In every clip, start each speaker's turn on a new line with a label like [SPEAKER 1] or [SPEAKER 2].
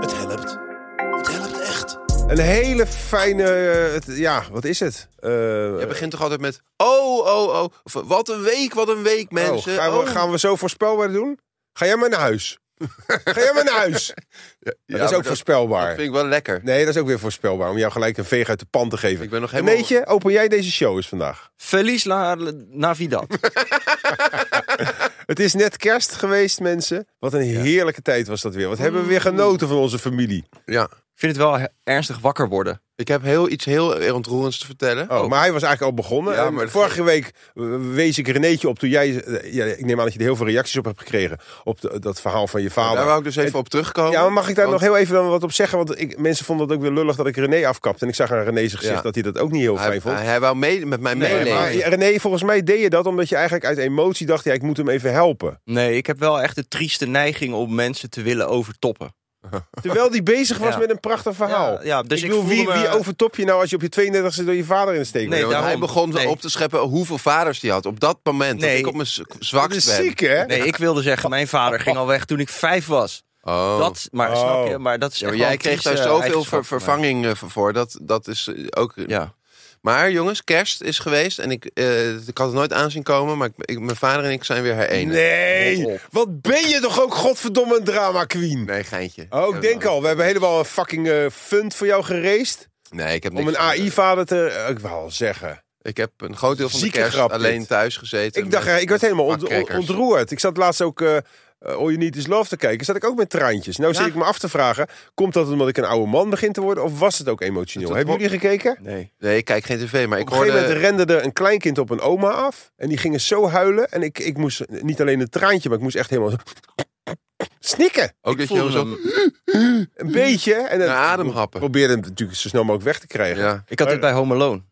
[SPEAKER 1] Het helpt. Het helpt echt.
[SPEAKER 2] Een hele fijne... eh, het- ja, wat is het? Eh,
[SPEAKER 3] Je begint toch altijd met, oh, oh, oh. Of, wat een week, wat een week,
[SPEAKER 2] oh,
[SPEAKER 3] mensen.
[SPEAKER 2] gaan, we,
[SPEAKER 3] Oh.
[SPEAKER 2] gaan we zo voorspelbaar doen? Ga jij maar naar huis. Ga jij maar naar huis.
[SPEAKER 3] Ja,
[SPEAKER 2] dat is
[SPEAKER 3] maar
[SPEAKER 2] ook voorspelbaar.
[SPEAKER 3] Dat vind ik wel lekker.
[SPEAKER 2] Nee, dat is ook weer voorspelbaar. Om jou gelijk een veeg uit de pan te geven.
[SPEAKER 3] Ik ben nog
[SPEAKER 2] En
[SPEAKER 3] helemaal-
[SPEAKER 2] weet je, open jij deze show eens vandaag.
[SPEAKER 4] Verlies la, Navidad.
[SPEAKER 2] Het is net kerst geweest, mensen. Wat een heerlijke tijd was dat weer. Wat hebben we weer genoten van onze familie.
[SPEAKER 3] Ja.
[SPEAKER 4] Ik vind het wel he- ernstig wakker worden.
[SPEAKER 3] Ik heb heel, iets heel ontroerends te vertellen.
[SPEAKER 2] Oh, Maar hij was eigenlijk al begonnen.
[SPEAKER 3] Ja,
[SPEAKER 2] En
[SPEAKER 3] maar-
[SPEAKER 2] Vorige week eh, wees ik Renéetje op toen jij... eh, Ja, ik neem aan dat je er heel veel reacties op hebt gekregen. Op de- dat verhaal van je vader.
[SPEAKER 3] Daar wou ik dus even op terugkomen.
[SPEAKER 4] Oh,
[SPEAKER 2] Ja, maar mag ik daar
[SPEAKER 3] Want
[SPEAKER 2] nog heel even dan wat op zeggen? Want ik, mensen vonden het ook weer lullig dat ik René afkapte. En ik zag aan René zijn gezicht
[SPEAKER 3] Ja.
[SPEAKER 2] dat hij dat ook niet heel fijn
[SPEAKER 3] hij,
[SPEAKER 2] vond.
[SPEAKER 3] hij, hij wou mee, met mij
[SPEAKER 4] Nee,
[SPEAKER 3] meeleven.
[SPEAKER 4] nee.
[SPEAKER 2] maar René, volgens mij deed je dat omdat je eigenlijk uit emotie dacht... ja, ik moet hem even helpen.
[SPEAKER 4] Nee, ik heb wel echt de trieste neiging om mensen te willen overtoppen.
[SPEAKER 2] Terwijl die bezig was
[SPEAKER 4] Ja.
[SPEAKER 2] met een prachtig verhaal.
[SPEAKER 4] Ja, ja, dus
[SPEAKER 2] ik
[SPEAKER 4] ik
[SPEAKER 2] bedoel,
[SPEAKER 4] voelde
[SPEAKER 2] wie,
[SPEAKER 4] me-
[SPEAKER 2] wie overtop je nou als je op je 32e door je vader in de steek
[SPEAKER 4] Nee,
[SPEAKER 2] wordt?
[SPEAKER 3] Want hij
[SPEAKER 4] daarom.
[SPEAKER 3] begon
[SPEAKER 4] Nee.
[SPEAKER 3] op te scheppen hoeveel vaders hij had. Op dat moment dat
[SPEAKER 4] Nee.
[SPEAKER 3] ik op mijn z-
[SPEAKER 2] Dat
[SPEAKER 3] zwakst
[SPEAKER 2] is
[SPEAKER 3] ben.
[SPEAKER 2] ziek, hè?
[SPEAKER 4] Nee, ik wilde zeggen, mijn vader ging al weg toen ik vijf was.
[SPEAKER 3] Oh.
[SPEAKER 4] Dat, maar
[SPEAKER 2] Oh.
[SPEAKER 4] snap je? Maar dat is
[SPEAKER 3] Ja, maar
[SPEAKER 4] echt wel
[SPEAKER 3] jij
[SPEAKER 4] een
[SPEAKER 3] kreeg daar
[SPEAKER 2] eh,
[SPEAKER 4] trieste
[SPEAKER 3] zoveel
[SPEAKER 4] eigenschap
[SPEAKER 3] ver-
[SPEAKER 4] van mij.
[SPEAKER 3] vervanging eh, voor- voor. Dat, dat is eh, ook...
[SPEAKER 4] Ja.
[SPEAKER 3] Maar jongens, kerst is geweest. En ik, eh, ik had het nooit aanzien komen. Maar ik, ik- mijn vader en ik zijn weer herenigd.
[SPEAKER 2] Nee,
[SPEAKER 4] Rot op.
[SPEAKER 2] wat ben je toch ook godverdomme een drama queen.
[SPEAKER 3] Nee, geintje.
[SPEAKER 2] Oh, ik denk
[SPEAKER 4] nou,
[SPEAKER 2] al, we hebben helemaal een fucking eh fund voor jou gereest.
[SPEAKER 3] Nee, ik heb
[SPEAKER 2] Om
[SPEAKER 3] niks
[SPEAKER 2] een
[SPEAKER 3] van-
[SPEAKER 2] AI-vader te... eh, Ik wou al zeggen.
[SPEAKER 3] Ik heb een groot deel van de
[SPEAKER 2] Zieke
[SPEAKER 3] kerst
[SPEAKER 2] grap, dit.
[SPEAKER 3] alleen thuis gezeten.
[SPEAKER 2] Ik dacht,
[SPEAKER 3] met-
[SPEAKER 2] eh, ik werd
[SPEAKER 3] met
[SPEAKER 2] helemaal ont-
[SPEAKER 3] bakkrekkers.
[SPEAKER 2] ontroerd. Ik zat laatst ook eh eh, All You Need Is Love te kijken. Zat ik ook met traantjes. Nou zit ik me af te vragen, komt dat omdat ik een oude man begin te worden? Of was het ook emotioneel?
[SPEAKER 3] Dat-
[SPEAKER 2] Hebben jullie gekeken?
[SPEAKER 4] Nee.
[SPEAKER 3] Nee, ik kijk geen tv, maar ik
[SPEAKER 2] op een gegeven
[SPEAKER 3] hoorde...
[SPEAKER 2] moment rende er een kleinkind op een oma af. En die gingen zo huilen. En ik, ik moest niet alleen een traantje, maar ik moest echt helemaal zo snikken.
[SPEAKER 3] Ook dat je heel
[SPEAKER 4] voelde
[SPEAKER 3] zo...
[SPEAKER 4] hem.
[SPEAKER 2] Een beetje. En dan
[SPEAKER 3] Naar ademhappen.
[SPEAKER 2] probeerde hem natuurlijk zo snel mogelijk weg te krijgen.
[SPEAKER 3] Ja.
[SPEAKER 4] Ik had dit bij Home Alone.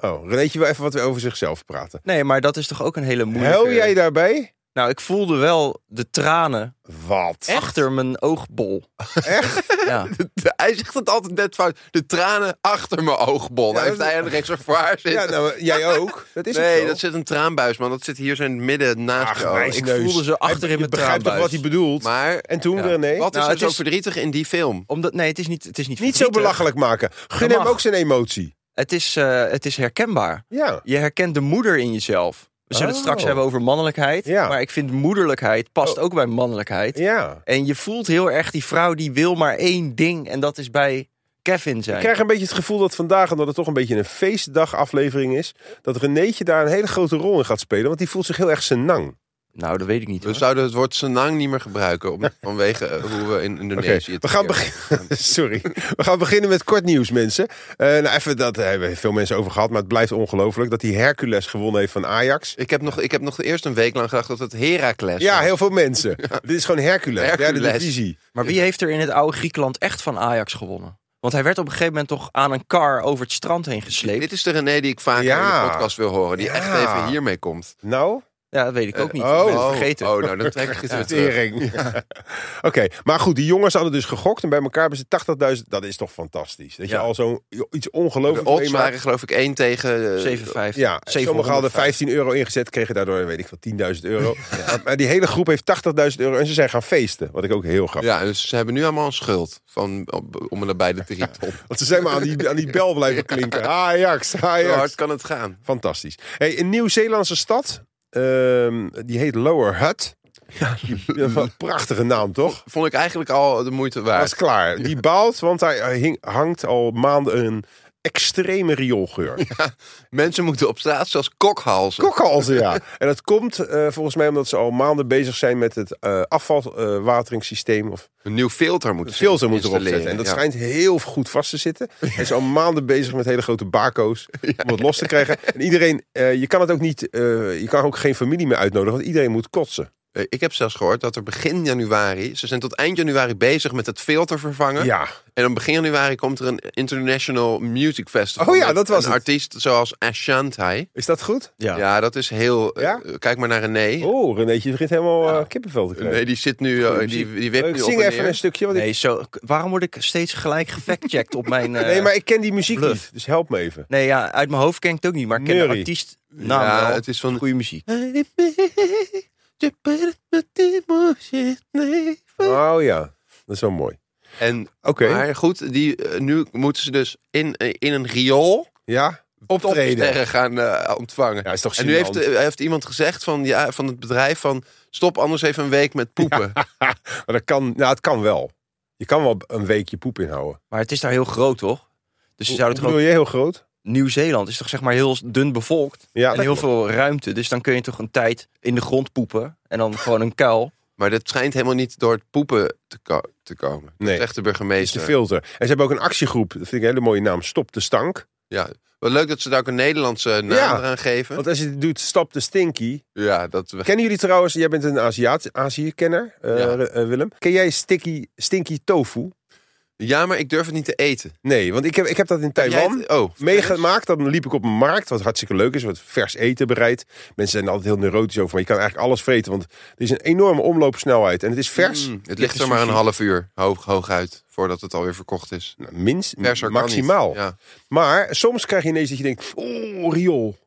[SPEAKER 2] Oh, Renéetje wil even wat over zichzelf praten.
[SPEAKER 4] Nee, maar dat is toch ook een hele moeilijke...
[SPEAKER 2] Huil jij daarbij?
[SPEAKER 4] Nou, ik voelde wel de tranen
[SPEAKER 2] Wat?
[SPEAKER 4] achter mijn oogbol.
[SPEAKER 2] Echt?
[SPEAKER 4] Ja.
[SPEAKER 3] Hij zegt het altijd net fout. De tranen achter mijn oogbol.
[SPEAKER 2] Ja,
[SPEAKER 3] Hij heeft
[SPEAKER 2] dat-
[SPEAKER 3] eigenlijk een reservoir zitten.
[SPEAKER 2] Ja, nou, jij ook. Dat is het
[SPEAKER 3] nee,
[SPEAKER 2] zo.
[SPEAKER 3] dat zit een traanbuis, man. Dat zit hier zo in het midden naast
[SPEAKER 2] Ach,
[SPEAKER 3] je oog.
[SPEAKER 2] wijs
[SPEAKER 4] ik
[SPEAKER 2] neus.
[SPEAKER 4] voelde ze achter
[SPEAKER 2] dus Hij-
[SPEAKER 4] in
[SPEAKER 2] Je
[SPEAKER 4] mijn
[SPEAKER 2] begrijpt toch wat hij
[SPEAKER 4] traanbuis.
[SPEAKER 2] bedoelt?
[SPEAKER 3] Maar
[SPEAKER 2] En toen,
[SPEAKER 4] Ja.
[SPEAKER 2] René?
[SPEAKER 3] wat is
[SPEAKER 4] Nou,
[SPEAKER 3] er
[SPEAKER 4] het
[SPEAKER 3] zo
[SPEAKER 4] is-
[SPEAKER 3] verdrietig in die film?
[SPEAKER 4] Omdat, nee, het is niet, het is niet
[SPEAKER 2] Niet zo
[SPEAKER 4] verdrietig.
[SPEAKER 2] belachelijk maken. Gun
[SPEAKER 4] Dat
[SPEAKER 2] hem
[SPEAKER 4] mag.
[SPEAKER 2] ook zijn emotie.
[SPEAKER 4] Het is, eh, het is herkenbaar.
[SPEAKER 2] Ja.
[SPEAKER 4] Je herkent de moeder in jezelf. We zullen
[SPEAKER 2] Oh.
[SPEAKER 4] het straks hebben over mannelijkheid.
[SPEAKER 2] Ja. Oh.
[SPEAKER 4] Maar ik vind moederlijkheid past ook bij mannelijkheid.
[SPEAKER 2] Ja.
[SPEAKER 4] En je voelt heel erg die vrouw die wil maar één ding. En dat is bij Kevin zijn.
[SPEAKER 2] Ik krijg een beetje het gevoel dat vandaag, omdat het toch een beetje een feestdagaflevering is, dat Renéetje daar een hele grote rol in gaat spelen. Want die voelt zich heel erg senang.
[SPEAKER 4] Nou, dat weet ik niet.
[SPEAKER 3] We
[SPEAKER 4] hoor.
[SPEAKER 3] zouden het woord senang niet meer gebruiken om- vanwege eh, hoe we in
[SPEAKER 2] Oké,
[SPEAKER 3] Indonesië het
[SPEAKER 2] we gaan
[SPEAKER 3] weer-
[SPEAKER 2] beginnen. Sorry. We gaan beginnen met kort nieuws, mensen. Eh, nou, even, dat hebben veel mensen over gehad, maar het blijft ongelooflijk dat die Hercules gewonnen heeft van Ajax.
[SPEAKER 3] Ik heb, nog, ik heb nog eerst een week lang gedacht dat het Heracles
[SPEAKER 2] Ja,
[SPEAKER 3] was.
[SPEAKER 2] heel veel mensen. Dit is gewoon Hercules,
[SPEAKER 3] Hercules.
[SPEAKER 2] derde divisie.
[SPEAKER 4] Maar wie heeft er in het oude Griekenland echt van Ajax gewonnen? Want hij werd op een gegeven moment toch aan een kar over het strand heen gesleept.
[SPEAKER 3] Dit is de René die ik vaker
[SPEAKER 2] Ja.
[SPEAKER 3] in de podcast wil horen. Die
[SPEAKER 2] Ja.
[SPEAKER 3] echt even hiermee komt.
[SPEAKER 2] Nou,
[SPEAKER 4] Ja, dat weet ik ook niet.
[SPEAKER 2] oh.
[SPEAKER 4] ik ben het vergeten.
[SPEAKER 3] Oh, nou, dan trek ik het weer terug.
[SPEAKER 2] Tering. Oké, maar goed, die jongens hadden dus gegokt en bij elkaar hebben ze 80.000. Dat is toch fantastisch. Dat je
[SPEAKER 4] Ja.
[SPEAKER 2] al zo'n iets
[SPEAKER 3] De
[SPEAKER 2] ongelooflijk
[SPEAKER 3] odds
[SPEAKER 2] meemaakt.
[SPEAKER 3] waren geloof ik 1 tegen... eh,
[SPEAKER 4] 7,5.
[SPEAKER 2] Ja, sommigen hadden
[SPEAKER 4] 750.
[SPEAKER 2] 15 euro ingezet, kregen daardoor, weet ik veel, 10.000 euro. Maar- Maar die hele groep heeft 80.000 euro en ze zijn gaan feesten. Wat ik ook heel grappig
[SPEAKER 3] Ja, dus ze hebben nu allemaal een schuld van, op- om en nabij de drieton.
[SPEAKER 2] Want ze zijn maar aan die, aan die bel blijven klinken. Ajax,
[SPEAKER 3] Zo
[SPEAKER 2] Ajax.
[SPEAKER 3] hard kan het gaan.
[SPEAKER 2] Fantastisch. Hey, een Nieuw-Zeelandse stad, ehm, die heet Lower Hut. Ja, wat een prachtige naam, toch?
[SPEAKER 3] Vond ik eigenlijk al de moeite waard.
[SPEAKER 2] was klaar. Die baalt, want hij hing- hangt al maanden een extreme rioolgeur.
[SPEAKER 3] Mensen moeten op straat zelfs kokhalzen.
[SPEAKER 2] Kokhalzen, ja. En dat komt eh, volgens mij omdat ze al maanden bezig zijn met het eh, afvalwateringssysteem. of
[SPEAKER 3] Een nieuw filter moeten
[SPEAKER 2] het filter moet erop
[SPEAKER 3] installeren,
[SPEAKER 2] zetten. En dat
[SPEAKER 3] ja.
[SPEAKER 2] schijnt heel goed vast te zitten. Hij is al maanden bezig met hele grote bako's om het los te krijgen. En iedereen, eh, je kan het ook niet, eh, je kan ook geen familie meer uitnodigen, want iedereen moet kotsen.
[SPEAKER 3] eh, ik heb zelfs gehoord dat er begin januari, ze zijn tot eind januari bezig met het filter vervangen.
[SPEAKER 2] Ja.
[SPEAKER 3] En dan begin januari komt er een International Music Festival.
[SPEAKER 2] Oh ja,
[SPEAKER 3] met
[SPEAKER 2] dat was
[SPEAKER 3] Een
[SPEAKER 2] het.
[SPEAKER 3] artiest zoals Ashanti.
[SPEAKER 2] Is dat goed?
[SPEAKER 4] Ja.
[SPEAKER 3] Ja, dat is heel... eh,
[SPEAKER 2] Ja?
[SPEAKER 3] kijk maar naar René.
[SPEAKER 2] Oh, Renéetje begint helemaal eh, kippenvel te krijgen.
[SPEAKER 3] René die zit nu, eh, die, die wipt
[SPEAKER 2] Leuk,
[SPEAKER 3] nu op
[SPEAKER 2] zing
[SPEAKER 3] en
[SPEAKER 2] even
[SPEAKER 3] neer.
[SPEAKER 2] een stukje. Want ik-
[SPEAKER 4] Nee, zo, k- waarom word ik steeds gelijk gefactcheckt op mijn... eh,
[SPEAKER 2] nee, maar ik ken die muziek
[SPEAKER 4] bluff.
[SPEAKER 2] niet, dus help me even.
[SPEAKER 4] nee, ja, uit mijn hoofd ken ik het ook niet, maar ik ken de
[SPEAKER 2] Murray.
[SPEAKER 4] artiest naam
[SPEAKER 3] Ja,
[SPEAKER 4] wel.
[SPEAKER 3] het is van-
[SPEAKER 4] Goede muziek.
[SPEAKER 2] Oh ja, dat is wel mooi.
[SPEAKER 3] En,
[SPEAKER 2] Oké,
[SPEAKER 3] Maar goed, die, eh, nu moeten ze dus in, eh, in een riool
[SPEAKER 2] ja.
[SPEAKER 3] topsterren gaan eh, ontvangen.
[SPEAKER 2] Ja, is toch
[SPEAKER 3] en nu heeft,
[SPEAKER 2] gênant.
[SPEAKER 3] eh, heeft iemand gezegd van, ja, van het bedrijf van... Stop anders even een week met poepen.
[SPEAKER 2] Maar dat kan, nou, het kan wel. Je kan wel een weekje poep inhouden.
[SPEAKER 4] Maar het is daar heel groot, toch? Dus ze
[SPEAKER 2] Hoe
[SPEAKER 4] zouden toch
[SPEAKER 2] bedoel
[SPEAKER 4] ook...
[SPEAKER 2] je heel groot?
[SPEAKER 4] Nieuw-Zeeland is toch zeg maar heel dun bevolkt
[SPEAKER 2] Ja,
[SPEAKER 4] en heel veel ruimte. Dus dan kun je toch een tijd in de grond poepen en dan gewoon een kuil.
[SPEAKER 3] Maar dat schijnt helemaal niet door het poepen te, ko- te komen.
[SPEAKER 2] Nee.
[SPEAKER 3] Zegt de
[SPEAKER 2] is de
[SPEAKER 3] burgemeester.
[SPEAKER 2] filter. En ze hebben ook een actiegroep, dat vind ik een hele mooie naam, Stop de Stank.
[SPEAKER 3] Ja. Wel leuk dat ze daar ook een Nederlandse naam
[SPEAKER 2] Ja.
[SPEAKER 3] eraan geven.
[SPEAKER 2] Want als je het doet, Stop de Stinky.
[SPEAKER 3] Ja, dat we...
[SPEAKER 2] Kennen jullie trouwens, jij bent een Aziat- Azië-kenner, eh,
[SPEAKER 3] Ja.
[SPEAKER 2] eh, Willem. Ken jij sticky, Stinky Tofu?
[SPEAKER 3] ja, maar ik durf het niet te eten.
[SPEAKER 2] Nee, want ik heb, ik heb dat in
[SPEAKER 3] Heb jij
[SPEAKER 2] Taiwan.
[SPEAKER 3] het- Oh,
[SPEAKER 2] meegemaakt. Dan liep ik op een markt, wat hartstikke leuk is, wat vers eten bereid. Mensen zijn altijd heel neurotisch over, maar je kan eigenlijk alles vreten, want er is een enorme omloopsnelheid en het is vers.
[SPEAKER 3] Mm, het ligt er maar een half uur hoog, hooguit voordat het alweer verkocht is.
[SPEAKER 2] Nou, minst,
[SPEAKER 3] Verser kan
[SPEAKER 2] maximaal.
[SPEAKER 3] niet. Ja.
[SPEAKER 2] Maar soms krijg je ineens dat je denkt, oh, riool.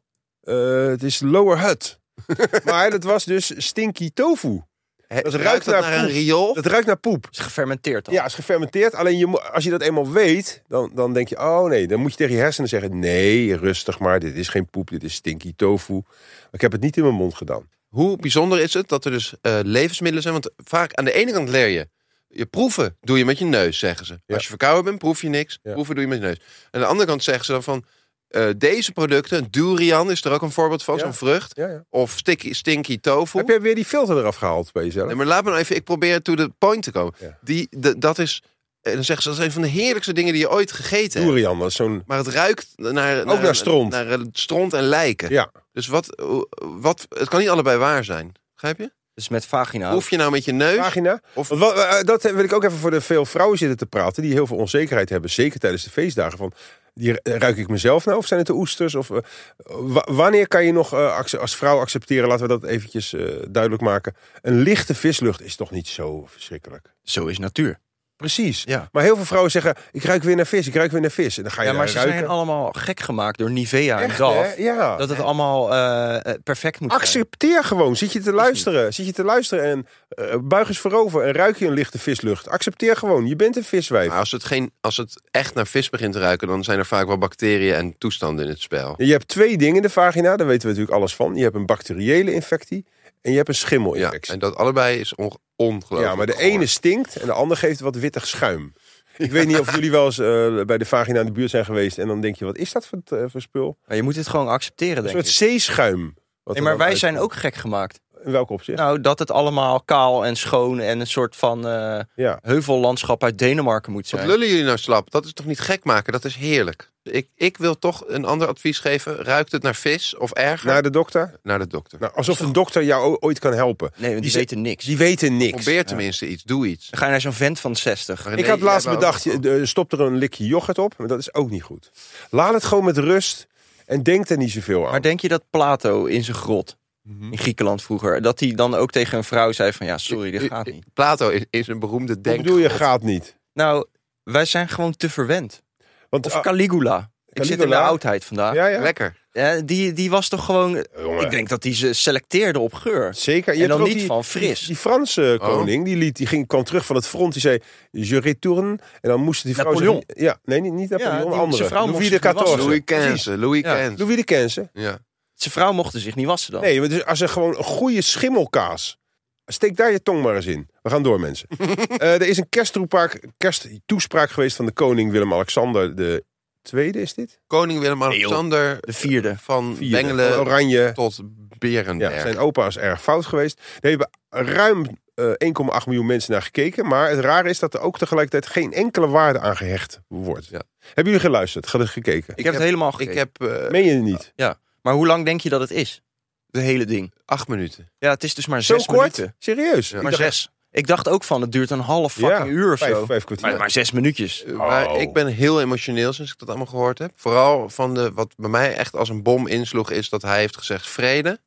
[SPEAKER 2] Eh, het is lower hut. maar dat was dus stinky tofu.
[SPEAKER 3] He-
[SPEAKER 2] Dat ruikt
[SPEAKER 3] dat
[SPEAKER 2] naar
[SPEAKER 3] naar, een
[SPEAKER 2] poep.
[SPEAKER 3] riool.
[SPEAKER 2] Dat ruikt naar poep.
[SPEAKER 4] Het is gefermenteerd dan.
[SPEAKER 2] Ja, het is gefermenteerd. Alleen je, mo- als je dat eenmaal weet, dan, dan denk je, oh nee, dan moet je tegen je hersenen zeggen, nee, rustig maar, dit is geen poep, dit is stinky tofu. Maar ik heb het niet in mijn mond gedaan.
[SPEAKER 3] Hoe bijzonder is het dat er dus eh, levensmiddelen zijn? Want vaak aan de ene kant leer je. Je proeven doe je met je neus, zeggen ze.
[SPEAKER 2] Ja.
[SPEAKER 3] Als je verkouden bent, proef je niks.
[SPEAKER 2] Ja.
[SPEAKER 3] Proeven doe je met je neus. Aan de andere kant zeggen ze dan van... eh, deze producten, durian is er ook een voorbeeld van,
[SPEAKER 2] Ja.
[SPEAKER 3] zo'n vrucht.
[SPEAKER 2] Ja, ja.
[SPEAKER 3] Of sticky, stinky tofu.
[SPEAKER 2] Heb jij weer die filter eraf gehaald bij jezelf?
[SPEAKER 3] Nee, maar laat me nou even, ik probeer to the point te komen.
[SPEAKER 2] Ja.
[SPEAKER 3] Die, de- dat is, en dan zeggen ze, dat is een van de heerlijkste dingen die je ooit gegeten hebt.
[SPEAKER 2] Durian, dat is zo'n...
[SPEAKER 3] Maar het ruikt naar, ook
[SPEAKER 2] naar stront.
[SPEAKER 3] Naar, eh, stront en lijken.
[SPEAKER 2] Ja.
[SPEAKER 3] Dus wat, wat, het kan niet allebei waar zijn. Begrijp je?
[SPEAKER 4] Dus met vagina.
[SPEAKER 3] Proef je nou met je neus?
[SPEAKER 2] Pagina.
[SPEAKER 3] Of-
[SPEAKER 2] Want wat- eh, dat wil ik ook even voor de veel vrouwen zitten te praten... die heel veel onzekerheid hebben, zeker tijdens de feestdagen. Van, die, eh, ruik ik mezelf nou of zijn het de oesters? Of, eh, wa- wanneer kan je nog eh, acce- als vrouw accepteren, laten we dat eventjes eh, duidelijk maken... een lichte vislucht is toch niet zo verschrikkelijk?
[SPEAKER 4] Zo is natuur.
[SPEAKER 2] Precies.
[SPEAKER 4] Ja.
[SPEAKER 2] Maar heel veel vrouwen zeggen, ik ruik weer naar vis, ik ruik weer naar vis. En dan ga je
[SPEAKER 4] Ja, maar
[SPEAKER 2] naar
[SPEAKER 4] ze
[SPEAKER 2] ruiken.
[SPEAKER 4] zijn allemaal gek gemaakt door Nivea en
[SPEAKER 2] Echt,
[SPEAKER 4] DAF.
[SPEAKER 2] hè? Ja.
[SPEAKER 4] Dat het allemaal eh, eh, perfect moet zijn.
[SPEAKER 2] Accepteer gewoon. Zit je te luisteren. Zit je te luisteren en eh, buig eens voorover en ruik je een lichte vislucht. Accepteer gewoon. Je bent een viswijf.
[SPEAKER 4] Nou.
[SPEAKER 3] Maar als het, geen, als het echt naar vis begint te ruiken, dan zijn er vaak wel bacteriën en toestanden in het spel.
[SPEAKER 2] Je hebt twee dingen in de vagina. Daar weten we natuurlijk alles van. Je hebt een bacteriële infectie en je hebt een
[SPEAKER 3] Ja,
[SPEAKER 2] schimmelinfectie.
[SPEAKER 3] en dat allebei is onge- ongelooflijk.
[SPEAKER 2] Ja, maar de
[SPEAKER 3] goor.
[SPEAKER 2] ene stinkt en de ander geeft wat wittig schuim. Ik weet niet of jullie wel eens eh, bij de vagina in de buurt zijn geweest. En dan denk je, wat is dat voor, eh, voor spul?
[SPEAKER 4] Maar je moet het gewoon accepteren,
[SPEAKER 2] Een
[SPEAKER 4] denk
[SPEAKER 2] soort
[SPEAKER 4] ik.
[SPEAKER 2] zeeschuim. wat
[SPEAKER 4] Nee,
[SPEAKER 2] er
[SPEAKER 4] maar
[SPEAKER 2] dan
[SPEAKER 4] wij
[SPEAKER 2] uitkomt.
[SPEAKER 4] zijn ook gek gemaakt.
[SPEAKER 2] In welk opzicht?
[SPEAKER 4] Nou, dat het allemaal kaal en schoon en een soort van eh,
[SPEAKER 2] ja.
[SPEAKER 4] heuvellandschap uit Denemarken moet
[SPEAKER 3] Wat
[SPEAKER 4] zijn.
[SPEAKER 3] lullen jullie nou slap? Dat is toch niet gek maken? Dat is heerlijk. Ik, ik wil toch een ander advies geven. Ruikt het naar vis of erger?
[SPEAKER 2] Naar de dokter?
[SPEAKER 3] Naar de dokter.
[SPEAKER 2] Nou, alsof een dokter jou o- ooit kan helpen.
[SPEAKER 4] Nee, want die,
[SPEAKER 2] ze-
[SPEAKER 4] weten niks.
[SPEAKER 2] Die weten niks.
[SPEAKER 3] Probeer tenminste iets. Doe iets.
[SPEAKER 4] Dan ga je naar zo'n vent van 60.
[SPEAKER 3] Maar
[SPEAKER 2] Ik
[SPEAKER 3] nee,
[SPEAKER 2] had laatst
[SPEAKER 3] jij wou Oh,
[SPEAKER 2] bedacht,
[SPEAKER 3] ook-
[SPEAKER 2] je, eh, stop er een likje yoghurt op. Maar dat is ook niet goed. Laat het gewoon met rust. En denk er niet zoveel aan.
[SPEAKER 4] Maar denk je dat Plato in zijn grot,
[SPEAKER 2] Mhm.
[SPEAKER 4] in Griekenland vroeger, dat hij dan ook tegen een vrouw zei van ja, sorry,
[SPEAKER 2] Eh,
[SPEAKER 4] dit gaat niet.
[SPEAKER 3] Plato is, is een beroemde
[SPEAKER 2] Wat
[SPEAKER 3] denk.
[SPEAKER 2] bedoel je, gaat niet.
[SPEAKER 4] Nou, wij zijn gewoon te verwend.
[SPEAKER 2] Want
[SPEAKER 4] Of
[SPEAKER 2] ah,
[SPEAKER 4] Caligula. Ik zit in de
[SPEAKER 2] Caligula?
[SPEAKER 4] oudheid vandaag.
[SPEAKER 2] ja, Oh, ja.
[SPEAKER 3] Lekker.
[SPEAKER 4] Ja, die, die was toch gewoon...
[SPEAKER 2] Jongen.
[SPEAKER 4] Ik denk dat die ze selecteerde op geur.
[SPEAKER 2] Zeker. Je
[SPEAKER 4] En
[SPEAKER 2] hebt
[SPEAKER 4] dan
[SPEAKER 2] ook
[SPEAKER 4] niet
[SPEAKER 2] die-
[SPEAKER 4] van fris.
[SPEAKER 2] Die, die Franse
[SPEAKER 3] Oh.
[SPEAKER 2] koning, die, liet, die ging, kwam terug van het front. Die zei, je retourne. En dan moest die vrouw...
[SPEAKER 4] Napoleon.
[SPEAKER 2] zeggen- ja, nee, niet, niet Napoleon,
[SPEAKER 4] die-
[SPEAKER 2] een
[SPEAKER 4] zijn
[SPEAKER 2] andere.
[SPEAKER 4] vrouw
[SPEAKER 2] Louis
[SPEAKER 4] moest
[SPEAKER 2] de
[SPEAKER 4] zich niet wassen.
[SPEAKER 2] XIV.
[SPEAKER 3] Louis Kenze. Louis
[SPEAKER 4] Ja.
[SPEAKER 3] Kenze.
[SPEAKER 2] Louis de Kenze.
[SPEAKER 3] Ja.
[SPEAKER 4] Zijn vrouw mochten zich niet wassen dan.
[SPEAKER 2] Nee, maar dus als er gewoon een goede schimmelkaas... Steek daar je tong maar eens in. We gaan door, mensen. Eh, er is een kersttoespraak, kersttoespraak geweest van de koning Willem-Alexander de Tweede, is dit?
[SPEAKER 3] Koning Willem-Alexander
[SPEAKER 4] De vierde.
[SPEAKER 3] van
[SPEAKER 2] Vierde.
[SPEAKER 3] Bengelen
[SPEAKER 2] Van Oranje.
[SPEAKER 3] tot Berenberg.
[SPEAKER 2] Ja, zijn opa is erg fout geweest. Er hebben ruim eh, 1,8 miljoen mensen naar gekeken. Maar het rare is dat er ook tegelijkertijd geen enkele waarde aan gehecht wordt.
[SPEAKER 3] Ja.
[SPEAKER 2] Hebben jullie geluisterd? Ge- Gekeken?
[SPEAKER 4] Ik, heb het helemaal gekeken.
[SPEAKER 3] Ik heb eh,
[SPEAKER 2] Meen je het niet?
[SPEAKER 4] Maar hoe lang denk je dat het is? De hele ding.
[SPEAKER 3] Acht minuten.
[SPEAKER 4] Ja, het is dus maar
[SPEAKER 2] Zo
[SPEAKER 4] zes
[SPEAKER 2] kort?
[SPEAKER 4] minuten.
[SPEAKER 2] Serieus? Ik
[SPEAKER 4] Maar
[SPEAKER 2] dacht-
[SPEAKER 4] zes. Ik dacht ook van, het duurt een half
[SPEAKER 2] Ja,
[SPEAKER 4] fucking uur of
[SPEAKER 2] vijf-
[SPEAKER 4] zo.
[SPEAKER 2] vijf kwartier.
[SPEAKER 4] maar, maar zes minuutjes.
[SPEAKER 2] Oh.
[SPEAKER 3] Eh, Maar ik ben heel emotioneel sinds ik dat allemaal gehoord heb. Vooral van de, wat bij mij echt als een bom insloeg, is dat hij heeft gezegd: vrede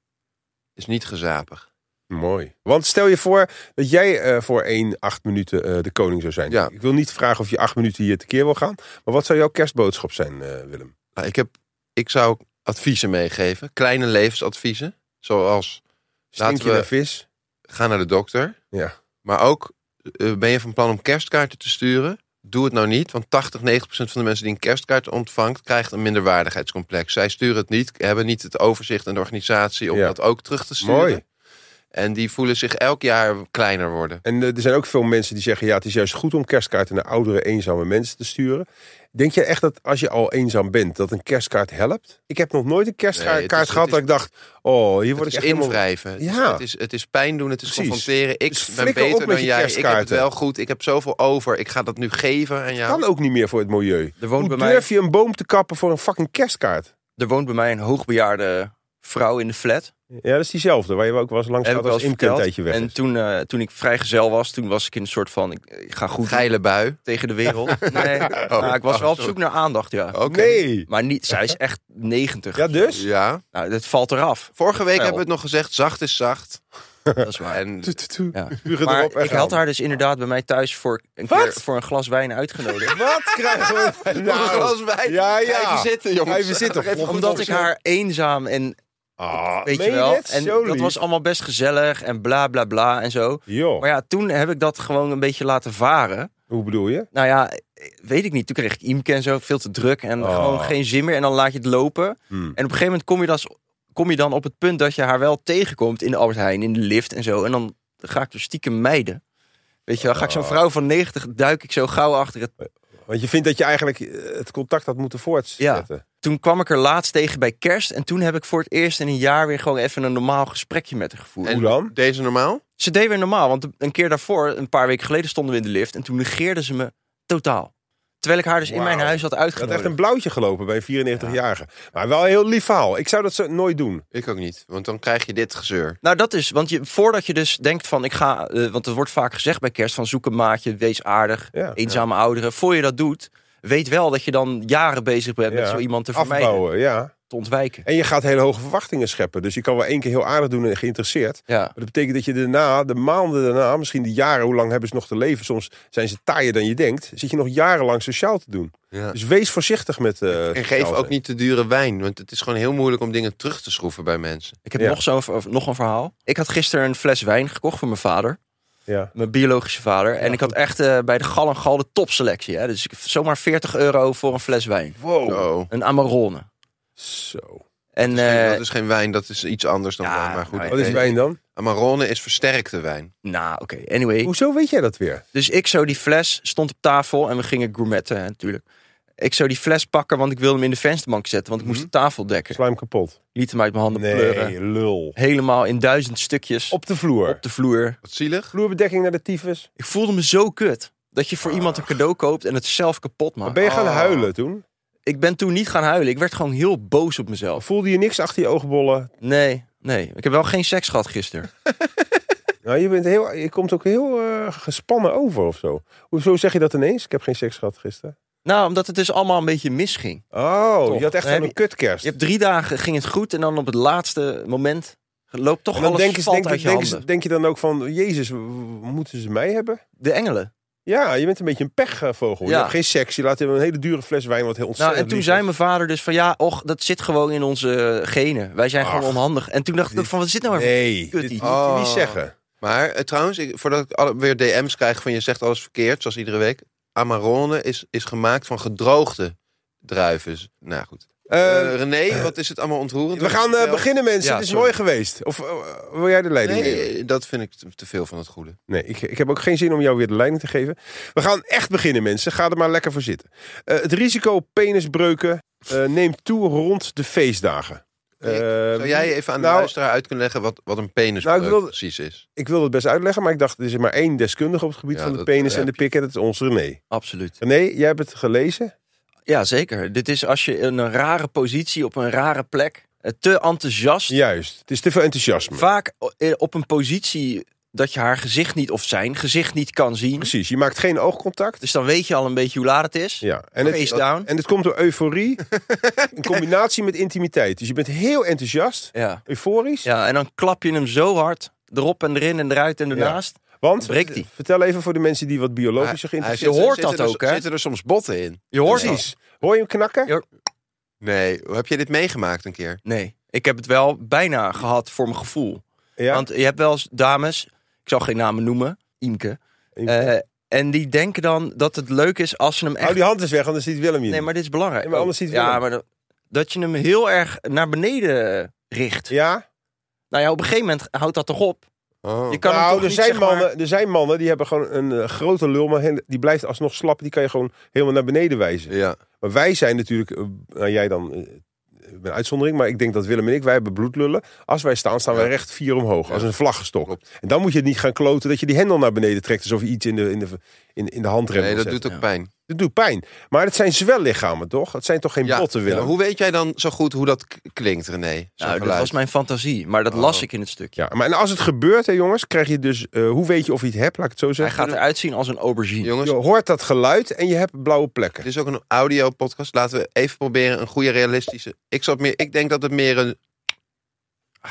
[SPEAKER 3] is niet gezapig.
[SPEAKER 2] Mooi. Want stel je voor dat jij eh, voor één acht minuten eh, de koning zou zijn.
[SPEAKER 3] Ja.
[SPEAKER 2] Ik wil niet vragen of je acht minuten hier tekeer wil gaan. Maar wat zou jouw kerstboodschap zijn, eh, Willem?
[SPEAKER 3] Nou, ik, heb, ik zou adviezen meegeven, kleine levensadviezen. Zoals
[SPEAKER 2] Stink
[SPEAKER 3] Laten
[SPEAKER 2] je
[SPEAKER 3] we-
[SPEAKER 2] naar vis?
[SPEAKER 3] ga naar de dokter.
[SPEAKER 2] Ja.
[SPEAKER 3] Maar ook eh, ben je van plan om kerstkaarten te sturen? Doe het nou niet, want 80, 90 van de mensen die een kerstkaart ontvangt, krijgt een minderwaardigheidscomplex. Zij sturen het niet, hebben niet het overzicht en de organisatie om
[SPEAKER 2] Ja.
[SPEAKER 3] dat ook terug te sturen.
[SPEAKER 2] Mooi.
[SPEAKER 3] En die voelen zich elk jaar kleiner worden.
[SPEAKER 2] En eh, er zijn ook veel mensen die zeggen... ja, het is juist goed om kerstkaarten naar oudere, eenzame mensen te sturen. Denk je echt dat als je al eenzaam bent, dat een kerstkaart helpt? Ik heb nog nooit een kerstkaart
[SPEAKER 3] Nee, het is-
[SPEAKER 2] kaart gehad
[SPEAKER 3] het
[SPEAKER 2] dat ik dacht... oh, hier word ik
[SPEAKER 3] Het is
[SPEAKER 2] echt helemaal-
[SPEAKER 3] invrijven. Het is-
[SPEAKER 2] Ja.
[SPEAKER 3] Het, is, het is pijn doen, het is
[SPEAKER 2] Precies.
[SPEAKER 3] confronteren. Ik
[SPEAKER 2] Dus
[SPEAKER 3] ben
[SPEAKER 2] flikker op
[SPEAKER 3] beter
[SPEAKER 2] met
[SPEAKER 3] dan
[SPEAKER 2] je
[SPEAKER 3] jij. Ik heb het
[SPEAKER 2] kerstkaarten.
[SPEAKER 3] wel goed. Ik heb zoveel over. Ik ga dat nu geven aan jou.
[SPEAKER 2] Kan ook niet meer voor het milieu.
[SPEAKER 4] Er woont,
[SPEAKER 2] Hoe
[SPEAKER 4] bij mij,
[SPEAKER 2] durf je een boom te kappen voor een fucking kerstkaart?
[SPEAKER 4] er woont bij mij een hoogbejaarde vrouw in de flat.
[SPEAKER 2] Ja, dat is diezelfde waar je ook wel eens langs
[SPEAKER 4] Heb
[SPEAKER 2] gaat
[SPEAKER 4] ik wel
[SPEAKER 2] als
[SPEAKER 4] eens
[SPEAKER 2] Imke een
[SPEAKER 4] verteld.
[SPEAKER 2] tijdje weg
[SPEAKER 4] En
[SPEAKER 2] is.
[SPEAKER 4] toen, eh, toen ik vrijgezel was, toen was ik in een soort van... Ik, ik ga goed
[SPEAKER 3] Geile bui.
[SPEAKER 4] tegen de wereld. Nee, nou, ik was
[SPEAKER 3] oh,
[SPEAKER 4] wel op
[SPEAKER 3] sorry.
[SPEAKER 4] zoek naar aandacht, ja.
[SPEAKER 3] Oké.
[SPEAKER 2] Nee!
[SPEAKER 4] Maar niet, zij is echt 90.
[SPEAKER 2] Ja, dus?
[SPEAKER 3] Ja.
[SPEAKER 4] Nou, dat valt eraf.
[SPEAKER 3] Vorige week
[SPEAKER 4] Wel.
[SPEAKER 3] hebben we het nog gezegd. Zacht is zacht.
[SPEAKER 4] Dat is waar.
[SPEAKER 3] En
[SPEAKER 4] Ja.
[SPEAKER 2] Spugen
[SPEAKER 4] Maar
[SPEAKER 2] erop en
[SPEAKER 4] ik
[SPEAKER 2] gaan.
[SPEAKER 4] had haar dus inderdaad bij mij thuis voor een,
[SPEAKER 2] Wat?
[SPEAKER 4] keer voor een glas wijn uitgenodigd.
[SPEAKER 2] Wat krijgen we?
[SPEAKER 3] Nou,
[SPEAKER 2] Nou,
[SPEAKER 3] wij.
[SPEAKER 2] ja, ja.
[SPEAKER 3] Even zitten, jongens.
[SPEAKER 2] Even zitten,
[SPEAKER 3] Even
[SPEAKER 2] volgens-
[SPEAKER 3] goed
[SPEAKER 4] Omdat ik
[SPEAKER 3] opzetten.
[SPEAKER 4] haar eenzaam en
[SPEAKER 2] ah,
[SPEAKER 4] weet je
[SPEAKER 2] meen
[SPEAKER 4] wel.
[SPEAKER 2] het?
[SPEAKER 4] En
[SPEAKER 2] Zo
[SPEAKER 4] dat
[SPEAKER 2] lief.
[SPEAKER 4] was allemaal best gezellig en bla bla bla en zo.
[SPEAKER 2] Joh,
[SPEAKER 4] Maar ja, toen heb ik dat gewoon een beetje laten varen.
[SPEAKER 2] hoe bedoel je?
[SPEAKER 4] Nou ja, weet ik niet. Toen kreeg ik Imke en zo veel te druk en
[SPEAKER 2] Oh.
[SPEAKER 4] gewoon geen zin meer. En dan laat je het lopen. En
[SPEAKER 2] Hmm.
[SPEAKER 4] op een gegeven moment kom je, dan, kom je dan op het punt dat je haar wel tegenkomt in de Albert Heijn, in de lift en zo. En dan ga ik dus stiekem mijden. Weet je wel, ga ik
[SPEAKER 2] Oh.
[SPEAKER 4] zo'n vrouw van 90, duik ik zo gauw achter het
[SPEAKER 2] Want je vindt dat je eigenlijk eh, het contact had moeten voortzetten.
[SPEAKER 4] toen kwam ik er laatst tegen bij kerst. En toen heb ik voor het eerst in een jaar weer gewoon even een normaal gesprekje met haar gevoerd.
[SPEAKER 3] En
[SPEAKER 2] Hoe dan?
[SPEAKER 3] Deze normaal?
[SPEAKER 4] Ze deed weer normaal, want een keer daarvoor, een paar weken geleden, stonden we in de lift. En toen negeerde ze me totaal. Terwijl ik haar dus in
[SPEAKER 2] Wauw.
[SPEAKER 4] mijn huis had
[SPEAKER 2] Je had
[SPEAKER 4] uitgenodigd.
[SPEAKER 2] echt een blauwtje gelopen bij een 94-jarige. Maar wel een heel lief verhaal. Ik zou dat zo nooit doen.
[SPEAKER 3] Ik ook niet. Want dan krijg je dit gezeur.
[SPEAKER 4] Nou, dat is, want je, voordat je dus denkt van, ik ga, eh, want het wordt vaak gezegd bij kerst, van zoek een maatje, wees aardig,
[SPEAKER 2] Ja.
[SPEAKER 4] eenzame ouderen. Voor je dat doet, weet wel dat je dan jaren bezig bent met
[SPEAKER 2] Ja.
[SPEAKER 4] zo iemand te vermijden,
[SPEAKER 2] Afbouwen, ja.
[SPEAKER 4] te ontwijken.
[SPEAKER 2] En je gaat hele hoge verwachtingen scheppen. Dus je kan wel één keer heel aardig doen en geïnteresseerd.
[SPEAKER 4] Ja.
[SPEAKER 2] Maar dat betekent dat je daarna, de maanden daarna, misschien de jaren, hoe lang hebben ze nog te leven? Soms zijn ze taaier dan je denkt. Zit je nog jarenlang sociaal te doen.
[SPEAKER 3] Ja.
[SPEAKER 2] Dus wees voorzichtig met. eh,
[SPEAKER 3] En
[SPEAKER 2] sociaal
[SPEAKER 3] geef
[SPEAKER 2] zijn.
[SPEAKER 3] ook niet te dure wijn. Want het is gewoon heel moeilijk om dingen terug te schroeven bij mensen.
[SPEAKER 4] Ik heb
[SPEAKER 2] Ja.
[SPEAKER 4] nog, zo'n, nog een verhaal. Ik had gisteren een fles wijn gekocht voor mijn vader.
[SPEAKER 2] Ja.
[SPEAKER 4] Mijn biologische vader. en ik had echt eh, bij de Gal en Gal de topselectie. Hè? Dus ik, zomaar 40 euro voor een fles wijn.
[SPEAKER 2] Wow.
[SPEAKER 3] Zo.
[SPEAKER 4] Een Amarone.
[SPEAKER 2] Zo.
[SPEAKER 4] En
[SPEAKER 3] Dat is geen-
[SPEAKER 4] eh,
[SPEAKER 3] dat is geen wijn, dat is iets anders dan
[SPEAKER 4] Ja,
[SPEAKER 3] wijn. Maar goed,
[SPEAKER 4] nou ja.
[SPEAKER 2] Wat is
[SPEAKER 3] oké.
[SPEAKER 2] wijn dan?
[SPEAKER 3] Amarone is versterkte wijn.
[SPEAKER 4] nou, oké. Anyway.
[SPEAKER 2] Hoezo weet jij dat weer?
[SPEAKER 4] Dus ik zo die fles, stond op tafel en we gingen gourmetten hè, natuurlijk. Ik zou die fles pakken, want ik wilde hem in de vensterbank zetten. Want ik
[SPEAKER 2] Mhm.
[SPEAKER 4] moest de tafel dekken.
[SPEAKER 2] Slijm kapot.
[SPEAKER 4] Liet hem uit mijn handen pleuren.
[SPEAKER 2] lul.
[SPEAKER 4] Helemaal in duizend stukjes op
[SPEAKER 2] Op de vloer.
[SPEAKER 4] de vloer.
[SPEAKER 3] Wat zielig.
[SPEAKER 2] Vloerbedekking naar de tyfus.
[SPEAKER 4] Ik voelde me zo kut. Dat je voor iemand een cadeau koopt en het zelf kapot maakt.
[SPEAKER 2] Ah. Ben je gaan
[SPEAKER 3] Ah.
[SPEAKER 2] huilen toen?
[SPEAKER 4] Ik ben toen niet gaan huilen. Ik werd gewoon heel boos op mezelf.
[SPEAKER 2] Voelde je niks achter je oogbollen?
[SPEAKER 4] Nee, nee. Ik heb wel geen seks gehad gisteren.
[SPEAKER 2] Nou, je, bent heel, je komt ook heel eh, gespannen over of zo. Hoezo zeg je dat ineens? Ik heb geen seks gehad gisteren.
[SPEAKER 4] Nou, omdat het dus allemaal een beetje misging.
[SPEAKER 2] Oh,
[SPEAKER 4] Toch.
[SPEAKER 2] je had echt
[SPEAKER 4] Dan
[SPEAKER 2] zo'n
[SPEAKER 4] heb je-
[SPEAKER 2] kutkerst.
[SPEAKER 4] Je hebt drie dagen ging het goed en dan op het laatste moment loopt toch
[SPEAKER 2] en dan
[SPEAKER 4] alles
[SPEAKER 2] denk, eens,
[SPEAKER 4] valt
[SPEAKER 2] denk,
[SPEAKER 4] uit je
[SPEAKER 2] denk,
[SPEAKER 4] handen.
[SPEAKER 2] eens- denk je dan ook van, Jezus, w- w- moeten ze mij hebben?
[SPEAKER 4] De engelen.
[SPEAKER 2] Ja, je bent een beetje een pechvogel. Je
[SPEAKER 4] Ja.
[SPEAKER 2] hebt geen seks, je laat hem een hele dure fles wijn, wat heel
[SPEAKER 4] Nou,
[SPEAKER 2] ontzettend
[SPEAKER 4] en toen
[SPEAKER 2] lief
[SPEAKER 4] zei
[SPEAKER 2] is.
[SPEAKER 4] mijn vader dus van ja, och, dat zit gewoon in onze genen. Wij zijn
[SPEAKER 2] Ach.
[SPEAKER 4] gewoon onhandig. En toen dacht ik ook van, wat zit nou weer?
[SPEAKER 2] Nee,
[SPEAKER 4] Kut,
[SPEAKER 2] dit
[SPEAKER 4] die-
[SPEAKER 2] moet je niet
[SPEAKER 3] Oh.
[SPEAKER 2] zeggen.
[SPEAKER 3] Maar eh, trouwens, ik, voordat ik alle- weer DM's krijg van je zegt alles verkeerd, zoals iedere week. Amarone is, is gemaakt van gedroogde druiven. Nou goed.
[SPEAKER 2] Eh,
[SPEAKER 3] Eh, René, wat is het allemaal ontroerend?
[SPEAKER 2] we gaan eh,
[SPEAKER 3] Vertel.
[SPEAKER 2] beginnen, mensen.
[SPEAKER 4] Ja,
[SPEAKER 2] het is
[SPEAKER 4] sorry.
[SPEAKER 2] mooi geweest. Of eh, wil jij de leiding nemen?
[SPEAKER 3] Nee, eh, dat vind ik te- te veel van het goede.
[SPEAKER 2] Nee, ik, ik heb ook geen zin om jou weer de leiding te geven. We gaan echt beginnen, mensen. Ga er maar lekker voor zitten. Eh, het risico op penisbreuken eh, neemt toe rond de feestdagen. Eh,
[SPEAKER 3] Zou jij even aan de
[SPEAKER 2] nou,
[SPEAKER 3] luisteraar uit kunnen leggen wat, wat een penis
[SPEAKER 2] Nou, ik wil-
[SPEAKER 3] precies is?
[SPEAKER 2] Ik wil het best uitleggen, maar ik dacht, er is maar één deskundige op het gebied
[SPEAKER 3] Ja,
[SPEAKER 2] van de
[SPEAKER 3] dat-
[SPEAKER 2] penis
[SPEAKER 3] ja.
[SPEAKER 2] en de pik. En dat is ons René.
[SPEAKER 4] Absoluut.
[SPEAKER 2] René, jij hebt het gelezen.
[SPEAKER 4] Ja, zeker. Dit is als je in een rare positie op een rare plek eh, te enthousiast.
[SPEAKER 2] Juist. Het is te veel enthousiasme.
[SPEAKER 4] Vaak o- eh, op een positie dat je haar gezicht niet of zijn gezicht niet kan zien.
[SPEAKER 2] Precies. Je maakt geen oogcontact.
[SPEAKER 4] Dus dan weet je al een beetje hoe laat het is.
[SPEAKER 2] Ja, en
[SPEAKER 4] Face
[SPEAKER 2] het,
[SPEAKER 4] down.
[SPEAKER 2] en het komt door euforie in combinatie met intimiteit. Dus je bent heel enthousiast,
[SPEAKER 4] Ja.
[SPEAKER 2] euforisch.
[SPEAKER 4] ja, en dan klap je hem zo hard. Erop en erin en eruit en ernaast.
[SPEAKER 2] want, eh,
[SPEAKER 4] breekt hij.
[SPEAKER 2] vertel even voor de mensen die wat biologischer
[SPEAKER 4] hij
[SPEAKER 2] geïnteresseerd
[SPEAKER 4] zit-
[SPEAKER 2] zijn.
[SPEAKER 4] Je hoort
[SPEAKER 3] zitten
[SPEAKER 4] dat
[SPEAKER 3] er-
[SPEAKER 4] ook, hè?
[SPEAKER 3] Zitten er soms botten in?
[SPEAKER 4] Je hoort het.
[SPEAKER 2] Precies. Hoor je hem knakken?
[SPEAKER 4] Ja.
[SPEAKER 3] Nee, heb je dit meegemaakt een keer?
[SPEAKER 4] Nee, ik heb het wel bijna gehad voor mijn gevoel.
[SPEAKER 2] Ja.
[SPEAKER 4] Want je hebt wel eens dames, ik zal geen namen noemen, Imke.
[SPEAKER 2] Imke.
[SPEAKER 4] eh, en die denken dan dat het leuk is als ze hem echt...
[SPEAKER 2] Hou Oh, die hand eens weg, anders ziet Willem je
[SPEAKER 4] Nee,
[SPEAKER 2] niet.
[SPEAKER 4] maar dit is belangrijk.
[SPEAKER 2] Nee, maar anders ziet
[SPEAKER 4] ja,
[SPEAKER 2] Willem.
[SPEAKER 4] maar dat, dat je hem heel erg naar beneden richt.
[SPEAKER 2] Ja?
[SPEAKER 4] Nou ja, op een gegeven moment houdt dat toch op.
[SPEAKER 3] Oh.
[SPEAKER 4] Je kan hem
[SPEAKER 2] nou,
[SPEAKER 4] toch
[SPEAKER 2] er
[SPEAKER 4] niet,
[SPEAKER 2] zijn,
[SPEAKER 4] zeg maar-
[SPEAKER 2] mannen, er zijn mannen die hebben gewoon een eh, grote lul, maar hen- die blijft alsnog slap. Die kan je gewoon helemaal naar beneden wijzen.
[SPEAKER 3] Ja.
[SPEAKER 2] Maar wij zijn natuurlijk, eh, nou, jij dan eh, een uitzondering, maar ik denk dat Willem en ik, wij hebben bloedlullen. Als wij staan, staan wij recht vier omhoog, als een vlaggestok. En dan moet je het niet gaan kloten dat je die hendel naar beneden trekt, alsof je iets in de, in de, in, in de handrem
[SPEAKER 3] Nee, dat
[SPEAKER 2] zet.
[SPEAKER 3] doet ook pijn.
[SPEAKER 2] Dat doet pijn. Maar het zijn zwellichamen, toch? Het zijn toch geen
[SPEAKER 3] Ja,
[SPEAKER 2] botten, Willem?
[SPEAKER 3] maar hoe weet jij dan zo goed hoe dat k- klinkt, René? Zo'n
[SPEAKER 4] Nou, dat
[SPEAKER 3] geluid.
[SPEAKER 4] was mijn fantasie, maar dat las ik in het stukje.
[SPEAKER 2] Ja, maar en als het gebeurt, hè jongens, krijg je dus... eh, hoe weet je of je het hebt, laat ik het zo
[SPEAKER 4] Hij
[SPEAKER 2] zeggen.
[SPEAKER 4] gaat eruit zien als een aubergine.
[SPEAKER 3] Jongens,
[SPEAKER 2] Je hoort dat geluid en je hebt blauwe plekken.
[SPEAKER 3] dit is ook een audio-podcast. Laten we even proberen een goede, realistische... Ik, zat meer, ik denk dat het meer een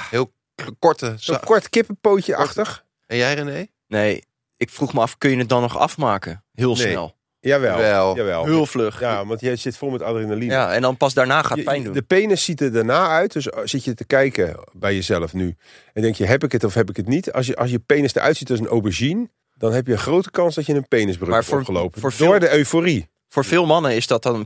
[SPEAKER 3] heel k- korte...
[SPEAKER 2] Zo'n
[SPEAKER 3] za-
[SPEAKER 2] kort kippenpootje-achtig?
[SPEAKER 3] En jij, René?
[SPEAKER 4] Nee, ik vroeg me af, kun je het dan nog afmaken? Heel
[SPEAKER 2] Nee.
[SPEAKER 4] snel.
[SPEAKER 2] Jawel.
[SPEAKER 3] Wel.
[SPEAKER 2] Jawel.
[SPEAKER 4] Heel vlug. Ja.
[SPEAKER 2] Ja, want jij zit vol met adrenaline.
[SPEAKER 4] en dan pas daarna gaat
[SPEAKER 2] Je-
[SPEAKER 4] pijn doen.
[SPEAKER 2] De penis ziet er daarna uit. Dus zit je te kijken bij jezelf nu. En denk je, heb ik het of heb ik het niet? Als je, als je penis eruit ziet als een aubergine... dan heb je een grote kans dat je een penisbreuk
[SPEAKER 4] Maar
[SPEAKER 2] hebt
[SPEAKER 4] voor-
[SPEAKER 2] opgelopen.
[SPEAKER 4] voor
[SPEAKER 2] door
[SPEAKER 4] veel-
[SPEAKER 2] de euforie.
[SPEAKER 4] Voor veel mannen is dat dan een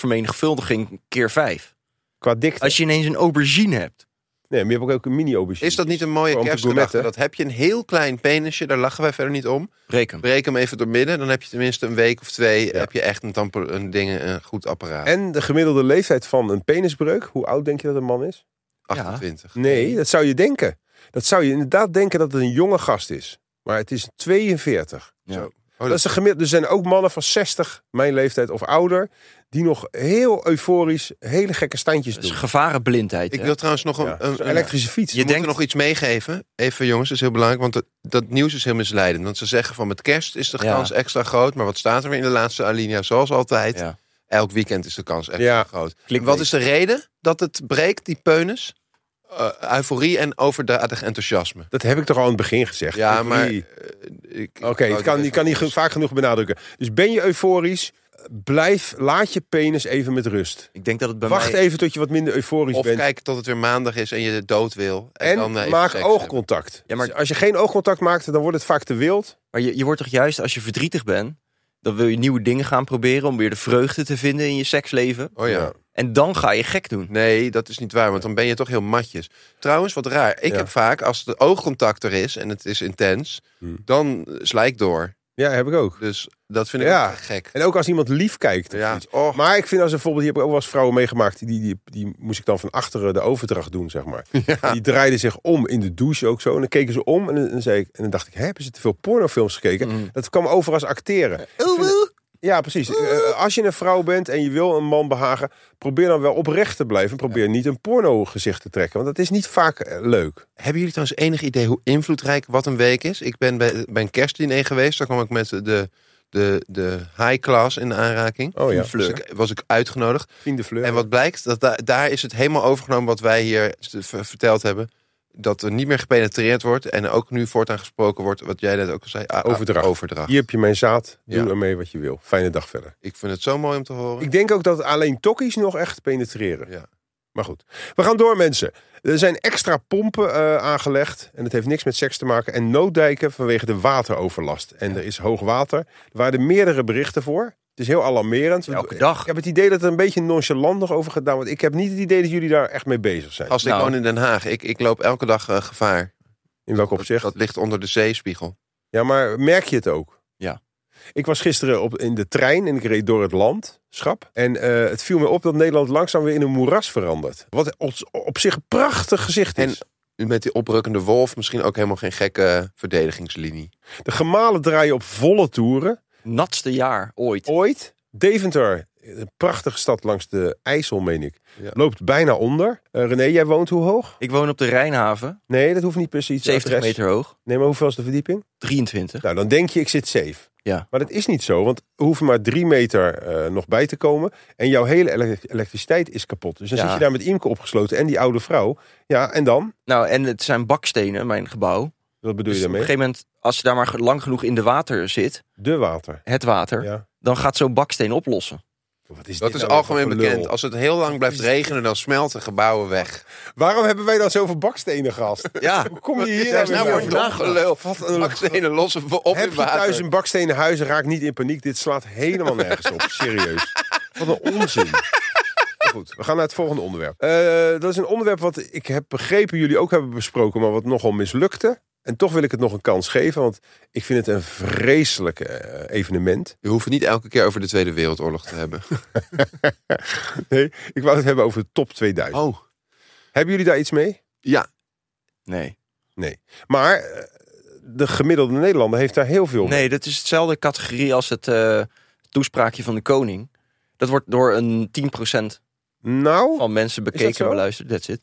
[SPEAKER 4] penisvermenigvuldiging keer vijf.
[SPEAKER 2] Qua dikte.
[SPEAKER 4] Als je ineens een aubergine hebt.
[SPEAKER 2] Nee, maar je hebt ook een mini-aubergine.
[SPEAKER 3] Is dat niet een mooie
[SPEAKER 2] Gewoon om te
[SPEAKER 3] kerstgedachte?
[SPEAKER 2] gourmetten.
[SPEAKER 3] Dat heb je een heel klein penisje, daar lachen wij verder niet om.
[SPEAKER 4] Reken.
[SPEAKER 3] Breek hem even door midden, dan heb je tenminste een week of twee...
[SPEAKER 2] Ja.
[SPEAKER 3] heb je echt een, tampo- een, ding, een goed apparaat.
[SPEAKER 2] En de gemiddelde leeftijd van een penisbreuk... hoe oud denk je dat een man is?
[SPEAKER 3] 28.
[SPEAKER 2] Nee, dat zou je denken. Dat zou je inderdaad denken dat het een jonge gast is. Maar het is 42.
[SPEAKER 4] Ja.
[SPEAKER 2] Zo.
[SPEAKER 4] Oh,
[SPEAKER 2] dat is de gemiddelde. Er zijn ook mannen van 60, mijn leeftijd of ouder, die nog heel euforisch hele gekke standjes
[SPEAKER 4] Dat is
[SPEAKER 2] doen.
[SPEAKER 4] gevarenblindheid.
[SPEAKER 3] Ik
[SPEAKER 4] hè?
[SPEAKER 3] wil trouwens nog een,
[SPEAKER 2] Ja,
[SPEAKER 3] een,
[SPEAKER 2] zo'n
[SPEAKER 3] een-
[SPEAKER 2] elektrische fiets.
[SPEAKER 3] Je
[SPEAKER 4] Je
[SPEAKER 3] denkt
[SPEAKER 4] denkt-
[SPEAKER 3] nog iets meegeven. Even jongens, dat is heel belangrijk. Want dat, dat nieuws is heel misleidend. Want ze zeggen van met kerst is de
[SPEAKER 4] Ja.
[SPEAKER 3] kans extra groot. Maar wat staat er weer in de laatste alinea? Zoals altijd.
[SPEAKER 4] Ja.
[SPEAKER 3] Elk weekend is de kans extra
[SPEAKER 2] Ja.
[SPEAKER 3] groot.
[SPEAKER 4] Clickbait.
[SPEAKER 3] Wat is de reden dat het breekt, die penis? Eh, euforie en overdadig enthousiasme.
[SPEAKER 2] Dat heb ik toch al aan het begin gezegd.
[SPEAKER 3] Ja,
[SPEAKER 2] Euforie.
[SPEAKER 3] maar...
[SPEAKER 2] Oké,
[SPEAKER 3] eh, ik-
[SPEAKER 2] het kan, je kan niet ge- vaak genoeg benadrukken. Dus ben je euforisch, blijf, laat je penis even met rust.
[SPEAKER 4] Ik denk dat het bij
[SPEAKER 2] Wacht
[SPEAKER 4] mij...
[SPEAKER 2] even tot je wat minder euforisch
[SPEAKER 3] Of
[SPEAKER 2] bent.
[SPEAKER 3] kijk tot het weer maandag is en je dood wil. En,
[SPEAKER 2] en
[SPEAKER 3] dan, eh, even
[SPEAKER 2] maak
[SPEAKER 3] seks
[SPEAKER 2] oogcontact.
[SPEAKER 4] Ja, maar-
[SPEAKER 2] Dus als je geen oogcontact maakt, dan wordt het vaak te wild.
[SPEAKER 4] Maar je, je wordt toch juist, als je verdrietig bent... dan wil je nieuwe dingen gaan proberen... om weer de vreugde te vinden in je seksleven.
[SPEAKER 3] hebben. Oh ja.
[SPEAKER 4] En dan ga je gek doen.
[SPEAKER 3] Nee, dat is niet waar, want dan ben je toch heel matjes. Trouwens, wat raar. Ik
[SPEAKER 2] Ja.
[SPEAKER 3] heb vaak, als de oogcontact er is en het is intens, dan eh, sla ik door.
[SPEAKER 2] Ja, heb ik ook.
[SPEAKER 3] Dus dat vind ik
[SPEAKER 2] Ja.
[SPEAKER 3] ook gek.
[SPEAKER 2] En ook als iemand lief kijkt. of
[SPEAKER 3] Ja,
[SPEAKER 2] iets.
[SPEAKER 3] och,
[SPEAKER 2] Maar ik vind als bijvoorbeeld, die heb ik ook wel eens vrouwen meegemaakt. Die, die, die moest ik dan van achteren de overdracht doen, zeg maar. En Die draaiden zich om in de douche ook zo. En dan keken ze om en, dan- dan zei ik, en dan dacht ik, hè, hebben ze te veel pornofilms gekeken?
[SPEAKER 3] Mm.
[SPEAKER 2] Dat kwam over als acteren.
[SPEAKER 3] Eh, oh,
[SPEAKER 2] Ja, precies. Eh, Als je een vrouw bent en je wil een man behagen, probeer dan wel oprecht te blijven. Probeer niet een porno gezicht te trekken, want dat is niet vaak eh, leuk.
[SPEAKER 3] Hebben jullie trouwens enig idee hoe invloedrijk Wat een Week is? Ik ben bij, bij een kerstdiner geweest. Daar kwam ik met de, de, de high class in aanraking.
[SPEAKER 2] Oh ja.
[SPEAKER 3] Dus ik, was ik uitgenodigd.
[SPEAKER 2] Vrienden fleur.
[SPEAKER 3] En wat blijkt, dat da- daar is het helemaal overgenomen wat wij hier s- v- verteld hebben. Dat er niet meer gepenetreerd wordt. En ook nu voortaan gesproken wordt, wat jij net ook al zei. ah, ah,
[SPEAKER 2] Overdracht.
[SPEAKER 3] overdracht.
[SPEAKER 2] Hier heb je mijn zaad. Doe
[SPEAKER 3] Ja.
[SPEAKER 2] ermee wat je wil. Fijne dag verder.
[SPEAKER 3] Ik vind het zo mooi om te horen.
[SPEAKER 2] Ik denk ook dat alleen tokkies nog echt penetreren.
[SPEAKER 3] Ja.
[SPEAKER 2] Maar goed, we gaan door mensen. Er zijn extra pompen eh, aangelegd en het heeft niks met seks te maken. En nooddijken vanwege de wateroverlast. En er is hoog water. Er waren er meerdere berichten voor. Het is heel alarmerend.
[SPEAKER 4] Elke
[SPEAKER 2] Ik
[SPEAKER 4] dag.
[SPEAKER 2] heb het idee dat er een beetje nonchalant nog over gedaan wordt. Ik heb niet het idee dat jullie daar echt mee bezig zijn.
[SPEAKER 3] Als ik
[SPEAKER 4] Nou.
[SPEAKER 3] woon in Den Haag, ik, ik loop elke dag eh, gevaar.
[SPEAKER 2] In welk
[SPEAKER 3] Dat,
[SPEAKER 2] opzicht?
[SPEAKER 3] dat ligt onder de zeespiegel.
[SPEAKER 2] Ja, maar merk je het ook?
[SPEAKER 4] Ja.
[SPEAKER 2] Ik was gisteren op, in de trein en ik reed door het landschap. En eh, het viel me op dat Nederland langzaam weer in een moeras verandert. Wat op, op zich een prachtig gezicht is.
[SPEAKER 3] En met die oprukkende wolf misschien ook helemaal geen gekke verdedigingslinie.
[SPEAKER 2] De gemalen draaien op volle toeren. Oh.
[SPEAKER 4] Natste jaar ooit.
[SPEAKER 2] Ooit. Deventer Een prachtige stad langs de IJssel, meen ik.
[SPEAKER 3] Ja.
[SPEAKER 2] Loopt bijna onder. Eh, René, jij woont hoe hoog?
[SPEAKER 4] Ik woon op de Rijnhaven,
[SPEAKER 2] Nee, dat hoeft niet precies.
[SPEAKER 4] 70
[SPEAKER 2] adres.
[SPEAKER 4] meter hoog,
[SPEAKER 2] Nee, maar hoeveel is de verdieping?
[SPEAKER 4] 23.
[SPEAKER 2] Nou, dan denk je, ik zit safe.
[SPEAKER 4] Ja.
[SPEAKER 2] Maar dat is niet zo, want er hoeven maar drie meter eh, nog bij te komen. En jouw hele ele- elektriciteit is kapot. Dus dan
[SPEAKER 4] Ja.
[SPEAKER 2] zit je daar met Imke opgesloten en die oude vrouw. Ja, en dan?
[SPEAKER 4] Nou, en het zijn bakstenen, mijn gebouw.
[SPEAKER 2] Wat bedoel
[SPEAKER 4] Dus
[SPEAKER 2] je
[SPEAKER 4] op een
[SPEAKER 2] daarmee?
[SPEAKER 4] gegeven moment, als je daar maar lang genoeg in de water zit,
[SPEAKER 2] De water.
[SPEAKER 4] het water,
[SPEAKER 2] Ja.
[SPEAKER 4] dan gaat zo'n baksteen oplossen.
[SPEAKER 2] Wat is
[SPEAKER 3] Dat
[SPEAKER 2] dit
[SPEAKER 3] is
[SPEAKER 2] nou
[SPEAKER 3] algemeen
[SPEAKER 2] weer voor
[SPEAKER 3] bekend.
[SPEAKER 2] lul?
[SPEAKER 3] Als het heel lang blijft regenen, dan smelten gebouwen weg.
[SPEAKER 2] Waarom hebben wij dan zoveel bakstenen, gast?
[SPEAKER 3] Ja,
[SPEAKER 2] Hoe kom je hier
[SPEAKER 3] daar is
[SPEAKER 2] weer
[SPEAKER 3] nou
[SPEAKER 2] bij?
[SPEAKER 3] weer vandaag gelul.
[SPEAKER 2] een-
[SPEAKER 3] Bakstenen lossen we op
[SPEAKER 2] Heb
[SPEAKER 3] in
[SPEAKER 2] je thuis
[SPEAKER 3] water.
[SPEAKER 2] een bakstenen huis en raak niet in paniek. Dit slaat helemaal nergens op. Serieus. Wat een onzin. Maar Goed, we gaan naar het volgende onderwerp. Eh, dat is een onderwerp wat ik heb begrepen jullie ook hebben besproken, maar wat nogal mislukte. En toch wil ik het nog een kans geven, want ik vind het een vreselijk eh, evenement.
[SPEAKER 3] Je hoeft het niet elke keer over de Tweede Wereldoorlog te hebben.
[SPEAKER 2] Nee, ik wou het hebben over de top 2000.
[SPEAKER 3] Oh,
[SPEAKER 2] Hebben jullie daar iets mee?
[SPEAKER 3] ja.
[SPEAKER 4] Nee.
[SPEAKER 2] Maar eh, de gemiddelde Nederlander heeft daar heel veel mee.
[SPEAKER 4] Nee, dat is hetzelfde categorie als het eh, toespraakje van de koning. Dat wordt door een 10%
[SPEAKER 2] Nou, oké.
[SPEAKER 4] van mensen bekeken
[SPEAKER 2] zo?
[SPEAKER 4] en beluisterd. That's it.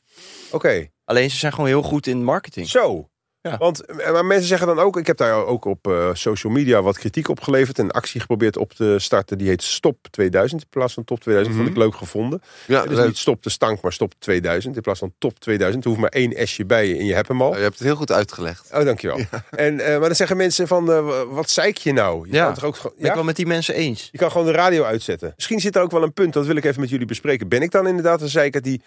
[SPEAKER 4] Alleen ze zijn gewoon heel goed in marketing.
[SPEAKER 2] Zo.
[SPEAKER 4] Ja.
[SPEAKER 2] Want eh, maar mensen zeggen dan ook, ik heb daar ook op eh, social media wat kritiek op geleverd en een actie geprobeerd op te starten. Die heet Stop 2000 in plaats van Top 2000. Vond
[SPEAKER 4] Mhm.
[SPEAKER 2] ik leuk gevonden.
[SPEAKER 3] ja
[SPEAKER 2] Dus
[SPEAKER 3] leuk.
[SPEAKER 2] niet Stop de stank, maar Stop 2000 in plaats van Top 2000. Er hoeft maar één S'je bij je en je hebt hem al.
[SPEAKER 3] Oh, je hebt het heel goed uitgelegd.
[SPEAKER 2] Oh, dankjewel. En, eh, maar dan zeggen mensen van, eh, wat zeik je nou? Je
[SPEAKER 4] Ja.
[SPEAKER 2] kan toch ook gewoon-
[SPEAKER 4] Ben ik
[SPEAKER 2] ja?
[SPEAKER 4] wel met die mensen eens.
[SPEAKER 2] Je kan gewoon de radio uitzetten. Misschien zit er ook wel een punt, dat wil ik even met jullie bespreken. Ben ik dan inderdaad een zeiker die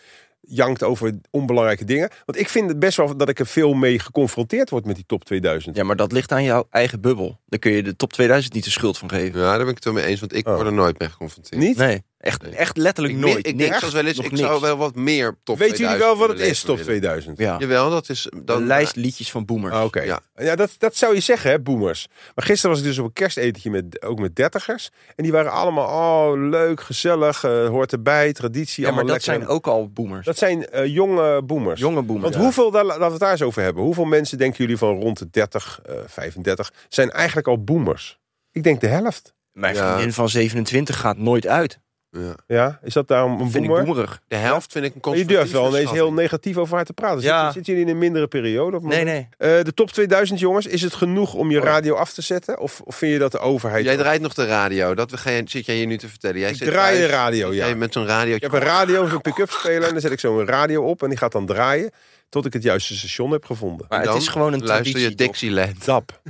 [SPEAKER 2] jankt over onbelangrijke dingen? Want ik vind het best wel dat ik er veel mee geconfronteerd word met die top 2000.
[SPEAKER 4] Ja, maar dat ligt aan jouw eigen bubbel. Daar kun je de top 2000 niet de schuld van geven.
[SPEAKER 3] Ja, daar ben ik het wel mee eens, want ik
[SPEAKER 2] Oh.
[SPEAKER 3] word er nooit mee geconfronteerd.
[SPEAKER 2] Niet?
[SPEAKER 4] Nee, echt,
[SPEAKER 3] Nee.
[SPEAKER 4] echt letterlijk
[SPEAKER 3] Ik,
[SPEAKER 4] nooit.
[SPEAKER 3] min- ik
[SPEAKER 4] niks.
[SPEAKER 3] denk zelfs wel eens,
[SPEAKER 4] Nog
[SPEAKER 3] ik
[SPEAKER 4] niks.
[SPEAKER 3] zou wel wat meer top
[SPEAKER 2] Weet jullie wel wat het is, top
[SPEAKER 3] top
[SPEAKER 2] 2000?
[SPEAKER 4] Ja.
[SPEAKER 3] Jawel, dat is... Dan,
[SPEAKER 4] een lijst liedjes van boomers.
[SPEAKER 2] Ah, Oké.
[SPEAKER 3] Ja.
[SPEAKER 2] Ja, dat, dat zou je zeggen, hè, boomers. Maar gisteren was ik dus op een kerstetentje met, ook met dertigers. En die waren allemaal, oh, leuk, gezellig, eh, hoort erbij, traditie,
[SPEAKER 4] ja, maar
[SPEAKER 2] allemaal
[SPEAKER 4] dat
[SPEAKER 2] lekker.
[SPEAKER 4] zijn ook al boomers.
[SPEAKER 2] Dat zijn eh, jonge boomers.
[SPEAKER 4] Jonge boomers.
[SPEAKER 2] Want
[SPEAKER 4] Ja.
[SPEAKER 2] hoeveel, daar, laten we het daar eens over hebben. Hoeveel mensen denken jullie van rond de 30, eh, 35 zijn eigenlijk al boomers? Ik denk de helft.
[SPEAKER 4] Mijn
[SPEAKER 3] Ja.
[SPEAKER 4] vriendin van 27 gaat nooit uit.
[SPEAKER 3] Ja.
[SPEAKER 2] Ja, is dat daarom een
[SPEAKER 4] Vind ik
[SPEAKER 2] boomer?
[SPEAKER 4] boemerig.
[SPEAKER 3] De helft vind ik een
[SPEAKER 2] Maar je
[SPEAKER 3] conservatieve
[SPEAKER 2] durft wel ineens heel
[SPEAKER 3] schatting.
[SPEAKER 2] negatief over haar te praten. Zit-
[SPEAKER 4] Ja.
[SPEAKER 2] Zitten jullie in een mindere periode? Op het
[SPEAKER 4] Nee,
[SPEAKER 2] moment?
[SPEAKER 4] nee.
[SPEAKER 2] Eh, de top 2000 jongens, is het genoeg om je radio af te zetten? Of, of vind je dat de overheid...
[SPEAKER 3] Jij draait nog de radio. Dat we geen, zit jij hier nu te vertellen. Jij
[SPEAKER 2] ik
[SPEAKER 3] zit
[SPEAKER 2] draai de
[SPEAKER 3] thuis,
[SPEAKER 2] radio, ja.
[SPEAKER 3] jij met zo'n radio.
[SPEAKER 2] Ik heb een radio, zo'n pick-up speler. En dan zet ik zo'n radio op en die gaat dan draaien. Tot ik het juiste station heb gevonden.
[SPEAKER 4] Maar
[SPEAKER 3] Dan
[SPEAKER 4] het is gewoon een
[SPEAKER 3] Luister je
[SPEAKER 4] traditie. toch?
[SPEAKER 3] Dixieland.
[SPEAKER 2] Dap.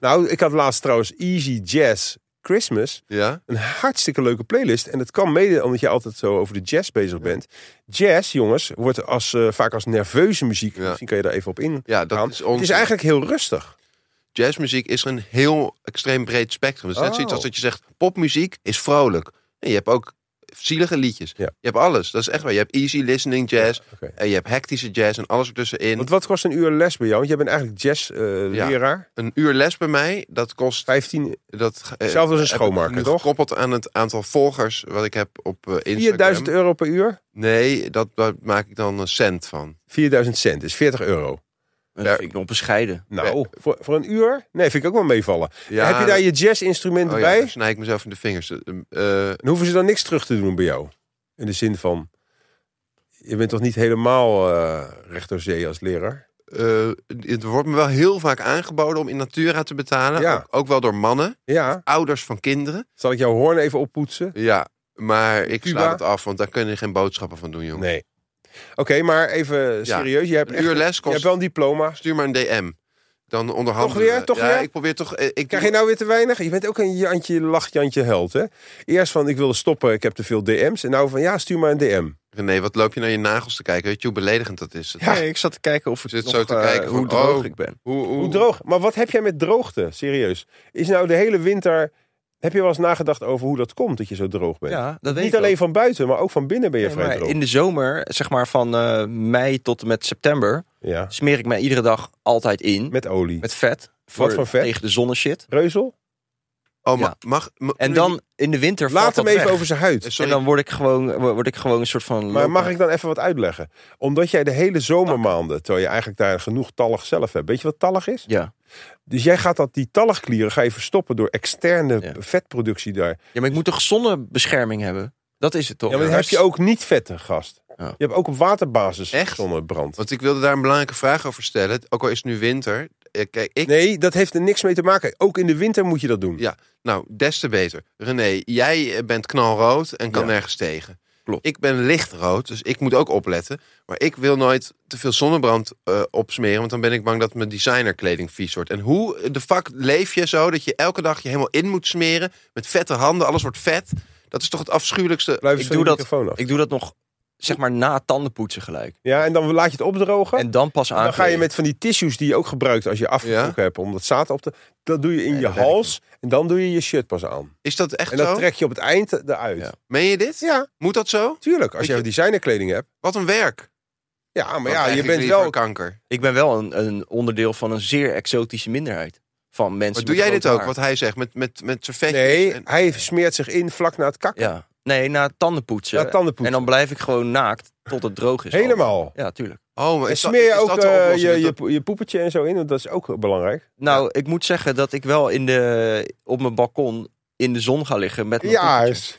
[SPEAKER 2] nou, ik had laatst trouwens Easy Jazz Christmas.
[SPEAKER 3] Ja?
[SPEAKER 2] Een hartstikke leuke playlist. En dat kan mede omdat je altijd zo over de jazz bezig bent. Jazz, jongens, wordt als, eh, vaak als nerveuze muziek.
[SPEAKER 3] Ja.
[SPEAKER 2] Misschien kan je daar even op in.
[SPEAKER 3] Ja, dat
[SPEAKER 2] gaan.
[SPEAKER 3] is
[SPEAKER 2] Nou, Het is
[SPEAKER 3] onzin.
[SPEAKER 2] eigenlijk heel rustig.
[SPEAKER 3] Jazzmuziek is een heel extreem breed spectrum. Het is net
[SPEAKER 2] Oh.
[SPEAKER 3] zoiets als dat je zegt, popmuziek is vrolijk. En je hebt ook zielige liedjes.
[SPEAKER 2] Ja.
[SPEAKER 3] Je hebt alles. Dat is echt waar. Je hebt easy listening jazz.
[SPEAKER 2] oké.
[SPEAKER 3] En je hebt hectische jazz en alles ertussenin.
[SPEAKER 2] Want wat kost een uur les bij jou? Want jij bent eigenlijk
[SPEAKER 3] Ja.
[SPEAKER 2] jazz-leraar.
[SPEAKER 3] Een uur les bij mij, dat kost
[SPEAKER 2] 15,
[SPEAKER 3] Dat, eh,
[SPEAKER 2] Zelfs als een
[SPEAKER 3] heb ik
[SPEAKER 2] schoonmaker,
[SPEAKER 3] nu
[SPEAKER 2] toch?
[SPEAKER 3] gekoppeld aan het aantal volgers wat ik heb op eh, Instagram.
[SPEAKER 2] 4000 euro per uur?
[SPEAKER 3] Nee, dat, daar maak ik dan een cent van.
[SPEAKER 2] 4000 cent is 40 euro.
[SPEAKER 4] Dat vind ik nog bescheiden.
[SPEAKER 2] Nou, voor, voor een uur? Nee, vind ik ook wel meevallen. Heb je daar je jazz-instrumenten
[SPEAKER 3] oh, ja,
[SPEAKER 2] bij?
[SPEAKER 3] daar snij ik mezelf in de vingers. Eh, eh,
[SPEAKER 2] Dan hoeven ze dan niks terug te doen bij jou. In de zin van, je bent toch niet helemaal eh recht door zee als leraar?
[SPEAKER 3] eh, het wordt me wel heel vaak aangeboden om in natura te betalen.
[SPEAKER 2] Ja.
[SPEAKER 3] Ook, ook wel door mannen,
[SPEAKER 2] Ja,
[SPEAKER 3] ouders van kinderen.
[SPEAKER 2] zal ik jouw hoorn even oppoetsen?
[SPEAKER 3] Ja, maar ik
[SPEAKER 2] Cuba?
[SPEAKER 3] sla het af, want daar kunnen geen boodschappen van doen, jongen.
[SPEAKER 2] Nee. Oké, maar even
[SPEAKER 3] Ja.
[SPEAKER 2] serieus. Je hebt,
[SPEAKER 3] Een
[SPEAKER 2] echt-
[SPEAKER 3] uur les
[SPEAKER 2] je hebt
[SPEAKER 3] kost...
[SPEAKER 2] wel een diploma.
[SPEAKER 3] Stuur maar een DM. Dan onderhandelen.
[SPEAKER 2] Toch weer?
[SPEAKER 3] we.
[SPEAKER 2] Toch
[SPEAKER 3] ja,
[SPEAKER 2] weer?
[SPEAKER 3] ik probeer toch... eh, Ik
[SPEAKER 2] Krijg je nou weer te weinig? Je bent ook een Jantje lacht Jantje held, hè? Eerst van, ik wilde stoppen, ik heb te veel DM's. En nou van, ja, stuur maar een DM.
[SPEAKER 3] René, wat loop je naar je nagels te kijken? Weet je hoe beledigend dat is? Dat-
[SPEAKER 4] Nee, ik zat te kijken of het
[SPEAKER 3] Zit
[SPEAKER 4] nog,
[SPEAKER 3] zo te
[SPEAKER 4] eh,
[SPEAKER 3] kijken
[SPEAKER 4] hoe
[SPEAKER 3] van,
[SPEAKER 4] droog
[SPEAKER 3] oh.
[SPEAKER 4] ik ben.
[SPEAKER 3] Hoe, hoe,
[SPEAKER 2] Hoe droog? Maar wat heb jij met droogte? Serieus. Is nou de hele winter... Heb je wel eens nagedacht over hoe dat komt, dat je zo droog bent?
[SPEAKER 4] Ja, dat weet
[SPEAKER 2] Niet
[SPEAKER 4] ik
[SPEAKER 2] alleen
[SPEAKER 4] ook.
[SPEAKER 2] van buiten, maar ook van binnen ben je
[SPEAKER 4] Nee,
[SPEAKER 2] vrij
[SPEAKER 4] maar
[SPEAKER 2] droog.
[SPEAKER 4] in de zomer, zeg maar van eh, mei tot en met september,
[SPEAKER 2] Ja,
[SPEAKER 4] smeer ik mij iedere dag altijd in.
[SPEAKER 2] met olie.
[SPEAKER 4] Met vet. Voor,
[SPEAKER 2] voor vet?
[SPEAKER 4] Tegen de zonneshit.
[SPEAKER 2] Reuzel?
[SPEAKER 3] Oh, ma-
[SPEAKER 4] Ja.
[SPEAKER 3] mag... ma-
[SPEAKER 4] En dan in de winter valt
[SPEAKER 2] Laat hem
[SPEAKER 4] dat
[SPEAKER 2] even
[SPEAKER 4] weg.
[SPEAKER 2] over zijn huid.
[SPEAKER 3] Sorry.
[SPEAKER 4] En dan word ik gewoon, word ik gewoon een soort van...
[SPEAKER 2] Maar
[SPEAKER 4] loper.
[SPEAKER 2] mag ik dan even wat uitleggen? Omdat jij de hele zomermaanden, terwijl je eigenlijk daar genoeg tallig zelf hebt. Weet je wat tallig is?
[SPEAKER 4] Ja.
[SPEAKER 2] Dus jij gaat dat, die talligklieren ga je verstoppen door externe
[SPEAKER 4] Ja. Oh,
[SPEAKER 2] vetproductie daar.
[SPEAKER 4] ja, maar ik moet toch zonnebescherming hebben? Dat is het toch?
[SPEAKER 2] Ja, maar dan heb je ook niet vette gast.
[SPEAKER 4] Ja.
[SPEAKER 2] Je hebt ook op waterbasis
[SPEAKER 3] Echt?
[SPEAKER 2] zonnebrand.
[SPEAKER 3] Want ik wilde daar een belangrijke vraag over stellen. Ook al is het nu winter. Eh, Kijk, ik...
[SPEAKER 2] Nee, dat heeft er niks mee te maken. Ook in de winter moet je dat doen.
[SPEAKER 3] Ja, nou, des te beter. René, jij eh, bent knalrood en kan
[SPEAKER 2] Ja.
[SPEAKER 3] nergens tegen.
[SPEAKER 2] Klopt.
[SPEAKER 3] Ik ben lichtrood, dus ik moet ook opletten. Maar ik wil nooit te veel zonnebrand eh, opsmeren, want dan ben ik bang dat mijn designerkleding vies wordt. En hoe eh, de fuck leef je zo dat je elke dag je helemaal in moet smeren met vette handen, alles wordt vet? Dat is toch het afschuwelijkste.
[SPEAKER 2] Blijf
[SPEAKER 4] Ik
[SPEAKER 2] eens van
[SPEAKER 4] doe,
[SPEAKER 2] de
[SPEAKER 4] dat,
[SPEAKER 2] microfoon af.
[SPEAKER 4] ik doe dat nog, zeg maar, na tandenpoetsen gelijk.
[SPEAKER 2] Ja, en dan laat je het opdrogen.
[SPEAKER 4] En dan pas aan.
[SPEAKER 2] dan ga je met van die tissues die je ook gebruikt als je afgetrokken hebt om dat zaad op te... Dat doe je in je
[SPEAKER 4] dat werkt
[SPEAKER 2] hals en dan doe je je shirt pas aan.
[SPEAKER 3] Is dat echt
[SPEAKER 2] En
[SPEAKER 3] zo?
[SPEAKER 2] dat trek je op het eind eruit.
[SPEAKER 4] Ja.
[SPEAKER 2] Ja,
[SPEAKER 3] Meen je dit? Moet dat zo?
[SPEAKER 2] tuurlijk.
[SPEAKER 3] Weet
[SPEAKER 2] Als jij
[SPEAKER 3] je-
[SPEAKER 2] designerkleding hebt.
[SPEAKER 3] Wat een werk.
[SPEAKER 2] Ja, maar
[SPEAKER 3] Dan
[SPEAKER 2] ja,
[SPEAKER 3] krijg
[SPEAKER 2] je
[SPEAKER 3] ik
[SPEAKER 2] bent
[SPEAKER 3] liever
[SPEAKER 2] wel...
[SPEAKER 3] kanker.
[SPEAKER 4] Ik ben wel een, een onderdeel van een zeer exotische minderheid. Van mensen
[SPEAKER 3] Maar
[SPEAKER 4] met
[SPEAKER 3] doe jij
[SPEAKER 4] rood
[SPEAKER 3] dit ook?
[SPEAKER 4] haar.
[SPEAKER 3] Wat hij zegt met met met zijn vetjes
[SPEAKER 2] Nee,
[SPEAKER 3] en-
[SPEAKER 2] hij smeert zich in vlak na het kakken.
[SPEAKER 4] Ja. Nee, na tandenpoetsen.
[SPEAKER 2] Na tandenpoetsen.
[SPEAKER 4] En dan blijf ik gewoon naakt tot het droog is.
[SPEAKER 2] Helemaal.
[SPEAKER 4] Ja, tuurlijk.
[SPEAKER 3] Oh, maar
[SPEAKER 2] En
[SPEAKER 3] is dat-
[SPEAKER 2] smeer je
[SPEAKER 3] is
[SPEAKER 2] ook
[SPEAKER 3] dat de
[SPEAKER 2] eh,
[SPEAKER 3] oplossing?
[SPEAKER 2] je,
[SPEAKER 3] Dat-
[SPEAKER 2] je, po- je poepetje en zo in, want dat is ook belangrijk.
[SPEAKER 4] Nou, ik moet zeggen dat ik wel in de, op mijn balkon in de zon ga liggen met mijn
[SPEAKER 2] Ja,
[SPEAKER 4] poepertje.
[SPEAKER 2] is-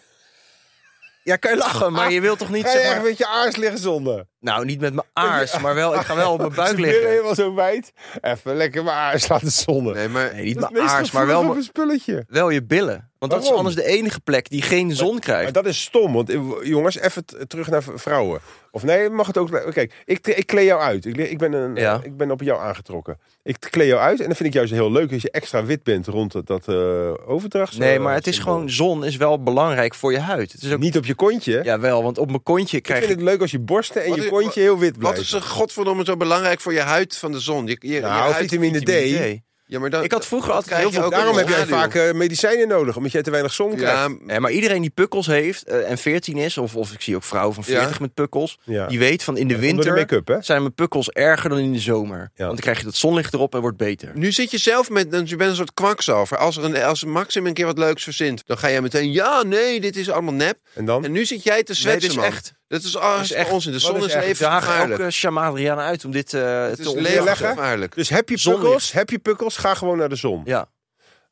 [SPEAKER 4] Ja, kan je lachen, maar je wilt toch niet
[SPEAKER 2] Ah, ga je
[SPEAKER 4] zeg
[SPEAKER 2] echt
[SPEAKER 4] maar,
[SPEAKER 2] met je aars liggen zonder.
[SPEAKER 4] Nou, niet met mijn aars, maar wel, ik ga wel op mijn
[SPEAKER 2] Ze
[SPEAKER 4] buik
[SPEAKER 2] willen
[SPEAKER 4] liggen.
[SPEAKER 2] helemaal zo wijd. Even lekker mijn aars laten zonnen.
[SPEAKER 3] Nee, maar
[SPEAKER 4] Nee, niet
[SPEAKER 2] Dat is
[SPEAKER 4] mijn
[SPEAKER 2] het meest
[SPEAKER 4] aars, maar wel,
[SPEAKER 2] gevoelige
[SPEAKER 4] mijn-
[SPEAKER 2] spulletje.
[SPEAKER 4] wel je billen. Want dat is
[SPEAKER 2] Waarom?
[SPEAKER 4] anders de enige plek die geen zon
[SPEAKER 2] Maar
[SPEAKER 4] krijgt.
[SPEAKER 2] dat is stom, want eh, jongens, even t- terug naar v- vrouwen. Of nee, mag het ook... Kijk, ik, ik kleed jou uit. Ik, le- ik, ben een, eh,
[SPEAKER 4] Ja.
[SPEAKER 2] ik ben op jou aangetrokken. Ik kleed jou uit en dat vind ik juist heel leuk als je extra wit bent rond dat, dat eh, overdrachts.
[SPEAKER 4] Nee,
[SPEAKER 2] eh,
[SPEAKER 4] maar het is
[SPEAKER 2] symbool.
[SPEAKER 4] gewoon, zon is wel belangrijk voor je huid. Het is ook,
[SPEAKER 2] Niet op je kontje.
[SPEAKER 4] jawel, want op mijn kontje
[SPEAKER 2] Ik
[SPEAKER 4] krijg
[SPEAKER 2] vind
[SPEAKER 4] ik...
[SPEAKER 2] het leuk als je borsten en
[SPEAKER 3] Wat
[SPEAKER 2] je
[SPEAKER 3] is-
[SPEAKER 2] kontje heel wit
[SPEAKER 3] Wat
[SPEAKER 2] blijven.
[SPEAKER 3] is er godverdomme zo belangrijk voor je huid van de zon? Je, je,
[SPEAKER 2] Nou,
[SPEAKER 3] je huid-
[SPEAKER 2] vitamine, D.
[SPEAKER 3] Ja, maar dan,
[SPEAKER 4] Ik had vroeger
[SPEAKER 3] dat
[SPEAKER 4] altijd
[SPEAKER 3] krijg
[SPEAKER 4] heel
[SPEAKER 3] je
[SPEAKER 4] veel-
[SPEAKER 3] ook
[SPEAKER 2] Daarom
[SPEAKER 3] in
[SPEAKER 2] heb
[SPEAKER 3] het
[SPEAKER 2] jij
[SPEAKER 3] schaduw.
[SPEAKER 2] vaak eh, medicijnen nodig, omdat jij te weinig zon
[SPEAKER 3] Ja,
[SPEAKER 2] krijgt.
[SPEAKER 4] Ja, maar iedereen die pukkels heeft, eh, en 14 is, of, of ik zie ook vrouwen van
[SPEAKER 3] Ja.
[SPEAKER 4] 40 met pukkels,
[SPEAKER 2] Ja.
[SPEAKER 4] die weet van in de
[SPEAKER 2] Onder de
[SPEAKER 4] winter
[SPEAKER 2] make-up, hè?
[SPEAKER 4] zijn mijn pukkels erger dan in de zomer. Want dan krijg je dat zonlicht erop en wordt beter.
[SPEAKER 3] nu zit je zelf met, dan- je bent een soort kwakzalver. Als, er een, als Maxim een keer wat leuks verzint, dan ga jij meteen, ja, nee, dit is allemaal nep.
[SPEAKER 2] En dan?
[SPEAKER 3] En nu zit jij te zwetsen,
[SPEAKER 4] dit is
[SPEAKER 3] man.
[SPEAKER 4] echt.
[SPEAKER 3] Dat is, ah,
[SPEAKER 4] is echt.
[SPEAKER 3] onzin. De
[SPEAKER 2] Wat
[SPEAKER 3] zon
[SPEAKER 2] is
[SPEAKER 3] is
[SPEAKER 2] echt?
[SPEAKER 4] Ik
[SPEAKER 3] even
[SPEAKER 4] daag elke
[SPEAKER 3] gevaarlijk.
[SPEAKER 4] uh, Adriana uit om dit eh,
[SPEAKER 3] Het
[SPEAKER 4] te
[SPEAKER 3] is
[SPEAKER 4] ontdekken.
[SPEAKER 2] lelijk, hè?
[SPEAKER 3] levensgevaarlijk.
[SPEAKER 2] Dus heb je
[SPEAKER 4] Zonlicht.
[SPEAKER 2] pukkels, heb je pukkels, ga gewoon naar de zon.
[SPEAKER 4] Ja.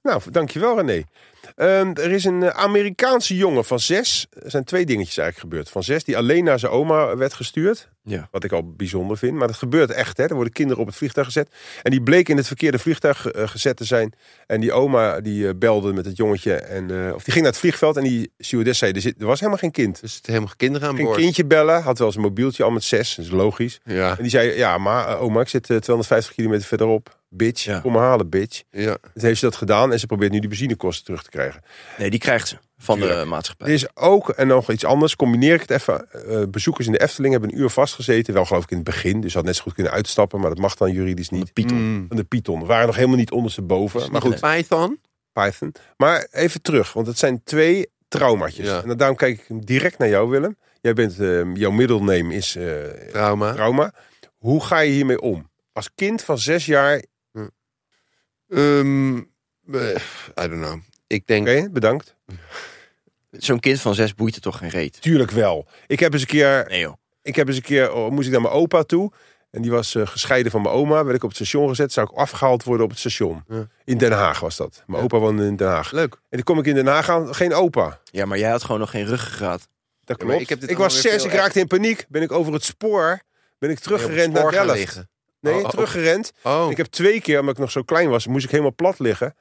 [SPEAKER 2] Nou, dankjewel René. Ehm, er is een eh, Amerikaanse jongen van zes. Er zijn twee dingetjes eigenlijk gebeurd. Van zes die alleen naar zijn oma werd gestuurd.
[SPEAKER 4] Ja.
[SPEAKER 2] Wat ik al bijzonder vind. Maar dat gebeurt echt. Hè. Er worden kinderen op het vliegtuig gezet. En die bleek in het verkeerde vliegtuig eh, gezet te zijn. En die oma die eh, belde met het jongetje. En, eh, of die ging naar het vliegveld. En die stewardess zei, er, zit, er was helemaal geen kind.
[SPEAKER 3] Er zitten helemaal kinderen aan
[SPEAKER 2] Geen
[SPEAKER 3] boord.
[SPEAKER 2] kindje bellen. Had wel zijn mobieltje al met zes. Dat is logisch.
[SPEAKER 3] Ja,
[SPEAKER 2] En die zei, ja maar eh, oma, ik zit eh, 250 kilometer verderop. Bitch,
[SPEAKER 4] Ja.
[SPEAKER 2] kom me halen, bitch.
[SPEAKER 3] ja.
[SPEAKER 2] Dus heeft ze dat gedaan en ze probeert nu die benzinekosten terug te krijgen.
[SPEAKER 4] Nee, die krijgt ze van de
[SPEAKER 2] Tuurlijk.
[SPEAKER 4] maatschappij.
[SPEAKER 2] Er is ook, en nog iets anders, combineer ik het even. eh, bezoekers in de Efteling hebben een uur vastgezeten. Wel geloof ik in het begin, dus had net zo goed kunnen uitstappen. Maar dat mag dan juridisch niet.
[SPEAKER 3] Mm.
[SPEAKER 2] Van de Python. We waren nog helemaal niet ondersteboven. Maar goed,
[SPEAKER 3] Python?
[SPEAKER 2] Python. Maar even terug, want het zijn twee traumaatjes.
[SPEAKER 3] Ja.
[SPEAKER 2] En daarom kijk ik direct naar jou, Willem. Jij bent, eh, jouw middelneem is eh,
[SPEAKER 3] Trauma.
[SPEAKER 2] trauma. Hoe ga je hiermee om? Als kind van zes jaar,
[SPEAKER 3] Ehm, eh, I don't know. Ik denk...
[SPEAKER 2] oké, bedankt. Mm.
[SPEAKER 4] Zo'n kind van zes boeit er toch geen reet?
[SPEAKER 2] Tuurlijk wel. Ik heb eens een keer
[SPEAKER 4] Nee joh.
[SPEAKER 2] Ik heb eens een keer, oh, moest ik naar mijn opa toe. En die was eh, gescheiden van mijn oma. Werd ik op het station gezet. Zou ik afgehaald worden op het station.
[SPEAKER 3] Ja.
[SPEAKER 2] In Den Haag was dat. Mijn
[SPEAKER 3] Ja.
[SPEAKER 2] opa woonde in Den Haag. En
[SPEAKER 3] Leuk.
[SPEAKER 2] dan kom ik in Den Haag aan. Geen opa.
[SPEAKER 4] Ja, maar jij had gewoon nog geen ruggengraat.
[SPEAKER 2] Dat
[SPEAKER 3] Ja, maar
[SPEAKER 2] klopt.
[SPEAKER 3] ik
[SPEAKER 2] ik,
[SPEAKER 3] heb dit
[SPEAKER 2] was
[SPEAKER 3] allemaal weer
[SPEAKER 2] zes.
[SPEAKER 3] veel
[SPEAKER 2] Ik raakte in paniek. Ben ik over het spoor. Ben ik teruggerend naar Delft. Nee,
[SPEAKER 3] Oh, oh.
[SPEAKER 2] teruggerend.
[SPEAKER 3] Oh,
[SPEAKER 2] Ik heb twee keer, omdat ik nog zo klein was, moest ik helemaal plat liggen.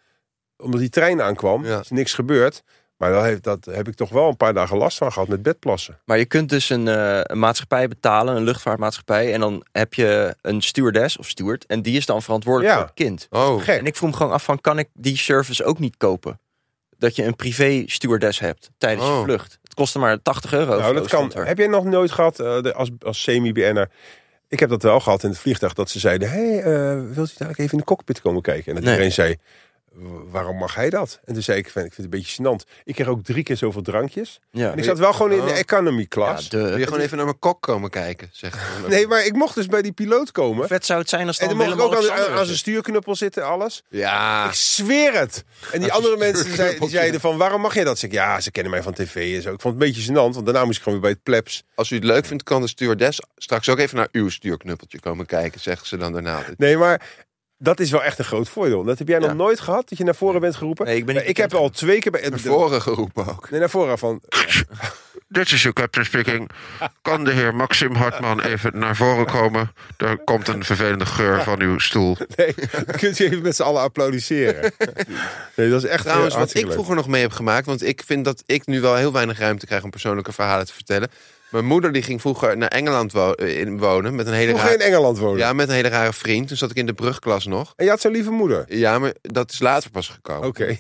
[SPEAKER 2] Omdat die trein aankwam.
[SPEAKER 3] Ja.
[SPEAKER 2] Is niks gebeurd. Maar dat heb, dat heb ik toch wel een paar dagen last van gehad met bedplassen.
[SPEAKER 4] Maar je kunt dus een, eh, een maatschappij betalen, een luchtvaartmaatschappij. En dan heb je een stewardess of steward. En die is dan verantwoordelijk
[SPEAKER 2] Ja.
[SPEAKER 4] voor het kind.
[SPEAKER 3] oh.
[SPEAKER 2] Gek.
[SPEAKER 4] En ik vroeg me gewoon af van, kan ik die service ook niet kopen? Dat je een privé stewardess hebt tijdens
[SPEAKER 3] Oh.
[SPEAKER 4] je vlucht. Het kostte maar 80 euro. of
[SPEAKER 2] Nou,
[SPEAKER 4] zo,
[SPEAKER 2] dat kan.
[SPEAKER 4] stond er.
[SPEAKER 2] Heb jij nog nooit gehad eh, de- als, als semi-BN'er? Ik heb dat wel gehad in het vliegtuig. Dat ze zeiden, hey, eh, wilt u dadelijk even in de cockpit komen kijken? En dat
[SPEAKER 4] Nee.
[SPEAKER 2] iedereen zei, "Wa- waarom mag hij dat? En toen zei ik, van, ik vind het een beetje gênant. Ik kreeg ook drie keer zoveel drankjes.
[SPEAKER 4] Ja.
[SPEAKER 2] En ik zat wel gewoon in de
[SPEAKER 3] Oh.
[SPEAKER 2] economy
[SPEAKER 4] Ja,
[SPEAKER 2] class.
[SPEAKER 3] Wil
[SPEAKER 4] de,
[SPEAKER 3] je gewoon even naar mijn kok komen kijken? Zeg.
[SPEAKER 2] Nee, maar ik mocht dus bij die piloot komen.
[SPEAKER 4] vet zou het zijn als
[SPEAKER 2] En
[SPEAKER 4] dan
[SPEAKER 2] dan mocht ik
[SPEAKER 4] Willem
[SPEAKER 2] ook aan,
[SPEAKER 4] Alexander Ah.
[SPEAKER 2] aan, aan zijn stuurknuppel zitten, alles.
[SPEAKER 3] Ja.
[SPEAKER 2] Ik zweer het. En die
[SPEAKER 3] Als
[SPEAKER 2] andere
[SPEAKER 3] een
[SPEAKER 2] mensen zei, die
[SPEAKER 3] stuurknuppeltje.
[SPEAKER 2] zeiden van, waarom mag jij dat? Zeg ik, ja, ze kennen mij van tv en zo. Ik vond het een beetje gênant, want daarna moest ik gewoon weer bij het plebs.
[SPEAKER 3] Als u het leuk vindt, kan de stewardess straks ook even naar uw stuurknuppeltje komen kijken, zegt ze dan daarna.
[SPEAKER 2] Nee, maar dat is wel echt een groot voordeel. Dat heb jij nog
[SPEAKER 4] Ja.
[SPEAKER 2] nooit gehad, dat je naar voren bent geroepen?
[SPEAKER 4] Nee, ik ben niet
[SPEAKER 2] ik heb
[SPEAKER 4] bekend.
[SPEAKER 2] al twee keer bij...
[SPEAKER 3] Naar voren geroepen ook.
[SPEAKER 2] Nee, naar voren van... eh.
[SPEAKER 5] Dit is uw captain speaking. Kan de heer Maxim Hartman even naar voren komen? Er komt een vervelende geur van uw stoel.
[SPEAKER 2] Nee, dan kunt je even met z'n allen applaudisseren. Nee, dat is echt
[SPEAKER 3] Trouwens,
[SPEAKER 2] eh,
[SPEAKER 3] wat
[SPEAKER 2] hartstikke
[SPEAKER 3] ik
[SPEAKER 2] leuk.
[SPEAKER 3] vroeger nog mee heb gemaakt, want ik vind dat ik nu wel heel weinig ruimte krijg om persoonlijke verhalen te vertellen. Mijn moeder die ging vroeger naar Engeland wo- eh, in wonen met een hele
[SPEAKER 2] Vroeger in
[SPEAKER 3] rare,
[SPEAKER 2] Engeland wonen.
[SPEAKER 3] ja, met een hele rare vriend. Toen zat ik in de brugklas nog.
[SPEAKER 2] En je had zo'n lieve moeder.
[SPEAKER 3] Ja, maar dat is later pas gekomen.
[SPEAKER 2] Oké. Dus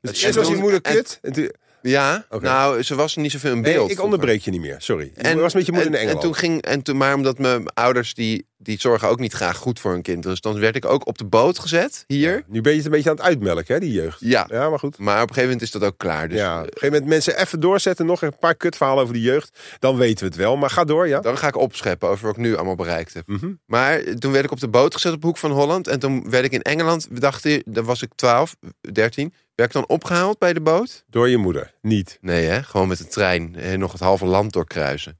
[SPEAKER 3] Het
[SPEAKER 2] eerst was
[SPEAKER 3] is-
[SPEAKER 2] je moeder
[SPEAKER 3] en-
[SPEAKER 2] kut. En toen-
[SPEAKER 3] Ja,
[SPEAKER 2] Oké.
[SPEAKER 3] nou, ze was niet zoveel in
[SPEAKER 2] Nee,
[SPEAKER 3] beeld.
[SPEAKER 2] ik
[SPEAKER 3] vroeger.
[SPEAKER 2] onderbreek je niet meer, sorry. Je was met je moeder
[SPEAKER 3] en-
[SPEAKER 2] in Engeland.
[SPEAKER 3] En toen ging, en toen, maar omdat mijn ouders die, die zorgen ook niet graag goed voor hun kind. Dus dan werd ik ook op de boot gezet hier.
[SPEAKER 2] Ja, nu ben je het een beetje aan het uitmelken, hè, die jeugd.
[SPEAKER 3] Ja.
[SPEAKER 2] Ja, maar goed.
[SPEAKER 3] Maar op een gegeven moment is dat ook klaar. Dus
[SPEAKER 2] ja, op
[SPEAKER 3] eh,
[SPEAKER 2] een gegeven moment mensen even doorzetten. Nog een paar kutverhalen over die jeugd. Dan weten we het wel. Maar ga door, ja.
[SPEAKER 3] dan ga ik opscheppen over wat ik nu allemaal bereikt heb.
[SPEAKER 2] Mhm.
[SPEAKER 3] Maar eh, toen werd ik op de boot gezet op de hoek van Holland. En toen werd ik in Engeland, we dachten, dan was ik 12, 13. Werd ik dan opgehaald bij de boot?
[SPEAKER 2] Door je moeder. Niet.
[SPEAKER 3] Nee, hè? gewoon met de trein. eh, Nog het halve land doorkruisen.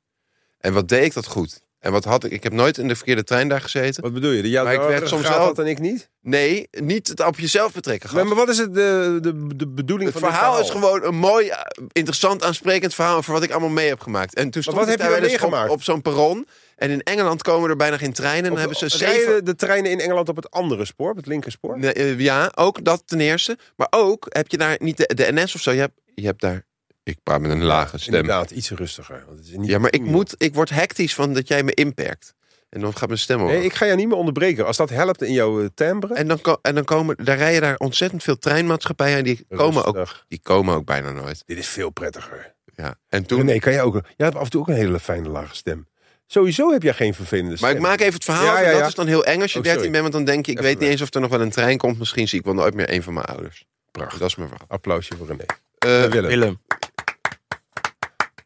[SPEAKER 3] En wat deed ik dat goed? En wat had ik? Ik heb nooit in de verkeerde trein daar gezeten.
[SPEAKER 2] Wat bedoel je? Ja,
[SPEAKER 3] Maar ik werd soms
[SPEAKER 2] gaat
[SPEAKER 3] wel-
[SPEAKER 2] dat en ik niet.
[SPEAKER 3] Nee, niet het op jezelf betrekken. gast.
[SPEAKER 2] Nee, maar wat is het, de, de, de bedoeling
[SPEAKER 3] Het
[SPEAKER 2] van dit
[SPEAKER 3] verhaal, is gewoon een mooi, eh, interessant, aansprekend verhaal voor wat ik allemaal mee heb gemaakt. En toen stond
[SPEAKER 2] wat
[SPEAKER 3] ik
[SPEAKER 2] heb je
[SPEAKER 3] daar
[SPEAKER 2] dan
[SPEAKER 3] wel eens op-
[SPEAKER 2] meegemaakt?
[SPEAKER 3] Op, zo'n perron. En in Engeland komen er bijna geen treinen. En dan hebben ze
[SPEAKER 2] Rijden
[SPEAKER 3] zeven...
[SPEAKER 2] de treinen in Engeland op het andere spoor, op het linkerspoor?
[SPEAKER 3] Nee, eh, ja, ook dat ten eerste. Maar ook heb je daar niet de, de NS of zo. Je hebt, je hebt daar... Ik praat met een lage stem.
[SPEAKER 2] Inderdaad, iets rustiger. Want het is niet
[SPEAKER 3] Ja, maar ik, moet, ik word hectisch van dat jij me inperkt. En dan gaat mijn stem omhoog.
[SPEAKER 2] Nee, ik ga jou niet meer onderbreken. Als dat helpt in jouw eh, timbre.
[SPEAKER 3] En dan, ko- en dan komen, daar rijden daar ontzettend veel treinmaatschappijen. En die komen, ook,
[SPEAKER 2] Rustig.
[SPEAKER 3] die komen ook bijna nooit.
[SPEAKER 2] Dit is veel prettiger.
[SPEAKER 3] Ja. En toen,
[SPEAKER 2] Nee, kan jij ook. Jij hebt af en toe ook een hele fijne lage stem. Sowieso heb jij geen vervelende stem.
[SPEAKER 3] Maar ik maak even het verhaal.
[SPEAKER 2] Ja,
[SPEAKER 3] af, en
[SPEAKER 2] ja, ja.
[SPEAKER 3] Dat is dan heel eng als je
[SPEAKER 2] Oh,
[SPEAKER 3] 13
[SPEAKER 2] sorry.
[SPEAKER 3] bent. Want dan denk je, ik
[SPEAKER 2] Even
[SPEAKER 3] weet niet
[SPEAKER 2] weg.
[SPEAKER 3] eens of er nog wel een trein komt. Misschien zie ik wel nooit meer een van mijn ouders. Prachtig. Dat is mijn verhaal.
[SPEAKER 2] Applausje voor René.
[SPEAKER 3] Eh,
[SPEAKER 2] En Willem.
[SPEAKER 4] Willem.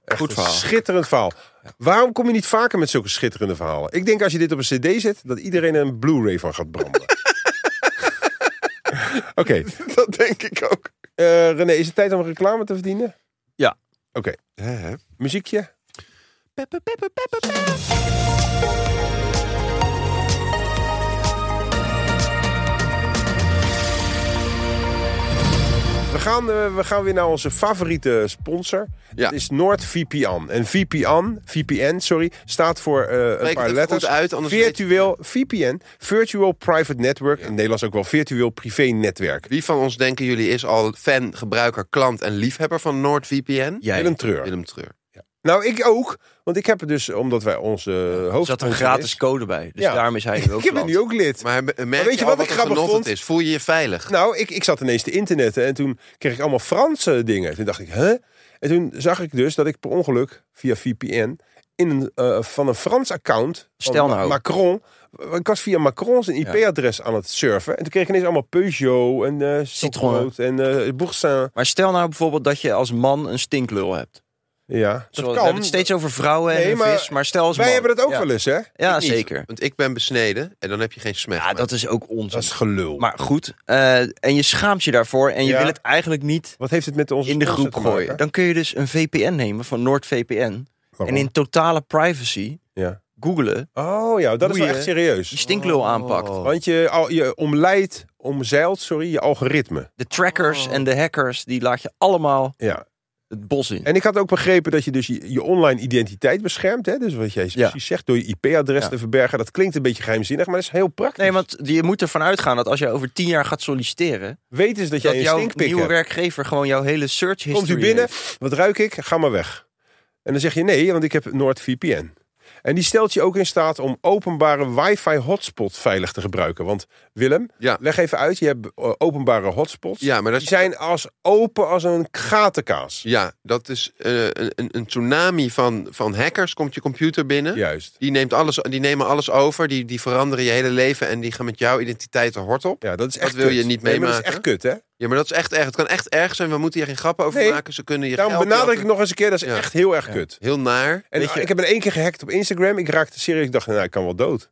[SPEAKER 2] Echt
[SPEAKER 4] goed
[SPEAKER 2] een
[SPEAKER 4] verhaal.
[SPEAKER 2] Schitterend verhaal. Waarom kom je niet vaker met zulke schitterende verhalen? Ik denk als je dit op een cd zet, dat iedereen er een blu-ray van gaat branden. Oké,
[SPEAKER 3] dat denk ik ook.
[SPEAKER 2] eh, René, is het tijd om reclame te verdienen?
[SPEAKER 4] Ja.
[SPEAKER 2] Oké, muziekje. We gaan, eh, we gaan weer naar onze favoriete sponsor.
[SPEAKER 3] Ja.
[SPEAKER 2] Dat is NordVPN. En VPN, VPN sorry, staat voor eh, een
[SPEAKER 3] het
[SPEAKER 2] paar
[SPEAKER 3] even
[SPEAKER 2] letters.
[SPEAKER 3] goed uit, anders
[SPEAKER 2] virtueel VPN, Virtual Private Network. In het Nederlands ook wel virtueel privé netwerk.
[SPEAKER 3] Wie van ons denken jullie is al fan, gebruiker, klant en liefhebber van NordVPN?
[SPEAKER 4] Jij.
[SPEAKER 2] Willem Treur.
[SPEAKER 3] Willem Treur.
[SPEAKER 2] Nou, ik ook. Want ik heb het dus, omdat wij onze
[SPEAKER 4] Er
[SPEAKER 2] hoofd...
[SPEAKER 4] zat een gratis code bij. Dus
[SPEAKER 2] Ja.
[SPEAKER 4] daarom is hij nu ook
[SPEAKER 2] Ik ben
[SPEAKER 4] klant.
[SPEAKER 2] nu ook lid.
[SPEAKER 3] Maar merk
[SPEAKER 2] weet je
[SPEAKER 3] al
[SPEAKER 2] wat
[SPEAKER 3] wat
[SPEAKER 2] ik
[SPEAKER 3] een
[SPEAKER 2] grappig
[SPEAKER 3] genot
[SPEAKER 2] vond?
[SPEAKER 3] het is? Voel je je veilig?
[SPEAKER 2] Nou, ik, ik zat ineens te internetten en toen kreeg ik allemaal Franse dingen. Toen dacht ik, hè? En toen zag ik dus dat ik per ongeluk via VPN in een, eh, van een Frans account van
[SPEAKER 4] Stel nou.
[SPEAKER 2] Macron. eh, Ik was via Macron zijn IP-adres aan het surfen. En toen kreeg ik ineens allemaal Peugeot en eh Citroën en eh Boursin.
[SPEAKER 4] Maar stel nou bijvoorbeeld dat je als man een stinklul hebt.
[SPEAKER 2] Ja, dat
[SPEAKER 4] Zo,
[SPEAKER 2] kan.
[SPEAKER 4] we hebben het steeds over vrouwen en
[SPEAKER 2] Nee,
[SPEAKER 4] een
[SPEAKER 2] maar
[SPEAKER 4] vis. Maar stel als
[SPEAKER 2] Wij
[SPEAKER 4] man.
[SPEAKER 2] hebben dat ook
[SPEAKER 4] ja.
[SPEAKER 2] wel eens, hè?
[SPEAKER 4] Ja,
[SPEAKER 3] Ik niet,
[SPEAKER 4] zeker.
[SPEAKER 3] Want ik ben besneden en dan heb je geen smet.
[SPEAKER 4] Ja,
[SPEAKER 3] Maar
[SPEAKER 4] dat is ook
[SPEAKER 2] Dat
[SPEAKER 4] onzin.
[SPEAKER 2] is gelul.
[SPEAKER 4] Maar goed, eh, en je schaamt je daarvoor en je
[SPEAKER 2] Ja.
[SPEAKER 4] wil het eigenlijk niet
[SPEAKER 2] Wat heeft het met onze
[SPEAKER 4] in de
[SPEAKER 2] sponsor
[SPEAKER 4] groep
[SPEAKER 2] te maken?
[SPEAKER 4] gooien. Dan kun je dus een VPN nemen van NordVPN.
[SPEAKER 2] Waarom?
[SPEAKER 4] En in totale privacy
[SPEAKER 2] Ja.
[SPEAKER 4] googelen
[SPEAKER 2] Oh ja, dat is
[SPEAKER 4] Hoe
[SPEAKER 2] wel
[SPEAKER 4] je-
[SPEAKER 2] echt serieus.
[SPEAKER 4] die stinklul
[SPEAKER 2] Oh.
[SPEAKER 4] aanpakt.
[SPEAKER 2] Want je, al, je omleidt, omzeilt, sorry, je algoritme.
[SPEAKER 4] De trackers en de hackers, die laat je allemaal
[SPEAKER 2] Ja.
[SPEAKER 4] het bos in.
[SPEAKER 2] En ik had ook begrepen dat je dus je, je online identiteit beschermt. Hè? Dus wat jij
[SPEAKER 4] Ja.
[SPEAKER 2] precies zegt, door je IP-adres
[SPEAKER 4] Ja.
[SPEAKER 2] te verbergen. Dat klinkt een beetje geheimzinnig, maar dat is heel praktisch.
[SPEAKER 4] Nee, want je moet ervan uitgaan dat als je over tien jaar gaat solliciteren,
[SPEAKER 2] Weet eens dat jij
[SPEAKER 4] dat
[SPEAKER 2] een
[SPEAKER 4] jouw
[SPEAKER 2] stinkpik
[SPEAKER 4] nieuwe
[SPEAKER 2] hebt.
[SPEAKER 4] werkgever gewoon jouw hele search history
[SPEAKER 2] Komt u binnen,
[SPEAKER 4] heeft.
[SPEAKER 2] wat ruik ik? Ga maar weg. En dan zeg je nee, want ik heb NordVPN. En die stelt je ook in staat om openbare wifi hotspot veilig te gebruiken. Want Willem,
[SPEAKER 3] Ja.
[SPEAKER 2] leg even uit, je hebt eh, openbare hotspots.
[SPEAKER 3] Ja, maar dat
[SPEAKER 2] Die
[SPEAKER 3] is-
[SPEAKER 2] zijn als open als een gatenkaas.
[SPEAKER 3] Ja, dat is eh, een, een- een tsunami van, van hackers. Komt je computer binnen.
[SPEAKER 2] Juist.
[SPEAKER 3] Die, neemt alles, die nemen alles over, die, die veranderen je hele leven en die gaan met jouw identiteit de hort op.
[SPEAKER 2] Ja, dat is
[SPEAKER 3] Dat
[SPEAKER 2] echt
[SPEAKER 3] wil je
[SPEAKER 2] kut.
[SPEAKER 3] niet
[SPEAKER 2] Nee, maar
[SPEAKER 3] meemaken.
[SPEAKER 2] dat is echt kut, hè?
[SPEAKER 3] Ja, maar dat is echt erg. Het kan echt erg zijn. We moeten hier geen grappen over
[SPEAKER 2] Nee,
[SPEAKER 3] maken. Ze kunnen je
[SPEAKER 2] Daarom
[SPEAKER 3] geld
[SPEAKER 2] benadruk ik
[SPEAKER 3] jatten.
[SPEAKER 2] nog eens een keer, dat is
[SPEAKER 3] Ja.
[SPEAKER 2] echt heel erg kut.
[SPEAKER 3] Heel naar.
[SPEAKER 2] En
[SPEAKER 4] Weet je-
[SPEAKER 2] ik heb in één keer gehackt op Instagram. Ik raakte serieus. Ik dacht, nou, ik kan wel dood.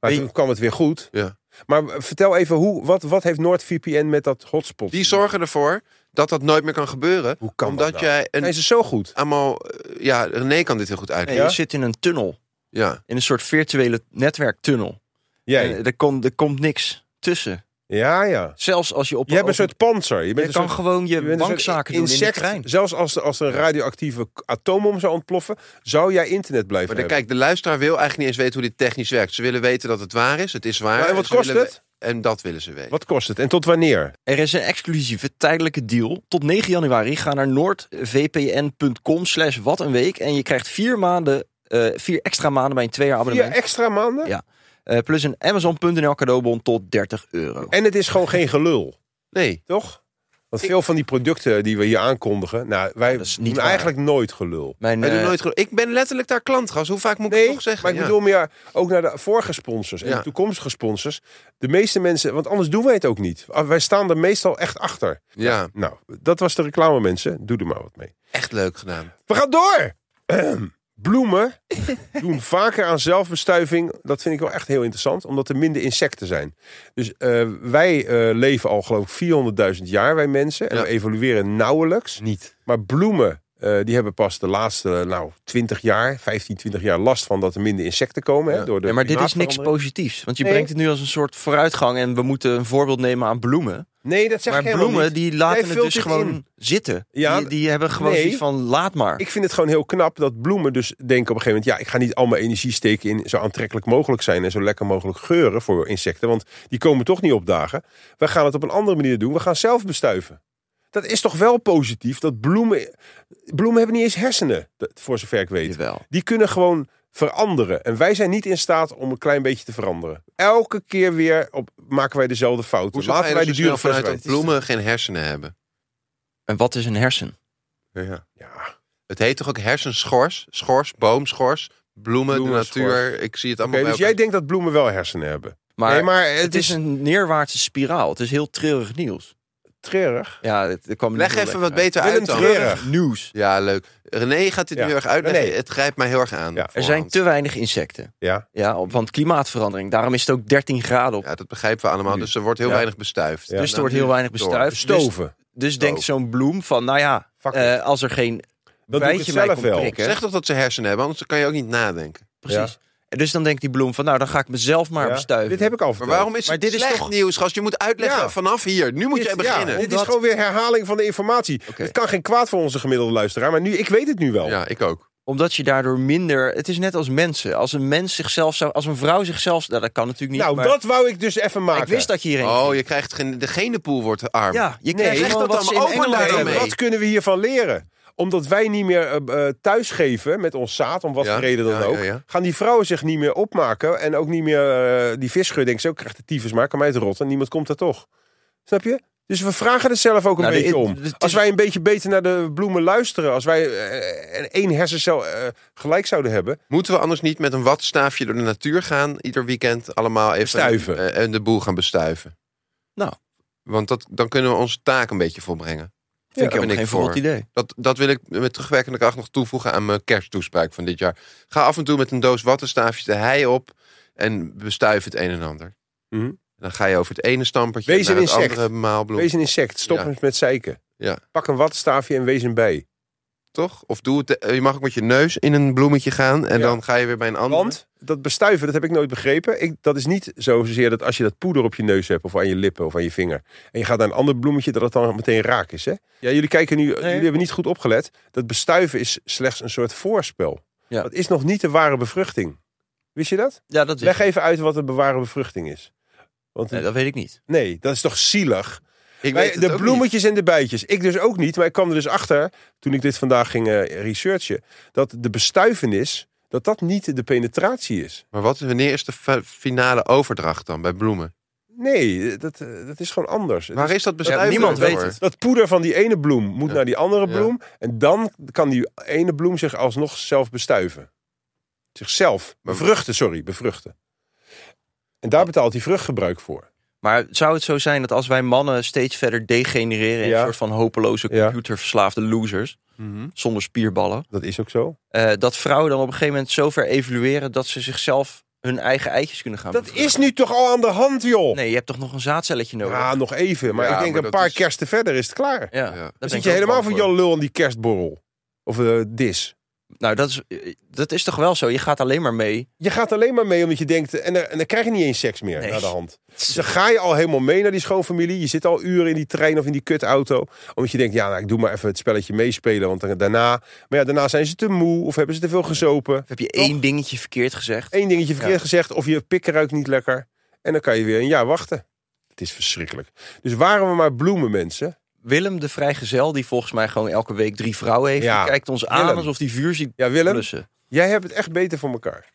[SPEAKER 2] Maar
[SPEAKER 4] Weet-
[SPEAKER 2] toen kwam het weer goed.
[SPEAKER 3] Ja.
[SPEAKER 2] Maar vertel even, hoe, wat, wat heeft NordVPN met dat hotspot?
[SPEAKER 3] Die zorgen ervoor dat dat nooit meer kan gebeuren.
[SPEAKER 2] Hoe kan
[SPEAKER 3] omdat
[SPEAKER 2] dat nou?
[SPEAKER 3] jij een
[SPEAKER 2] Zijn ze zo goed?
[SPEAKER 3] allemaal... eh, Ja, René kan dit heel goed
[SPEAKER 4] Nee,
[SPEAKER 3] uitleggen.
[SPEAKER 4] Je zit in een tunnel.
[SPEAKER 3] Ja.
[SPEAKER 4] In een soort virtuele netwerktunnel.
[SPEAKER 2] Jij?
[SPEAKER 4] En er, komt, er komt niks tussen.
[SPEAKER 2] Ja, ja.
[SPEAKER 4] Zelfs als je op
[SPEAKER 2] Je hebt een
[SPEAKER 4] op-
[SPEAKER 2] soort panzer. Je
[SPEAKER 4] Je
[SPEAKER 2] bent een
[SPEAKER 4] kan
[SPEAKER 2] soort,
[SPEAKER 4] gewoon je,
[SPEAKER 2] je bent een soort
[SPEAKER 4] bankzaken doen in de
[SPEAKER 2] insect.
[SPEAKER 4] trein.
[SPEAKER 2] Zelfs als, als er een radioactieve k- atoombom zou ontploffen, zou jij internet blijven
[SPEAKER 3] Maar de,
[SPEAKER 2] hebben.
[SPEAKER 3] kijk, de luisteraar wil eigenlijk niet eens weten hoe dit technisch werkt. Ze willen weten dat het waar is. Het is waar.
[SPEAKER 2] Nou, en wat
[SPEAKER 3] ze
[SPEAKER 2] kost
[SPEAKER 3] willen
[SPEAKER 2] het?
[SPEAKER 3] we- En dat willen ze weten.
[SPEAKER 2] Wat kost het? En tot wanneer?
[SPEAKER 4] Er is een exclusieve tijdelijke deal. Tot 9 januari ga naar noordvpn.com slash wat een week. En je krijgt vier maanden, eh, vier extra maanden bij een twee jaar
[SPEAKER 2] Vier
[SPEAKER 4] abonnement.
[SPEAKER 2] extra maanden?
[SPEAKER 4] Ja. Eh, plus een Amazon.nl cadeaubon tot 30 euro.
[SPEAKER 2] En het is gewoon geen gelul,
[SPEAKER 3] Nee.
[SPEAKER 2] toch? Want veel van die producten die we hier aankondigen, nou, wij
[SPEAKER 4] dat is niet
[SPEAKER 2] doen
[SPEAKER 4] waar.
[SPEAKER 2] eigenlijk nooit gelul.
[SPEAKER 4] Mijn,
[SPEAKER 3] Wij doen
[SPEAKER 4] eh,
[SPEAKER 3] nooit gelo- ik ben letterlijk daar klant, gast. Hoe vaak moet ik
[SPEAKER 2] Nee,
[SPEAKER 3] het nog zeggen?
[SPEAKER 2] maar ik
[SPEAKER 3] Ja.
[SPEAKER 2] bedoel meer ook naar de vorige sponsors en
[SPEAKER 3] Ja.
[SPEAKER 2] de toekomstige sponsors. De meeste mensen, want anders doen wij het ook niet. Ah, Wij staan er meestal echt achter.
[SPEAKER 3] Ja,
[SPEAKER 2] Nou, dat was de reclame, mensen. Doe er maar wat mee.
[SPEAKER 3] echt leuk gedaan.
[SPEAKER 2] We gaan door! Ehm, Bloemen doen vaker aan zelfbestuiving. Dat vind ik wel echt heel interessant, omdat er minder insecten zijn. Dus eh, wij eh, leven al geloof ik 400.000 jaar, wij mensen. En
[SPEAKER 3] Ja.
[SPEAKER 2] we evolueren nauwelijks.
[SPEAKER 3] Niet.
[SPEAKER 2] Maar bloemen, eh, die hebben pas de laatste nou, 20 jaar, 15, 20 jaar last van dat er minder insecten komen. Hè,
[SPEAKER 3] Ja.
[SPEAKER 2] door de
[SPEAKER 4] ja, maar dit is niks
[SPEAKER 2] klimaatverandering.
[SPEAKER 4] positiefs. Want je
[SPEAKER 2] Nee.
[SPEAKER 4] brengt het nu als een soort vooruitgang. En we moeten een voorbeeld nemen aan bloemen.
[SPEAKER 2] Nee, dat zeg
[SPEAKER 4] maar
[SPEAKER 2] ik helemaal
[SPEAKER 4] bloemen
[SPEAKER 2] niet.
[SPEAKER 4] die
[SPEAKER 2] Jij
[SPEAKER 4] laten het
[SPEAKER 2] vult
[SPEAKER 4] dus
[SPEAKER 2] dit
[SPEAKER 4] gewoon
[SPEAKER 2] in.
[SPEAKER 4] zitten.
[SPEAKER 2] Ja,
[SPEAKER 4] die, die hebben gewoon
[SPEAKER 2] nee.
[SPEAKER 4] zoiets van laat maar.
[SPEAKER 2] Ik vind het gewoon heel knap dat bloemen dus denken op een gegeven moment... ja, ik ga niet al mijn energie steken in zo aantrekkelijk mogelijk zijn... en zo lekker mogelijk geuren voor insecten. Want die komen toch niet opdagen. We gaan het op een andere manier doen. We gaan zelf bestuiven. Dat is toch wel positief dat bloemen... Bloemen hebben niet eens hersenen, dat- voor zover ik weet.
[SPEAKER 4] Jawel.
[SPEAKER 2] Die kunnen gewoon veranderen. En wij zijn niet in staat om een klein beetje te veranderen. Elke keer weer op, maken wij dezelfde fouten.
[SPEAKER 3] Hoe
[SPEAKER 2] Laten wij die dure fles
[SPEAKER 3] vanuit dat
[SPEAKER 2] kwijt.
[SPEAKER 3] bloemen geen hersenen hebben?
[SPEAKER 4] En wat is een hersen?
[SPEAKER 3] Ja.
[SPEAKER 2] Ja,
[SPEAKER 3] Het heet toch ook hersenschors? Schors, boomschors, bloemen, de
[SPEAKER 2] Bloemenschors.
[SPEAKER 3] natuur. Ik zie het allemaal
[SPEAKER 2] Oké,
[SPEAKER 3] bij
[SPEAKER 2] dus jij
[SPEAKER 3] elkaar.
[SPEAKER 2] denkt dat bloemen wel hersenen hebben.
[SPEAKER 4] Maar,
[SPEAKER 2] nee, maar
[SPEAKER 4] het is een neerwaartse spiraal. Het is heel treurig nieuws.
[SPEAKER 2] treurig.
[SPEAKER 4] Ja, het, het kwam
[SPEAKER 3] Leg even wat beter
[SPEAKER 2] Willem
[SPEAKER 3] uit dan.
[SPEAKER 2] Treurig.
[SPEAKER 4] nieuws.
[SPEAKER 3] Ja, leuk. René gaat dit
[SPEAKER 2] Ja.
[SPEAKER 3] nu erg uitleggen.
[SPEAKER 2] René.
[SPEAKER 3] Het grijpt mij heel erg aan.
[SPEAKER 2] Ja. Er
[SPEAKER 4] Er
[SPEAKER 3] voorhand.
[SPEAKER 4] zijn te weinig insecten.
[SPEAKER 2] Ja.
[SPEAKER 4] Ja, op- want klimaatverandering. Daarom is het ook 13 graden op.
[SPEAKER 3] Ja, dat begrijpen we allemaal. Dus er wordt heel
[SPEAKER 2] Ja.
[SPEAKER 3] weinig bestuift.
[SPEAKER 2] Ja.
[SPEAKER 4] Dus er
[SPEAKER 3] Nou,
[SPEAKER 4] wordt
[SPEAKER 3] nu
[SPEAKER 4] heel weinig
[SPEAKER 3] door.
[SPEAKER 4] bestuift. Dus,
[SPEAKER 2] Stoven.
[SPEAKER 4] dus denkt zo'n bloem van, nou ja,
[SPEAKER 2] Fuck
[SPEAKER 4] eh, als er geen
[SPEAKER 2] Dan doe ik het
[SPEAKER 4] bijtje mij
[SPEAKER 2] zelf
[SPEAKER 4] komt
[SPEAKER 2] wel.
[SPEAKER 4] prikken.
[SPEAKER 3] Zeg toch dat ze hersenen hebben, anders kan je ook niet nadenken.
[SPEAKER 4] Precies. En Dus dan denkt die bloem van, nou dan ga ik mezelf maar
[SPEAKER 2] Ja,
[SPEAKER 4] bestuiven.
[SPEAKER 2] Dit heb ik al
[SPEAKER 3] Maar
[SPEAKER 2] verteld.
[SPEAKER 3] waarom is
[SPEAKER 4] Maar
[SPEAKER 3] het
[SPEAKER 4] dit is
[SPEAKER 3] slecht
[SPEAKER 4] toch-
[SPEAKER 3] nieuws, gast? Je moet uitleggen
[SPEAKER 2] Ja.
[SPEAKER 3] vanaf hier. Nu moet jij
[SPEAKER 2] ja,
[SPEAKER 3] beginnen.
[SPEAKER 2] dit is gewoon weer herhaling van de informatie.
[SPEAKER 4] Oké.
[SPEAKER 2] Het kan geen kwaad voor onze gemiddelde luisteraar, maar nu, ik weet het nu wel.
[SPEAKER 3] Ja, ik ook.
[SPEAKER 4] Omdat je daardoor minder... Het is net als mensen. Als een mens zichzelf zou... Als een vrouw zichzelf... Nou, dat kan natuurlijk niet.
[SPEAKER 2] nou,
[SPEAKER 4] maar
[SPEAKER 2] dat wou ik dus even maken.
[SPEAKER 4] Ik wist dat je hierheen...
[SPEAKER 3] Oh, je krijgt geen, de genenpool wordt arm.
[SPEAKER 4] Ja, je
[SPEAKER 2] Nee,
[SPEAKER 4] krijgt
[SPEAKER 2] zeg
[SPEAKER 4] gewoon
[SPEAKER 3] dat
[SPEAKER 4] wat ze
[SPEAKER 3] dan
[SPEAKER 4] in
[SPEAKER 3] maar open
[SPEAKER 4] Engeland
[SPEAKER 3] daar
[SPEAKER 2] En
[SPEAKER 4] hebben.
[SPEAKER 3] daarmee.
[SPEAKER 2] wat kunnen we hiervan leren? Omdat wij niet meer eh, eh, thuisgeven, met ons zaad, om wat
[SPEAKER 3] Ja,
[SPEAKER 2] voor reden dan
[SPEAKER 3] ja,
[SPEAKER 2] ook...
[SPEAKER 3] ja, ja.
[SPEAKER 2] gaan die vrouwen zich niet meer opmaken en ook niet meer... eh, die visgeur denkt zo, ik krijg de tyfus maar, kan mij het rotten. Niemand komt daar toch. Snap je? Dus we vragen het zelf ook een
[SPEAKER 4] Nou, de-
[SPEAKER 2] beetje om.
[SPEAKER 4] het is-
[SPEAKER 2] Als wij een beetje beter naar de bloemen luisteren... als wij eh, eh, één hersencel eh, gelijk zouden hebben...
[SPEAKER 3] Moeten we anders niet met een watstaafje door de natuur gaan? Ieder weekend allemaal even
[SPEAKER 2] Bestuiven.
[SPEAKER 3] eh, en de boel gaan bestuiven.
[SPEAKER 4] Nou.
[SPEAKER 3] Want dat, dan kunnen we onze taak een beetje volbrengen.
[SPEAKER 4] Vind
[SPEAKER 3] daar
[SPEAKER 4] ik
[SPEAKER 3] ben
[SPEAKER 4] ook
[SPEAKER 3] ik
[SPEAKER 4] geen
[SPEAKER 3] voor.
[SPEAKER 4] verrot idee.
[SPEAKER 3] Dat, dat wil ik met terugwerkende kracht nog toevoegen aan mijn kersttoespraak van dit jaar. Ga af en toe met een doos wattenstaafjes de hei op en bestuif het een en ander.
[SPEAKER 2] Mhm.
[SPEAKER 3] Dan ga je over het ene stampertje
[SPEAKER 2] Wees
[SPEAKER 3] naar
[SPEAKER 2] een
[SPEAKER 3] het
[SPEAKER 2] insect.
[SPEAKER 3] andere maalbloem.
[SPEAKER 2] Wees een insect, stop
[SPEAKER 3] Ja.
[SPEAKER 2] hem met zeiken.
[SPEAKER 3] Ja.
[SPEAKER 2] Pak een wattenstaafje en wees een bij.
[SPEAKER 3] Toch? Of doe het, eh, je mag ook met je neus in een bloemetje gaan en
[SPEAKER 2] Ja.
[SPEAKER 3] dan ga je weer bij een ander.
[SPEAKER 2] Want dat bestuiven, dat heb ik nooit begrepen. Ik, dat is niet zozeer dat als je dat poeder op je neus hebt... of aan je lippen of aan je vinger... en je gaat naar een ander bloemetje, dat het dan meteen raak is. Hè? Ja, jullie kijken nu, jullie hebben niet goed opgelet. Dat bestuiven is slechts een soort voorspel.
[SPEAKER 4] Ja.
[SPEAKER 2] Dat is nog niet de ware bevruchting. Wist je dat?
[SPEAKER 4] Ja, dat,
[SPEAKER 2] Leg
[SPEAKER 4] is,
[SPEAKER 2] even uit wat de ware bevruchting is. Want
[SPEAKER 4] nee, dat weet ik niet.
[SPEAKER 2] nee, dat is toch zielig?
[SPEAKER 3] Ik
[SPEAKER 2] Wij-
[SPEAKER 3] weet het
[SPEAKER 2] de
[SPEAKER 3] ook
[SPEAKER 2] bloemetjes en de bijtjes. Ik dus ook niet. Maar ik kwam er dus achter, toen ik dit vandaag ging eh, researchen, dat de bestuivenis, dat dat niet de penetratie is.
[SPEAKER 3] niet. Maar wat, wanneer is de fa- finale overdracht dan bij bloemen?
[SPEAKER 2] Nee, dat, eh, dat is gewoon anders. Het
[SPEAKER 3] Waar
[SPEAKER 2] is-
[SPEAKER 3] is dat bestuiven?
[SPEAKER 4] niemand
[SPEAKER 3] dan
[SPEAKER 4] weet
[SPEAKER 3] voor?
[SPEAKER 4] het.
[SPEAKER 2] dat poeder van die ene bloem moet
[SPEAKER 3] Ja.
[SPEAKER 2] naar die andere
[SPEAKER 3] Ja.
[SPEAKER 2] bloem. En dan kan die ene bloem zich alsnog zelf bestuiven. Zichzelf. Bevruchten, sorry, bevruchten. En daar betaalt hij vruchtgebruik voor.
[SPEAKER 4] Maar zou het zo zijn dat als wij mannen steeds verder degenereren... in
[SPEAKER 2] Ja.
[SPEAKER 4] een soort van hopeloze
[SPEAKER 2] Ja.
[SPEAKER 4] computerverslaafde losers... zonder spierballen...
[SPEAKER 2] Dat is ook zo.
[SPEAKER 4] eh, dat vrouwen dan op een gegeven moment zo ver evolueren... dat ze zichzelf hun eigen eitjes kunnen gaan
[SPEAKER 2] Dat
[SPEAKER 4] bevruchten?
[SPEAKER 2] is nu toch al aan de hand, joh.
[SPEAKER 4] Nee, je hebt toch nog een zaadcelletje nodig?
[SPEAKER 2] Ah, nog even. Maar
[SPEAKER 3] Ja,
[SPEAKER 2] ik denk
[SPEAKER 3] maar
[SPEAKER 2] een
[SPEAKER 3] dat
[SPEAKER 2] paar
[SPEAKER 3] is-
[SPEAKER 2] kersten verder is het klaar. Dan
[SPEAKER 4] Ja,
[SPEAKER 3] Ja.
[SPEAKER 4] daar
[SPEAKER 3] Dan
[SPEAKER 4] ben
[SPEAKER 2] zit
[SPEAKER 4] ik
[SPEAKER 2] je
[SPEAKER 4] ook
[SPEAKER 2] helemaal
[SPEAKER 4] bang
[SPEAKER 2] voor Jan Lul aan die kerstborrel. Of eh, dis.
[SPEAKER 4] Nou, dat is, dat is toch wel zo? Je gaat alleen maar mee.
[SPEAKER 2] Je gaat alleen maar mee omdat je denkt... En dan, en dan krijg je niet eens seks meer
[SPEAKER 4] Nee.
[SPEAKER 2] naar de hand. Dus dan ga je al helemaal mee naar die schoonfamilie. Je zit al uren in die trein of in die kutauto. Omdat je denkt, ja, nou, ik doe maar even het spelletje meespelen. Want dan, daarna... Maar ja, daarna zijn ze te moe of hebben ze te veel gezopen.
[SPEAKER 4] Of heb je één dingetje verkeerd gezegd?
[SPEAKER 2] Eén dingetje verkeerd
[SPEAKER 4] Ja.
[SPEAKER 2] gezegd of je pikken ruikt niet lekker. En dan kan je weer een jaar wachten. Het is verschrikkelijk. Dus waren we maar bloemen, mensen.
[SPEAKER 4] Willem de Vrijgezel, die volgens mij gewoon elke week drie vrouwen heeft...
[SPEAKER 2] Ja.
[SPEAKER 4] die kijkt ons aan
[SPEAKER 2] Willem.
[SPEAKER 4] alsof die vuur ziet
[SPEAKER 2] Ja, Willem?
[SPEAKER 4] blussen.
[SPEAKER 2] Jij hebt het echt beter voor elkaar.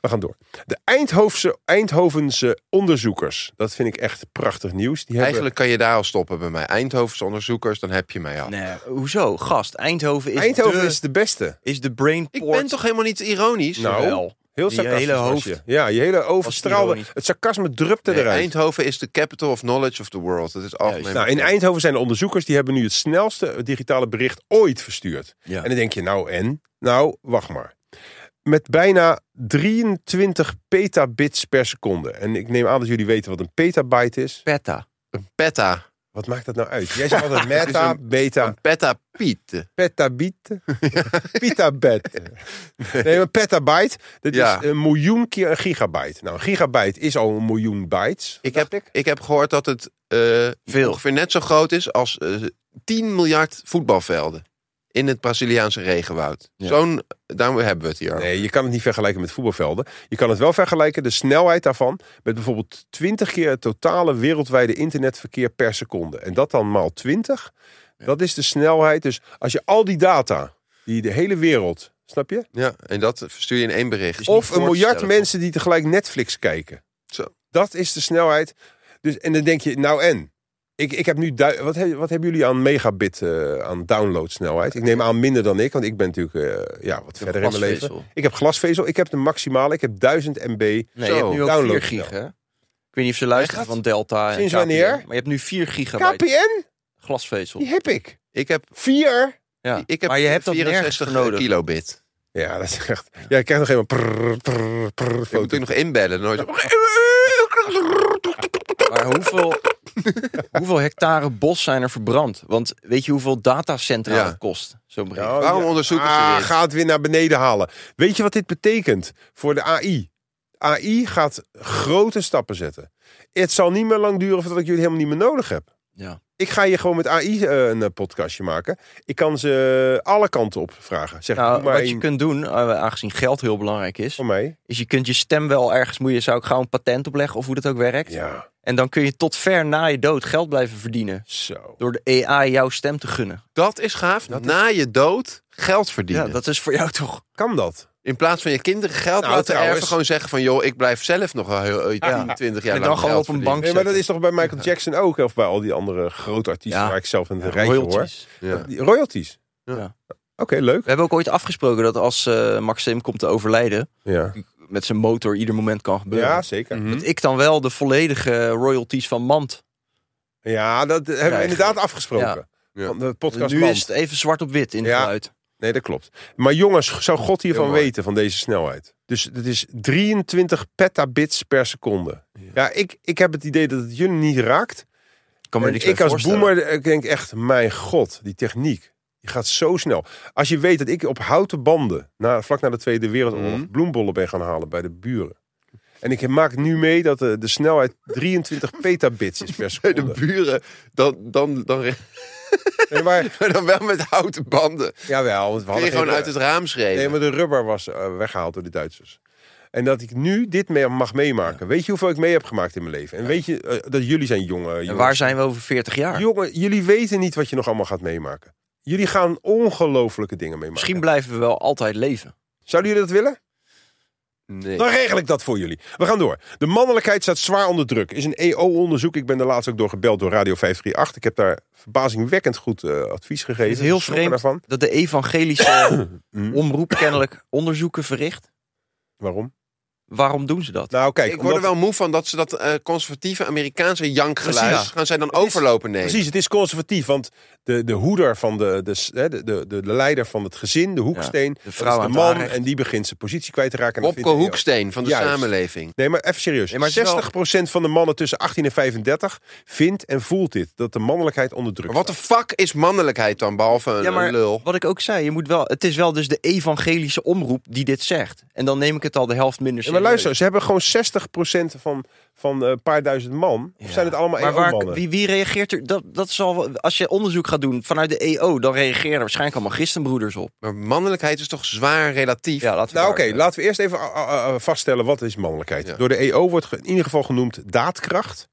[SPEAKER 2] We gaan door. De Eindhovense, Eindhovense onderzoekers. Dat vind ik echt prachtig nieuws. Die hebben,
[SPEAKER 3] Eigenlijk kan je daar al stoppen bij mij. Eindhovense onderzoekers, dan heb je mij al.
[SPEAKER 4] Nee, hoezo? Gast, Eindhoven is,
[SPEAKER 2] Eindhoven
[SPEAKER 4] de,
[SPEAKER 2] is de beste.
[SPEAKER 4] is de brainport.
[SPEAKER 3] Ik ben toch helemaal niet ironisch?
[SPEAKER 2] Nou,
[SPEAKER 4] Jawel.
[SPEAKER 2] Heel
[SPEAKER 4] Die
[SPEAKER 2] sarcastisch
[SPEAKER 4] hele
[SPEAKER 2] was
[SPEAKER 4] hoofd.
[SPEAKER 2] je. Ja, je hele overstraalde.
[SPEAKER 4] ironisch.
[SPEAKER 2] Het sarcasme drupte
[SPEAKER 3] Nee,
[SPEAKER 2] eruit.
[SPEAKER 3] Eindhoven is de capital of knowledge of the world. Dat is algemeen.
[SPEAKER 2] Nou, in Eindhoven zijn de onderzoekers die hebben nu het snelste digitale bericht ooit verstuurd.
[SPEAKER 4] Ja.
[SPEAKER 2] En dan denk je, nou en? Nou, wacht maar. Met bijna 23 petabits per seconde. En ik neem aan dat jullie weten wat een petabyte is.
[SPEAKER 4] Petta.
[SPEAKER 3] Petta.
[SPEAKER 2] Wat maakt dat nou uit? Jij zegt altijd meta,
[SPEAKER 3] Het is
[SPEAKER 2] beta,
[SPEAKER 3] Petta Piet.
[SPEAKER 2] petabyte, pitabet. Nee, maar petabyte, dat
[SPEAKER 3] Ja.
[SPEAKER 2] is een miljoen keer een gigabyte. Nou, een gigabyte is al een miljoen bytes.
[SPEAKER 3] Ik
[SPEAKER 2] dacht
[SPEAKER 3] heb, ik heb gehoord dat het eh,
[SPEAKER 4] Veel.
[SPEAKER 3] ongeveer net zo groot is als eh, 10 miljard voetbalvelden in het Braziliaanse regenwoud.
[SPEAKER 4] Ja.
[SPEAKER 3] Zo'n, daarom hebben we het hier. over.
[SPEAKER 2] Oh. Nee, je kan het niet vergelijken met voetbalvelden. Je kan het wel vergelijken, de snelheid daarvan, met bijvoorbeeld 20 keer het totale wereldwijde internetverkeer per seconde. En dat dan maal 20. Dat is de snelheid. Dus als je al die data, die de hele wereld, snap je?
[SPEAKER 3] Ja, en dat verstuur je in één bericht.
[SPEAKER 4] niet
[SPEAKER 2] Of
[SPEAKER 4] voor
[SPEAKER 2] een
[SPEAKER 4] te
[SPEAKER 2] miljard
[SPEAKER 4] stellen,
[SPEAKER 2] mensen die tegelijk Netflix kijken.
[SPEAKER 3] Zo.
[SPEAKER 2] Dat is de snelheid. Dus, en dan denk je, nou en? Ik, ik heb nu du- wat, he- wat hebben jullie aan megabit, eh, aan downloadsnelheid? Ik neem aan minder dan ik, want ik ben natuurlijk eh, ja, wat verder in mijn leven.
[SPEAKER 4] Glasvezel.
[SPEAKER 2] Ik heb glasvezel, ik heb de maximale, ik heb 1000 MB.
[SPEAKER 4] Nee,
[SPEAKER 3] Zo,
[SPEAKER 4] je hebt nu ook 4
[SPEAKER 2] download
[SPEAKER 4] gig,
[SPEAKER 2] snel.
[SPEAKER 4] hè? Ik weet niet of ze luisteren
[SPEAKER 2] nou. Echt?
[SPEAKER 4] van Delta en
[SPEAKER 2] Sinds
[SPEAKER 4] KPN,
[SPEAKER 2] wanneer?
[SPEAKER 4] Maar je hebt nu 4 gigabyte
[SPEAKER 2] KPN,
[SPEAKER 4] glasvezel.
[SPEAKER 2] die heb ik.
[SPEAKER 3] Ik heb,
[SPEAKER 2] Vier.
[SPEAKER 4] Ja.
[SPEAKER 3] ik heb,
[SPEAKER 4] maar je hebt dat nergens
[SPEAKER 3] 64
[SPEAKER 4] voor
[SPEAKER 2] eh,
[SPEAKER 4] nodig.
[SPEAKER 3] kilobit.
[SPEAKER 2] Ja, dat is echt. Ja, ik krijg nog helemaal prrr, prrr, prrr,
[SPEAKER 3] Ik moet
[SPEAKER 2] foto.
[SPEAKER 3] ik nog inbellen. Nooit.
[SPEAKER 4] Maar hoeveel, hoeveel hectare bos zijn er verbrand? Want weet je hoeveel datacentra
[SPEAKER 3] Ja.
[SPEAKER 4] het kost? Zo'n bericht.
[SPEAKER 2] Nou,
[SPEAKER 3] Waarom
[SPEAKER 2] ja.
[SPEAKER 3] onderzoeken ze
[SPEAKER 2] Ah,
[SPEAKER 3] dit?
[SPEAKER 2] ga het weer naar beneden halen. Weet je wat dit betekent voor de AI? AI gaat grote stappen zetten. Het zal niet meer lang duren voordat ik jullie helemaal niet meer nodig heb.
[SPEAKER 4] Ja.
[SPEAKER 2] Ik ga hier gewoon met AI eh, een eh, podcastje maken. Ik kan ze eh, alle kanten op vragen. Zeg
[SPEAKER 4] Nou,
[SPEAKER 2] doe maar
[SPEAKER 4] wat
[SPEAKER 2] één
[SPEAKER 4] je kunt doen, eh, aangezien geld heel belangrijk is,
[SPEAKER 2] voor mij.
[SPEAKER 4] is je kunt je stem wel ergens, moet je, zou ik gauw een patent opleggen of hoe dat ook werkt.
[SPEAKER 2] Ja,
[SPEAKER 4] En dan kun je tot ver na je dood geld blijven verdienen.
[SPEAKER 2] zo.
[SPEAKER 4] Door de AI jouw stem te gunnen.
[SPEAKER 3] Dat is gaaf. Na je dood geld verdienen.
[SPEAKER 4] Ja, dat is voor jou toch.
[SPEAKER 2] Kan dat?
[SPEAKER 3] In plaats van je kinderen geld
[SPEAKER 2] Nou,
[SPEAKER 3] laten
[SPEAKER 2] trouwens.
[SPEAKER 3] erven, gewoon zeggen van joh, ik blijf zelf nog wel heel, eh, 10,
[SPEAKER 4] Ja.
[SPEAKER 3] 20 jaar
[SPEAKER 4] En
[SPEAKER 3] lang
[SPEAKER 4] dan gewoon
[SPEAKER 3] geld
[SPEAKER 4] op een
[SPEAKER 3] verdienen.
[SPEAKER 4] bank
[SPEAKER 2] Nee, maar dat
[SPEAKER 4] zetten.
[SPEAKER 2] is toch bij Michael Jackson ook? Of bij al die andere grote artiesten
[SPEAKER 4] Ja.
[SPEAKER 2] waar ik zelf in het rijtje hoor.
[SPEAKER 4] Royalties.
[SPEAKER 3] Ja.
[SPEAKER 2] Die royalties.
[SPEAKER 3] Ja.
[SPEAKER 2] Oké, leuk.
[SPEAKER 4] We hebben ook ooit afgesproken dat als eh Maxim komt te overlijden,
[SPEAKER 2] Ja,
[SPEAKER 4] met zijn motor ieder moment kan gebeuren.
[SPEAKER 2] ja zeker.
[SPEAKER 3] Mhm.
[SPEAKER 4] Dat ik dan wel de volledige royalties van Mand.
[SPEAKER 2] Ja, dat hebben we
[SPEAKER 4] Krijgen. Dus
[SPEAKER 2] inderdaad afgesproken.
[SPEAKER 3] Ja.
[SPEAKER 2] Van de podcast
[SPEAKER 4] nu
[SPEAKER 2] Band.
[SPEAKER 4] is het even zwart op wit in het
[SPEAKER 2] Ja.
[SPEAKER 4] geluid.
[SPEAKER 2] Nee, dat klopt. Maar jongens, zou God hiervan
[SPEAKER 3] Heel mooi.
[SPEAKER 2] weten, van deze snelheid? Dus het is 23 petabits per seconde. Ja, ik, ik heb het idee dat het jullie niet raakt.
[SPEAKER 4] Ik kan me
[SPEAKER 2] En
[SPEAKER 4] er niks
[SPEAKER 2] ik
[SPEAKER 4] bij
[SPEAKER 2] als
[SPEAKER 4] voorstellen.
[SPEAKER 2] boomer, ik denk echt, mijn god, die techniek. Die gaat zo snel. Als je weet dat ik op houten banden, na, vlak na de Tweede Wereldoorlog,
[SPEAKER 3] Mhm.
[SPEAKER 2] bloembollen ben gaan halen bij de buren. En ik maak nu mee dat eh, de, de snelheid 23 petabits is per
[SPEAKER 3] Bij de
[SPEAKER 2] seconde.
[SPEAKER 3] buren, dan, dan, dan,
[SPEAKER 2] Nee, maar,
[SPEAKER 3] maar dan wel met houten banden.
[SPEAKER 2] jawel, want we
[SPEAKER 3] Kun je
[SPEAKER 2] hadden
[SPEAKER 3] gewoon
[SPEAKER 2] geen- eh,
[SPEAKER 3] uit het raam schreeuwen.
[SPEAKER 2] Nee, maar de rubber was eh, weggehaald door de Duitsers. En dat ik nu dit mee mag meemaken. Weet je hoeveel ik mee heb gemaakt in mijn leven? En weet je eh, dat jullie zijn jongen.
[SPEAKER 4] En
[SPEAKER 2] jongens.
[SPEAKER 4] waar zijn we over 40 jaar?
[SPEAKER 2] Jongen, jullie weten niet wat je nog allemaal gaat meemaken. Jullie gaan ongelofelijke dingen meemaken.
[SPEAKER 4] Misschien blijven we wel altijd leven.
[SPEAKER 2] Zouden jullie dat willen?
[SPEAKER 3] Nee.
[SPEAKER 2] Dan regel ik dat voor jullie. We gaan door. De mannelijkheid staat zwaar onder druk. Is een EO-onderzoek. Ik ben er laatst ook door gebeld door Radio 538. Ik heb daar verbazingwekkend goed eh, advies gegeven.
[SPEAKER 4] Het is heel
[SPEAKER 2] Ik schrok er
[SPEAKER 4] vreemd
[SPEAKER 2] Daarvan.
[SPEAKER 4] dat de evangelische
[SPEAKER 2] Mm.
[SPEAKER 4] omroep kennelijk onderzoeken verricht.
[SPEAKER 2] Waarom?
[SPEAKER 4] waarom doen ze dat?
[SPEAKER 2] Nou, kijk,
[SPEAKER 3] ik word er
[SPEAKER 2] omdat-
[SPEAKER 3] wel moe van dat ze dat eh, conservatieve Amerikaanse jankgeluid
[SPEAKER 2] Precies.
[SPEAKER 3] gaan zij dan overlopen nemen.
[SPEAKER 2] Precies, het is conservatief, want de, de hoeder van de, de, s- hè, de, de, de de leider van het gezin, de hoeksteen,
[SPEAKER 4] de
[SPEAKER 2] dat
[SPEAKER 4] vrouw
[SPEAKER 2] is
[SPEAKER 4] aan
[SPEAKER 2] de
[SPEAKER 4] het
[SPEAKER 2] man
[SPEAKER 4] aanrecht.
[SPEAKER 2] en die begint zijn positie kwijt te raken. en dat
[SPEAKER 3] Opke
[SPEAKER 2] vindt hij heel-
[SPEAKER 3] Hoeksteen van de
[SPEAKER 2] Juist.
[SPEAKER 3] samenleving.
[SPEAKER 2] Nee, maar even serieus.
[SPEAKER 4] Nee, maar het is wel-
[SPEAKER 2] 60% van de mannen tussen 18 en 35 vindt en voelt dit, dat de mannelijkheid onder druk
[SPEAKER 3] Maar wat de fuck is mannelijkheid dan, behalve een,
[SPEAKER 4] Ja, maar
[SPEAKER 3] een lul?
[SPEAKER 4] wat ik ook zei, je moet wel, het is wel dus de evangelische omroep die dit zegt. En dan neem ik het al de helft minder
[SPEAKER 2] Ja,
[SPEAKER 4] serieus.
[SPEAKER 2] maar luister, ze hebben gewoon 60% van, van eh, een paar duizend man. Of
[SPEAKER 4] Ja.
[SPEAKER 2] zijn het allemaal
[SPEAKER 4] Maar waar,
[SPEAKER 2] EO-mannen?
[SPEAKER 4] wie, wie reageert er? Dat, dat zal, als je onderzoek gaat doen vanuit de EO, dan reageren er waarschijnlijk allemaal christenbroeders op.
[SPEAKER 3] Maar mannelijkheid is toch zwaar relatief?
[SPEAKER 4] Ja, laten we
[SPEAKER 2] Nou
[SPEAKER 4] daar- eh,
[SPEAKER 2] oké, laten we eerst even ah, ah, ah, vaststellen wat is mannelijkheid.
[SPEAKER 3] Ja.
[SPEAKER 2] Door de EO wordt ge- in ieder geval genoemd daadkracht,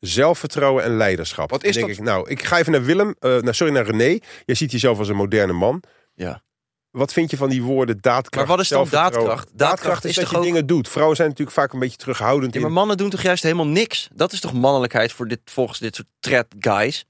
[SPEAKER 2] zelfvertrouwen en leiderschap.
[SPEAKER 3] Wat is
[SPEAKER 2] Dan denk
[SPEAKER 3] dat?
[SPEAKER 2] Ik, nou, ik ga even naar Willem, eh, nou, sorry, naar René. Jij ziet jezelf als een moderne man.
[SPEAKER 4] Ja.
[SPEAKER 2] Wat vind je van die woorden daadkracht?
[SPEAKER 4] Maar wat is dan
[SPEAKER 2] zelfvertrouwen?
[SPEAKER 4] daadkracht? Daadkracht
[SPEAKER 2] Daadkracht is,
[SPEAKER 4] is
[SPEAKER 2] dat
[SPEAKER 4] toch
[SPEAKER 2] je
[SPEAKER 4] ook-
[SPEAKER 2] dingen doet. Vrouwen zijn natuurlijk vaak een beetje terughoudend
[SPEAKER 4] Ja,
[SPEAKER 2] in
[SPEAKER 4] maar mannen doen toch juist helemaal niks? Dat is toch mannelijkheid voor dit, volgens dit soort trad guys?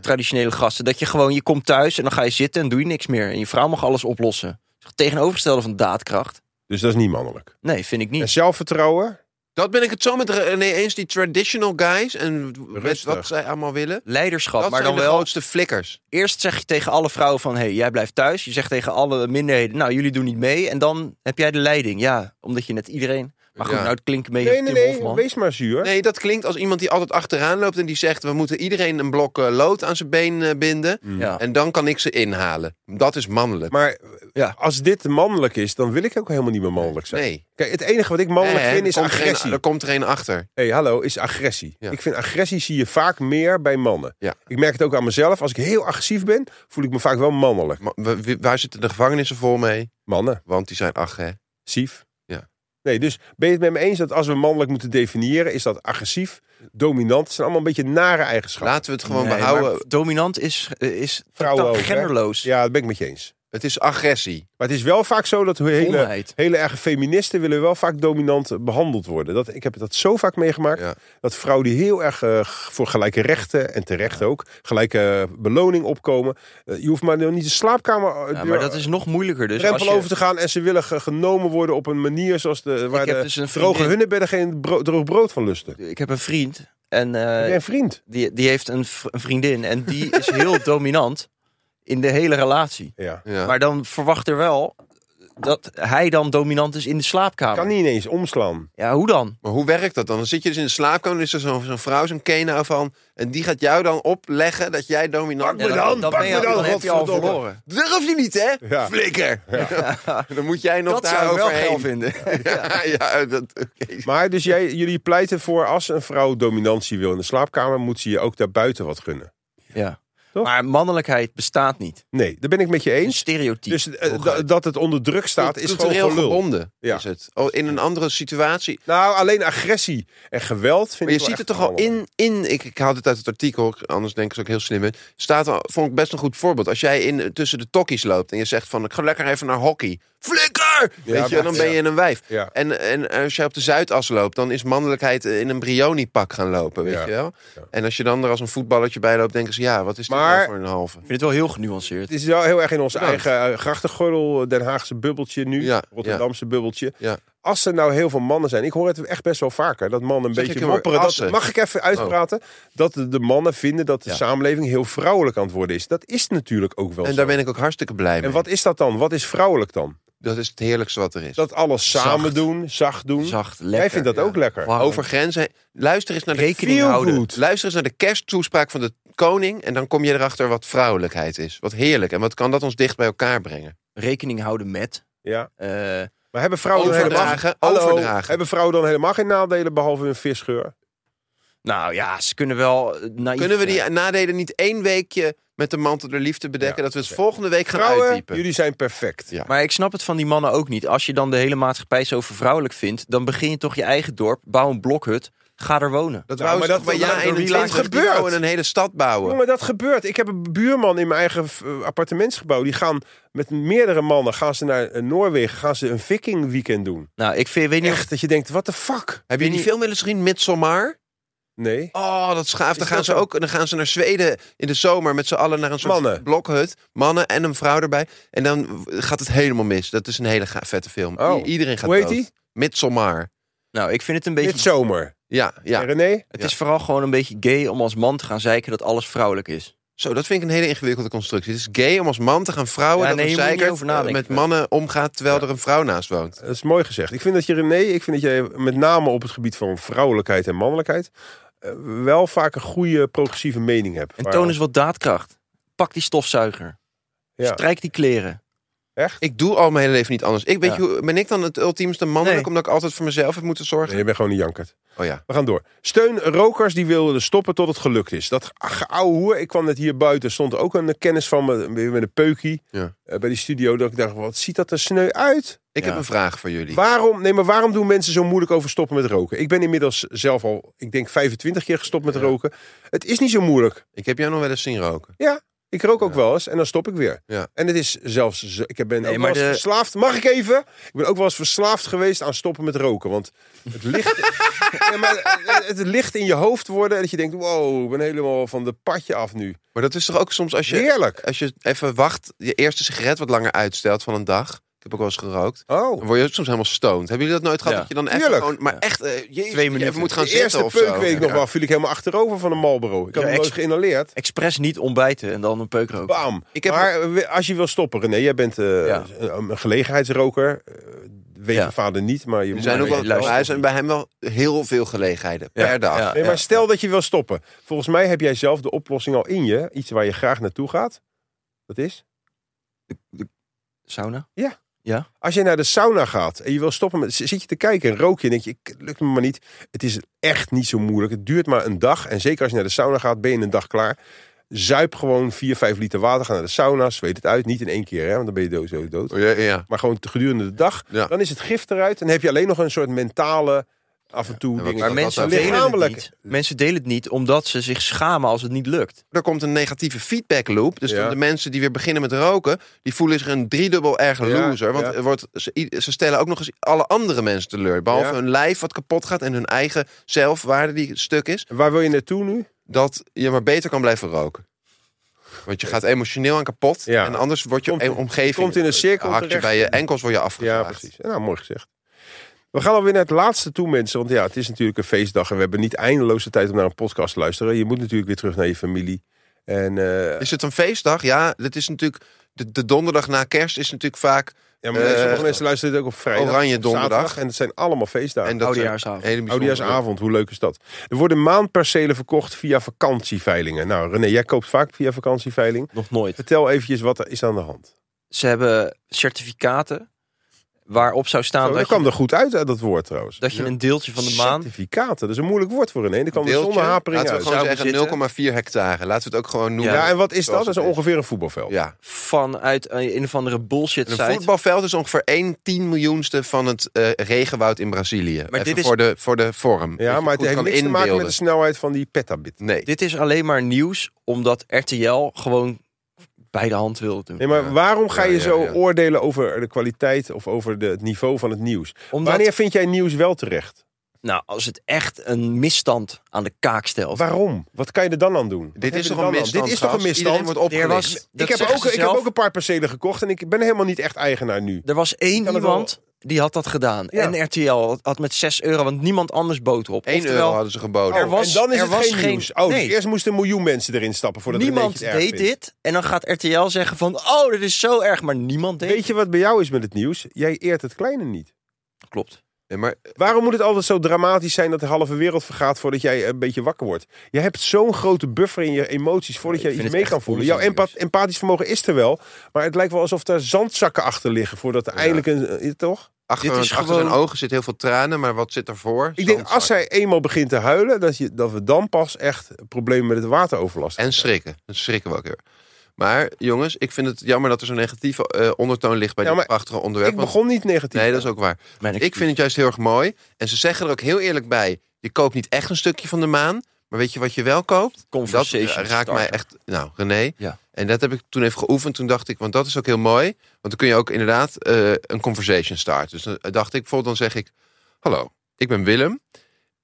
[SPEAKER 4] Traditionele gasten. Dat je gewoon, je komt thuis en dan ga je zitten en doe je niks meer. En je vrouw mag alles oplossen. Dat is het tegenovergestelde van daadkracht.
[SPEAKER 2] Dus dat is niet mannelijk.
[SPEAKER 4] Nee, vind ik
[SPEAKER 2] En
[SPEAKER 4] niet.
[SPEAKER 2] zelfvertrouwen?
[SPEAKER 3] Dat ben ik het zo met René eens, die traditional guys en met
[SPEAKER 2] Rustig.
[SPEAKER 3] wat zij allemaal willen.
[SPEAKER 4] Leiderschap,
[SPEAKER 3] Dat
[SPEAKER 4] maar
[SPEAKER 3] zijn
[SPEAKER 4] dan
[SPEAKER 3] de
[SPEAKER 4] wel.
[SPEAKER 3] grootste flikkers.
[SPEAKER 4] Eerst zeg je tegen alle vrouwen van, hé, hey, jij blijft thuis. Je zegt tegen alle minderheden, nou, jullie doen niet mee. En dan heb jij de leiding. Ja, omdat je net iedereen... Maar goed,
[SPEAKER 3] Ja.
[SPEAKER 4] nou, het klinkt een beetje
[SPEAKER 2] Nee, nee,
[SPEAKER 4] Tim
[SPEAKER 2] nee,
[SPEAKER 4] Hofman.
[SPEAKER 2] wees maar zuur.
[SPEAKER 3] Nee, dat klinkt als iemand die altijd achteraan loopt en die zegt... we moeten iedereen een blok eh, lood aan zijn been eh, binden...
[SPEAKER 4] Mm. Ja.
[SPEAKER 3] en dan kan ik ze inhalen. Dat is mannelijk.
[SPEAKER 2] Maar eh,
[SPEAKER 4] Ja.
[SPEAKER 2] als dit mannelijk is, dan wil ik ook helemaal niet meer mannelijk zijn.
[SPEAKER 3] nee.
[SPEAKER 2] Kijk, het enige wat ik mannelijk
[SPEAKER 3] Nee, hè,
[SPEAKER 2] vind is
[SPEAKER 3] er komt er een-
[SPEAKER 2] agressie.
[SPEAKER 3] er komt er een achter.
[SPEAKER 2] Hé, hallo, is agressie.
[SPEAKER 3] Ja.
[SPEAKER 2] Ik vind agressie zie je vaak meer bij mannen.
[SPEAKER 3] Ja.
[SPEAKER 2] Ik merk het ook aan mezelf. Als ik heel agressief ben, voel ik me vaak wel mannelijk.
[SPEAKER 3] Maar we- we- waar zitten de gevangenissen vol mee?
[SPEAKER 2] Mannen,
[SPEAKER 3] Want die zijn ach, hè?
[SPEAKER 2] agressief.
[SPEAKER 3] Ja.
[SPEAKER 2] Nee, dus ben je het met me eens dat als we mannelijk moeten definiëren, is dat agressief, dominant. Het zijn allemaal een beetje nare eigenschappen.
[SPEAKER 3] Laten we het gewoon
[SPEAKER 4] Nee,
[SPEAKER 3] behouden.
[SPEAKER 4] maar dominant is, eh, is
[SPEAKER 2] Vrouwen
[SPEAKER 4] totaal
[SPEAKER 2] ook, hè?
[SPEAKER 4] genderloos.
[SPEAKER 2] Ja, dat ben ik met je eens.
[SPEAKER 3] Het is agressie.
[SPEAKER 2] Maar het is wel vaak zo dat hele,
[SPEAKER 4] Domheid.
[SPEAKER 2] hele erge feministen willen wel vaak dominant behandeld worden. Dat, ik heb dat zo vaak meegemaakt.
[SPEAKER 3] Ja.
[SPEAKER 2] Dat vrouwen die heel erg eh, voor gelijke rechten, en terecht ook, gelijke beloning opkomen. Eh, je hoeft maar nog niet de slaapkamer eh,
[SPEAKER 4] Ja, maar dat is nog moeilijker. Dus als
[SPEAKER 2] drempel
[SPEAKER 4] je,
[SPEAKER 2] over te gaan. En ze willen ge- genomen worden op een manier zoals de, waar
[SPEAKER 4] Ik heb
[SPEAKER 2] de
[SPEAKER 4] dus een
[SPEAKER 2] droge
[SPEAKER 4] vriendin.
[SPEAKER 2] hunnenbedden geen bro- droog brood van lusten.
[SPEAKER 4] Ik heb een vriend en eh,
[SPEAKER 2] Heb jij een vriend?
[SPEAKER 4] die, die heeft een, v- een vriendin en die is heel dominant in de hele relatie.
[SPEAKER 2] Ja.
[SPEAKER 3] Ja.
[SPEAKER 4] Maar dan verwacht er wel dat hij dan dominant is in de slaapkamer.
[SPEAKER 2] Kan niet ineens omslaan.
[SPEAKER 4] Ja, hoe dan?
[SPEAKER 3] Maar hoe werkt dat dan? Dan zit je dus in de slaapkamer, dan is er zo'n zo'n vrouw, zo'n kena van... en die gaat jou dan opleggen dat jij dominant
[SPEAKER 4] Ja,
[SPEAKER 3] bent.
[SPEAKER 4] dan, dan, ben je,
[SPEAKER 2] me dan,
[SPEAKER 4] dan heb je al
[SPEAKER 2] godverdomme.
[SPEAKER 4] verloren.
[SPEAKER 3] Durf je niet, hè?
[SPEAKER 2] Ja.
[SPEAKER 3] Flikker! dan moet jij nog
[SPEAKER 4] Dat
[SPEAKER 3] daar
[SPEAKER 4] zou ik wel
[SPEAKER 3] overheen.
[SPEAKER 4] geil vinden.
[SPEAKER 3] Ja, ja, dat, oké.
[SPEAKER 2] Maar dus jij, jullie pleiten voor als een vrouw dominantie wil in de slaapkamer, moet ze je ook daarbuiten wat gunnen.
[SPEAKER 4] Ja.
[SPEAKER 2] Toch?
[SPEAKER 4] Maar mannelijkheid bestaat niet.
[SPEAKER 2] Nee, daar ben ik met je
[SPEAKER 4] Een
[SPEAKER 2] eens.
[SPEAKER 4] stereotype.
[SPEAKER 2] Dus eh, da- dat het onder druk staat is gewoon
[SPEAKER 3] Cultureel
[SPEAKER 2] gelul.
[SPEAKER 3] gebonden
[SPEAKER 2] Ja.
[SPEAKER 3] is het. Oh, in een andere situatie.
[SPEAKER 2] Nou, alleen agressie en geweld vind
[SPEAKER 3] Maar je
[SPEAKER 2] ik wel
[SPEAKER 3] ziet het
[SPEAKER 2] echt
[SPEAKER 3] toch al
[SPEAKER 2] allemaal.
[SPEAKER 3] in... in ik, ik haal dit uit het artikel, anders denk ik dat ik heel slim ben. Staat al, vond ik best een goed voorbeeld. Als jij in, tussen de tokkies loopt en je zegt van... ik ga lekker even naar hockey. Flikker! Weet je,
[SPEAKER 2] maar-
[SPEAKER 3] dan ben je een wijf.
[SPEAKER 2] Ja.
[SPEAKER 3] En, en als jij op de Zuidas loopt, dan is mannelijkheid in een brioni-pak gaan lopen, weet
[SPEAKER 2] Ja.
[SPEAKER 3] je wel?
[SPEAKER 2] Ja.
[SPEAKER 3] En als je dan er als een voetballertje bij loopt, denken ze... ja, wat is dit
[SPEAKER 2] Maar-
[SPEAKER 3] nou voor een halve?
[SPEAKER 4] Ik vind het wel heel genuanceerd.
[SPEAKER 2] Het is wel heel erg in ons
[SPEAKER 3] Bedankt.
[SPEAKER 2] eigen eh, grachtengordel, Den Haagse bubbeltje nu,
[SPEAKER 3] Ja,
[SPEAKER 2] Rotterdamse bubbeltje.
[SPEAKER 3] Ja.
[SPEAKER 2] Als er nou heel veel mannen zijn, ik hoor het echt best wel vaker, dat mannen een
[SPEAKER 3] Zeg ik Oh.
[SPEAKER 2] beetje
[SPEAKER 3] hem maar,
[SPEAKER 2] mopperen. Dat,
[SPEAKER 3] assen.
[SPEAKER 2] mag ik even uitpraten? Dat de, de mannen vinden dat de
[SPEAKER 4] Ja.
[SPEAKER 2] samenleving heel vrouwelijk aan het worden is. Dat is natuurlijk ook wel
[SPEAKER 3] En
[SPEAKER 2] zo.
[SPEAKER 3] daar ben ik ook hartstikke blij mee.
[SPEAKER 2] En wat is dat dan? Wat is vrouwelijk dan?
[SPEAKER 3] Dat is het heerlijkste wat er is.
[SPEAKER 2] Dat alles
[SPEAKER 4] Zacht.
[SPEAKER 2] samen doen, zacht doen.
[SPEAKER 4] Zacht,
[SPEAKER 2] Jij
[SPEAKER 4] lekker.
[SPEAKER 2] vindt dat
[SPEAKER 3] ja.
[SPEAKER 2] ook lekker.
[SPEAKER 4] Warm.
[SPEAKER 3] Over grenzen. Luister eens naar de
[SPEAKER 4] Rekening
[SPEAKER 3] Feel
[SPEAKER 4] houden.
[SPEAKER 3] good. Luister eens naar de kersttoespraak van de koning. En dan kom je erachter wat vrouwelijkheid is. Wat heerlijk. En wat kan dat ons dicht bij elkaar brengen?
[SPEAKER 4] Rekening houden met.
[SPEAKER 2] Ja.
[SPEAKER 4] eh,
[SPEAKER 2] Maar hebben vrouwen dan helemaal...
[SPEAKER 3] Overdragen.
[SPEAKER 2] Hallo,
[SPEAKER 3] overdragen.
[SPEAKER 2] hebben vrouwen dan helemaal geen nadelen behalve hun visgeur?
[SPEAKER 4] Nou ja, ze kunnen wel eh, naïef
[SPEAKER 3] Kunnen we die
[SPEAKER 4] zijn.
[SPEAKER 3] nadelen niet één weekje met de mantel der liefde bedekken?
[SPEAKER 2] Ja,
[SPEAKER 3] dat we het
[SPEAKER 2] oké.
[SPEAKER 3] volgende week gaan
[SPEAKER 2] Vrouwen,
[SPEAKER 3] uitdiepen.
[SPEAKER 2] jullie zijn perfect.
[SPEAKER 3] Ja.
[SPEAKER 4] Maar ik snap het van die mannen ook niet. Als je dan de hele maatschappij zo vervrouwelijk vindt, dan begin je toch je eigen dorp, bouw een blokhut, ga er wonen.
[SPEAKER 3] Dat
[SPEAKER 2] Nou,
[SPEAKER 3] wou
[SPEAKER 2] maar
[SPEAKER 3] ze
[SPEAKER 2] dat-
[SPEAKER 3] toch bij
[SPEAKER 2] dat-
[SPEAKER 3] ja
[SPEAKER 2] dat-
[SPEAKER 3] 21
[SPEAKER 2] dat
[SPEAKER 3] die
[SPEAKER 2] gebeurt.
[SPEAKER 3] bouwen een hele stad bouwen.
[SPEAKER 2] Jongen, dat gebeurt. Ik heb een buurman in mijn eigen eh, appartementsgebouw. Die gaan met meerdere mannen gaan ze naar eh, Noorwegen. Gaan ze een viking weekend doen.
[SPEAKER 4] Nou, ik vind, weet niet of...
[SPEAKER 2] Echt, dat je denkt, what the fuck?
[SPEAKER 3] Heb je die film wel eens gezien, Midsommar?
[SPEAKER 2] Nee.
[SPEAKER 3] Oh, dat schaaf. Dan
[SPEAKER 2] Is
[SPEAKER 3] gaan
[SPEAKER 2] dat
[SPEAKER 3] ze
[SPEAKER 2] zo?
[SPEAKER 3] ook dan gaan ze naar Zweden in de zomer met z'n allen naar een soort
[SPEAKER 2] Mannen.
[SPEAKER 3] blokhut. Mannen en een vrouw erbij. En dan gaat het helemaal mis. Dat is een hele ga- vette film. I-
[SPEAKER 2] Oh.
[SPEAKER 3] Iedereen gaat
[SPEAKER 2] Hoe heet
[SPEAKER 3] dood.
[SPEAKER 2] die?
[SPEAKER 3] Midsommar.
[SPEAKER 4] Nou, ik vind het een beetje...
[SPEAKER 2] Dit zomer.
[SPEAKER 3] Ja,
[SPEAKER 2] En
[SPEAKER 3] ja.
[SPEAKER 2] René?
[SPEAKER 4] Het is vooral gewoon een beetje gay om als man te gaan zeiken dat alles vrouwelijk is.
[SPEAKER 3] Zo, dat vind ik een hele ingewikkelde constructie. Het is gay om als man te gaan vrouwen
[SPEAKER 4] Ja,
[SPEAKER 3] dat
[SPEAKER 4] nee,
[SPEAKER 3] een
[SPEAKER 4] je moet er niet
[SPEAKER 3] zeikert,
[SPEAKER 4] over nadenken.
[SPEAKER 3] eh, met mannen omgaat terwijl er een vrouw naast woont.
[SPEAKER 2] Dat is mooi gezegd. Ik vind dat je René, ik vind dat jij met name op het gebied van vrouwelijkheid en mannelijkheid eh, wel vaak een goede progressieve mening hebt.
[SPEAKER 4] En
[SPEAKER 2] Waar-
[SPEAKER 4] toon is wat daadkracht. Pak die stofzuiger.
[SPEAKER 2] ja.
[SPEAKER 4] Strijk die kleren.
[SPEAKER 2] echt.
[SPEAKER 3] Ik doe al mijn hele leven niet anders. Ik, weet
[SPEAKER 4] Ja.
[SPEAKER 3] je, hoe- ben ik dan het ultiemste mannelijk
[SPEAKER 4] Nee.
[SPEAKER 3] omdat ik altijd voor mezelf heb moeten zorgen?
[SPEAKER 2] Nee, je bent gewoon een jankert.
[SPEAKER 3] Oh ja.
[SPEAKER 2] We gaan door. Steun rokers die wilden stoppen tot het gelukt is. Dat geouwe hoer. Ik kwam net hier buiten. Stond ook een kennis van me weer met een peukie.
[SPEAKER 3] Ja.
[SPEAKER 2] eh, bij die studio. Dat ik dacht, wat ziet dat er sneu uit?
[SPEAKER 3] Ik heb een vraag voor jullie.
[SPEAKER 2] Waarom, nee, maar waarom doen mensen zo moeilijk over stoppen met roken? Ik ben inmiddels zelf al, ik denk 25 keer gestopt met roken. Het is niet zo moeilijk.
[SPEAKER 3] Ik heb jou nog wel eens zien roken.
[SPEAKER 2] Ik rook ook wel eens en dan stop ik weer.
[SPEAKER 3] Ja.
[SPEAKER 2] En het is zelfs, zo- ik ben ook
[SPEAKER 4] maar
[SPEAKER 2] wel eens
[SPEAKER 4] de-
[SPEAKER 2] verslaafd. Mag ik even? Ik ben ook wel eens verslaafd geweest aan stoppen met roken. Want het ligt, Ja, maar het, het ligt in je hoofd worden. Dat je denkt, wow, ik ben helemaal van de padje af nu.
[SPEAKER 3] Maar dat is toch ook soms als je,
[SPEAKER 2] Heerlijk.
[SPEAKER 3] als je even wacht, je eerste sigaret wat langer uitstelt van een dag. Ik heb ook wel eens gerookt. Dan
[SPEAKER 2] Oh,
[SPEAKER 3] word je ook soms helemaal stoned. Hebben jullie dat nooit gehad?
[SPEAKER 4] Ja.
[SPEAKER 3] dat je dan even
[SPEAKER 2] Tuurlijk.
[SPEAKER 3] gewoon, maar echt, eh, jezus, dat je
[SPEAKER 4] minuten.
[SPEAKER 3] even moet gaan
[SPEAKER 2] de eerste
[SPEAKER 3] zitten of zo.
[SPEAKER 2] peuk weet ik nog wel. Viel ik helemaal achterover van de Marlboro. Ik had
[SPEAKER 4] Ja,
[SPEAKER 2] hem nooit
[SPEAKER 4] ex-
[SPEAKER 2] geïnhaleerd.
[SPEAKER 4] Expres niet ontbijten en dan een peuk roken.
[SPEAKER 2] Bam.
[SPEAKER 3] Ik heb-
[SPEAKER 2] maar eh, we- als je wil stoppen, René, jij bent eh,
[SPEAKER 4] Ja.
[SPEAKER 2] een een gelegenheidsroker. Eh, Weet
[SPEAKER 4] Ja.
[SPEAKER 2] je vader niet, maar je
[SPEAKER 3] Er
[SPEAKER 2] moet-
[SPEAKER 3] zijn ook wel,
[SPEAKER 4] luister.
[SPEAKER 3] maar er zijn bij hem wel heel veel gelegenheden
[SPEAKER 4] Ja,
[SPEAKER 3] per dag.
[SPEAKER 4] ja,
[SPEAKER 2] Nee, maar
[SPEAKER 4] ja.
[SPEAKER 2] stel dat je wil stoppen. Volgens mij heb jij zelf de oplossing al in je. Iets waar je graag naartoe gaat. Dat is?
[SPEAKER 4] Sauna?
[SPEAKER 2] Als je naar de sauna gaat en je wil stoppen met... Zit je te kijken en rook je en denk je, "Ik- lukt me maar niet. Het is echt niet zo moeilijk. Het duurt maar een dag. En zeker als je naar de sauna gaat, ben je in een dag klaar. Zuip gewoon 4, 5 liter water. Ga naar de sauna, zweet het uit. Niet in één keer, hè, want dan ben je dood- zo dood.
[SPEAKER 3] Oh, ja, ja.
[SPEAKER 2] maar gewoon te- gedurende de dag,
[SPEAKER 3] Ja.
[SPEAKER 2] dan is het gif eruit. En heb je alleen nog een soort mentale af en toe
[SPEAKER 3] Ja,
[SPEAKER 2] ding.
[SPEAKER 3] wat-
[SPEAKER 4] Maar
[SPEAKER 3] dat
[SPEAKER 4] mensen
[SPEAKER 3] was
[SPEAKER 4] delen, het
[SPEAKER 2] lichamelijk.
[SPEAKER 4] niet. mensen delen het niet omdat ze zich schamen als het niet lukt.
[SPEAKER 3] Er komt een negatieve feedback loop. Dus dan
[SPEAKER 2] Ja.
[SPEAKER 3] de mensen die weer beginnen met roken, die voelen zich een driedubbel erg
[SPEAKER 2] Ja,
[SPEAKER 3] loser. Want
[SPEAKER 2] ja.
[SPEAKER 3] er wordt, ze, i- ze stellen ook nog eens alle andere mensen teleur. Behalve
[SPEAKER 2] Ja.
[SPEAKER 3] hun lijf wat kapot gaat en hun eigen zelfwaarde die stuk is.
[SPEAKER 2] Waar wil je naartoe nu?
[SPEAKER 3] dat je maar beter kan blijven roken. Want je gaat emotioneel aan kapot.
[SPEAKER 2] Ja.
[SPEAKER 3] En anders wordt je
[SPEAKER 2] Komt-
[SPEAKER 3] e- omgeving...
[SPEAKER 2] komt in een cirkel
[SPEAKER 3] Hakt je
[SPEAKER 2] terecht.
[SPEAKER 3] bij je enkels, word je
[SPEAKER 2] Ja,
[SPEAKER 3] afgeslagen.
[SPEAKER 2] precies. Nou, mooi gezegd. We gaan alweer naar het laatste toe, mensen. Want ja, het is natuurlijk een feestdag en we hebben niet eindeloze tijd om naar een podcast te luisteren. Je moet natuurlijk weer terug naar je familie. En, eh,
[SPEAKER 3] Is het een feestdag? Ja, dat is natuurlijk... De, de donderdag na kerst is natuurlijk vaak...
[SPEAKER 2] ja, maar sommige
[SPEAKER 3] eh,
[SPEAKER 2] mensen luisteren dit ook op vrijdag.
[SPEAKER 3] Oranje
[SPEAKER 2] op
[SPEAKER 3] donderdag.
[SPEAKER 2] zaterdag. En het zijn allemaal feestdagen.
[SPEAKER 3] En
[SPEAKER 2] En
[SPEAKER 3] dat zijn
[SPEAKER 4] Oudejaarsavond.
[SPEAKER 3] hele bijzondere-
[SPEAKER 2] Oudejaarsavond, hoe leuk Oh, is dat? Er worden maandpercelen verkocht via vakantieveilingen. Nou, René, jij koopt vaak via vakantieveiling.
[SPEAKER 4] Nog nooit.
[SPEAKER 2] Vertel eventjes wat er is aan de hand.
[SPEAKER 4] Ze hebben certificaten waarop zou staan
[SPEAKER 2] Zo, dat
[SPEAKER 4] Ah, dat,
[SPEAKER 2] kwam
[SPEAKER 4] je,
[SPEAKER 2] er goed uit, uit dat woord trouwens.
[SPEAKER 4] dat je een deeltje van de maan...
[SPEAKER 2] Certificaten, dat is een moeilijk woord voor René. Dat kwam er
[SPEAKER 3] Deeltje.
[SPEAKER 2] zonder hapering
[SPEAKER 3] Laten we
[SPEAKER 2] uit.
[SPEAKER 4] Zou
[SPEAKER 3] gewoon
[SPEAKER 4] bezitten.
[SPEAKER 3] zeggen 0,4 hectare. Laten we het ook gewoon noemen.
[SPEAKER 2] Ja, en wat is dat?
[SPEAKER 3] Zoals
[SPEAKER 2] Dat is
[SPEAKER 3] het
[SPEAKER 2] ongeveer een voetbalveld.
[SPEAKER 3] Ja.
[SPEAKER 4] vanuit een, een of andere bullshit
[SPEAKER 3] Een
[SPEAKER 4] site.
[SPEAKER 3] voetbalveld is ongeveer 1 10 miljoenste van het eh, regenwoud in Brazilië. Maar
[SPEAKER 4] dit is-
[SPEAKER 3] voor, de, voor de vorm. Dat
[SPEAKER 2] Ja,
[SPEAKER 3] je
[SPEAKER 2] maar het
[SPEAKER 3] goed
[SPEAKER 2] heeft
[SPEAKER 3] kan
[SPEAKER 2] niks te maken met de
[SPEAKER 3] inbeelden.
[SPEAKER 2] snelheid van die petabit.
[SPEAKER 3] Nee.
[SPEAKER 4] Dit is alleen maar nieuws omdat RTL gewoon bij de hand wil doen.
[SPEAKER 2] Nee, maar
[SPEAKER 3] Ja.
[SPEAKER 2] waarom ga
[SPEAKER 3] Ja,
[SPEAKER 2] je
[SPEAKER 3] ja,
[SPEAKER 2] zo
[SPEAKER 3] ja.
[SPEAKER 2] oordelen over de kwaliteit of over de, het niveau van het nieuws?
[SPEAKER 4] Omdat,
[SPEAKER 2] Wanneer vind jij nieuws wel terecht?
[SPEAKER 4] nou, als het echt een misstand aan de kaak stelt.
[SPEAKER 2] Waarom? Wat kan je er dan aan doen? Wat
[SPEAKER 3] Dit
[SPEAKER 2] heb
[SPEAKER 3] is
[SPEAKER 2] je er
[SPEAKER 3] toch een
[SPEAKER 2] dan aan?
[SPEAKER 3] misstand?
[SPEAKER 2] Dit is toch een
[SPEAKER 3] gast? Iedereen
[SPEAKER 2] misstand?
[SPEAKER 3] wordt
[SPEAKER 4] Er
[SPEAKER 3] opgelicht.
[SPEAKER 4] was, dat
[SPEAKER 2] Ik heb,
[SPEAKER 4] zeggen
[SPEAKER 2] ook,
[SPEAKER 4] ze
[SPEAKER 2] ik heb
[SPEAKER 4] zelf.
[SPEAKER 2] ook een paar percelen gekocht en ik ben helemaal niet echt eigenaar nu.
[SPEAKER 4] Er was één
[SPEAKER 2] kan het
[SPEAKER 4] iemand die had dat gedaan.
[SPEAKER 2] Ja.
[SPEAKER 4] En RTL had- had met 6 euro, want niemand anders bood op.
[SPEAKER 3] 1
[SPEAKER 4] Oftewel,
[SPEAKER 3] euro hadden ze geboden.
[SPEAKER 4] er
[SPEAKER 2] Oh,
[SPEAKER 4] was-
[SPEAKER 2] en dan is
[SPEAKER 4] er
[SPEAKER 2] het
[SPEAKER 4] was
[SPEAKER 2] geen,
[SPEAKER 4] geen-
[SPEAKER 2] nieuws. Oh, dus
[SPEAKER 4] nee.
[SPEAKER 2] eerst moesten een miljoen mensen erin stappen voordat
[SPEAKER 4] niemand
[SPEAKER 2] Renéetje het erg
[SPEAKER 4] deed
[SPEAKER 2] vindt.
[SPEAKER 4] dit. En dan gaat RTL zeggen van, oh, dit is zo erg. Maar niemand deed
[SPEAKER 2] Weet je wat bij jou is met het nieuws? Jij eert het kleine niet.
[SPEAKER 4] het. Klopt.
[SPEAKER 3] Nee, maar
[SPEAKER 2] Waarom moet het altijd zo dramatisch zijn dat de halve wereld vergaat voordat jij een beetje wakker wordt? Je hebt zo'n grote buffer in je emoties voordat
[SPEAKER 4] Ja, ik
[SPEAKER 2] jij iets
[SPEAKER 4] vind
[SPEAKER 2] mee
[SPEAKER 4] het
[SPEAKER 2] kan
[SPEAKER 4] echt
[SPEAKER 2] voelen. Jouw
[SPEAKER 4] onzin,
[SPEAKER 2] empa- empathisch vermogen is er wel, maar het lijkt wel alsof daar zandzakken achter liggen voordat er eindelijk een... eh, toch?
[SPEAKER 3] achter,
[SPEAKER 4] Dit is
[SPEAKER 3] achter
[SPEAKER 4] gewoon-
[SPEAKER 3] zijn ogen zit heel veel tranen, maar wat zit ervoor?
[SPEAKER 2] Ik denk als
[SPEAKER 3] Zandzak.
[SPEAKER 2] zij eenmaal begint te huilen, dat, je, dat we dan pas echt problemen met het wateroverlast
[SPEAKER 3] En schrikken. Dan schrikken we ook weer. Maar jongens, ik vind het jammer dat er zo'n negatieve eh, ondertoon ligt bij
[SPEAKER 2] Ja,
[SPEAKER 3] dit
[SPEAKER 2] maar
[SPEAKER 3] prachtige onderwerp.
[SPEAKER 2] Ik
[SPEAKER 3] want-
[SPEAKER 2] begon niet negatief.
[SPEAKER 3] Nee, dat is ook waar.
[SPEAKER 4] Mijn
[SPEAKER 3] Ik vind het juist heel erg mooi. En ze zeggen er ook heel eerlijk bij, je koopt niet echt een stukje van de maan. Maar weet je wat je wel koopt? Dat eh,
[SPEAKER 4] Conversation
[SPEAKER 3] raakt mij
[SPEAKER 4] starter.
[SPEAKER 3] echt... Nou, René.
[SPEAKER 4] Ja.
[SPEAKER 3] En dat heb ik toen even geoefend. Toen dacht ik, want dat is ook heel mooi. Want dan kun je ook inderdaad eh, een conversation starten. Dus dan dacht ik, bijvoorbeeld dan zeg ik... Hallo, ik ben Willem.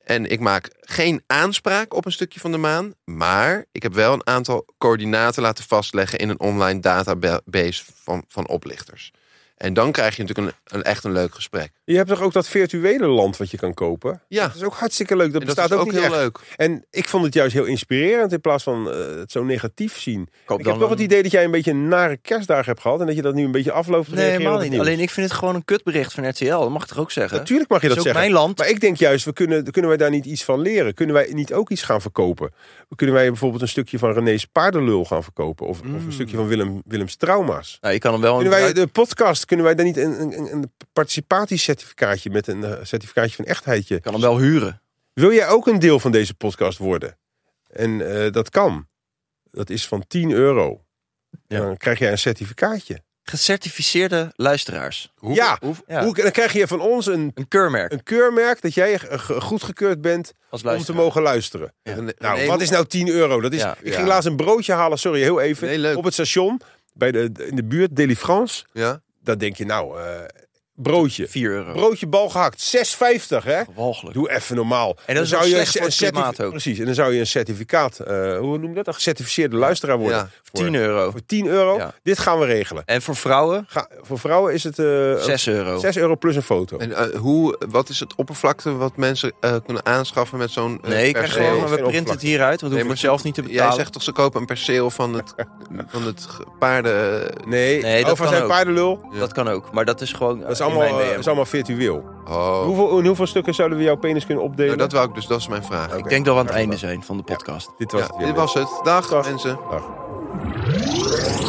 [SPEAKER 3] En ik maak geen aanspraak op een stukje van de maan. Maar ik heb wel een aantal coördinaten laten vastleggen... in een online database van, van oplichters. En dan krijg je natuurlijk een, een echt een leuk gesprek.
[SPEAKER 2] Je hebt toch ook dat virtuele land wat je kan kopen?
[SPEAKER 3] Ja.
[SPEAKER 2] Dat is ook hartstikke leuk. Dat
[SPEAKER 3] En
[SPEAKER 2] bestaat
[SPEAKER 3] is
[SPEAKER 2] ook, niet
[SPEAKER 3] heel
[SPEAKER 2] echt.
[SPEAKER 3] leuk.
[SPEAKER 2] En ik vond het juist heel inspirerend in plaats van eh, het zo negatief zien.
[SPEAKER 4] Koop
[SPEAKER 2] Ik
[SPEAKER 4] dan
[SPEAKER 2] heb toch
[SPEAKER 4] een-
[SPEAKER 2] het idee dat jij een beetje een nare kerstdagen hebt gehad en dat je dat nu een beetje afloopt. te
[SPEAKER 4] Nee,
[SPEAKER 2] reageren op
[SPEAKER 4] helemaal
[SPEAKER 2] het
[SPEAKER 4] niet.
[SPEAKER 2] nieuws.
[SPEAKER 4] Alleen ik vind het gewoon een kutbericht van RTL. Dat mag ik toch ook zeggen?
[SPEAKER 2] Natuurlijk mag je
[SPEAKER 4] Het
[SPEAKER 2] dat
[SPEAKER 4] is ook
[SPEAKER 2] zeggen.
[SPEAKER 4] mijn land.
[SPEAKER 2] Maar ik denk juist, we kunnen, kunnen wij daar niet iets van leren? Kunnen wij niet ook iets gaan verkopen? Kunnen wij bijvoorbeeld een stukje van René's paardenlul gaan verkopen? Of, of
[SPEAKER 4] Hmm.
[SPEAKER 2] een stukje van Willem, Willems trauma's?
[SPEAKER 4] Nou, je kan hem wel...
[SPEAKER 2] Kunnen wij
[SPEAKER 4] een-
[SPEAKER 2] de podcast, kunnen wij daar niet een, een, een participatiecertificaatje met een eh, certificaatje van echtheidje?
[SPEAKER 4] je kan hem wel huren.
[SPEAKER 2] Wil jij ook een deel van deze podcast worden? En eh, dat kan. Dat is van 10 euro.
[SPEAKER 4] Ja.
[SPEAKER 2] Dan krijg jij een certificaatje.
[SPEAKER 4] Gecertificeerde luisteraars.
[SPEAKER 3] Hoe,
[SPEAKER 2] Ja.
[SPEAKER 3] hoe-
[SPEAKER 4] Ja.
[SPEAKER 2] Hoe, dan krijg je van ons een,
[SPEAKER 4] Een keurmerk
[SPEAKER 2] een keurmerk dat jij eh, ge- goedgekeurd bent
[SPEAKER 4] als
[SPEAKER 2] om te
[SPEAKER 4] luisteraar.
[SPEAKER 2] mogen luisteren.
[SPEAKER 4] Ja.
[SPEAKER 3] René-
[SPEAKER 2] Nou,
[SPEAKER 3] René,
[SPEAKER 2] wat is nou 10 euro? Dat is,
[SPEAKER 4] Ja.
[SPEAKER 2] ik
[SPEAKER 3] Ja.
[SPEAKER 2] ging laatst een broodje halen, sorry, heel even.
[SPEAKER 3] Nee, leuk.
[SPEAKER 2] Op het station, bij de, in de buurt, Delivrance.
[SPEAKER 3] Ja?
[SPEAKER 2] Dan denk je, nou, eh, broodje.
[SPEAKER 4] 4 euro.
[SPEAKER 2] Broodje bal gehakt, 6,50 hè?
[SPEAKER 4] Walgelijk.
[SPEAKER 2] Doe even normaal. En
[SPEAKER 4] ook slecht voor het
[SPEAKER 2] certifi-
[SPEAKER 4] klimaat ook.
[SPEAKER 2] Precies, en dan zou je een certificaat, eh, hoe noem je dat? Een gecertificeerde luisteraar worden.
[SPEAKER 3] Ja.
[SPEAKER 2] Voor,
[SPEAKER 4] 10 euro.
[SPEAKER 2] voor 10 euro.
[SPEAKER 4] Ja.
[SPEAKER 2] Dit gaan we regelen.
[SPEAKER 4] En voor vrouwen
[SPEAKER 2] Ga, voor vrouwen is het eh
[SPEAKER 4] 6 euro.
[SPEAKER 2] 6 euro plus een foto.
[SPEAKER 3] En eh, hoe, wat is het oppervlakte wat mensen eh, kunnen aanschaffen met zo'n eh,
[SPEAKER 4] Nee, ik krijg
[SPEAKER 3] perceel?
[SPEAKER 4] gewoon, maar we
[SPEAKER 2] geen
[SPEAKER 4] printen het
[SPEAKER 2] oppervlakte.
[SPEAKER 4] hieruit, want we
[SPEAKER 3] Nee,
[SPEAKER 4] hoeven
[SPEAKER 3] maar
[SPEAKER 4] het zelf niet te betalen.
[SPEAKER 3] Jij zegt toch ze kopen een perceel van het, van het ge- paarden...
[SPEAKER 2] Nee,
[SPEAKER 4] Nee, dat
[SPEAKER 2] over
[SPEAKER 4] kan
[SPEAKER 2] zijn
[SPEAKER 4] ook.
[SPEAKER 2] paardenlul.
[SPEAKER 4] Dat kan ook, maar dat is gewoon...
[SPEAKER 2] Dat is allemaal, eh, is allemaal virtueel.
[SPEAKER 3] Oh.
[SPEAKER 2] Hoeveel, in hoeveel stukken zouden we jouw penis kunnen opdelen?
[SPEAKER 3] Nou, dat wou ik dus, dat is mijn vraag.
[SPEAKER 4] Ik denk dat we aan het einde zijn van de podcast.
[SPEAKER 2] Dit was
[SPEAKER 3] Ja,
[SPEAKER 2] het weer.
[SPEAKER 3] dit was het. Dag,
[SPEAKER 2] Dag.
[SPEAKER 3] mensen.
[SPEAKER 2] Dag.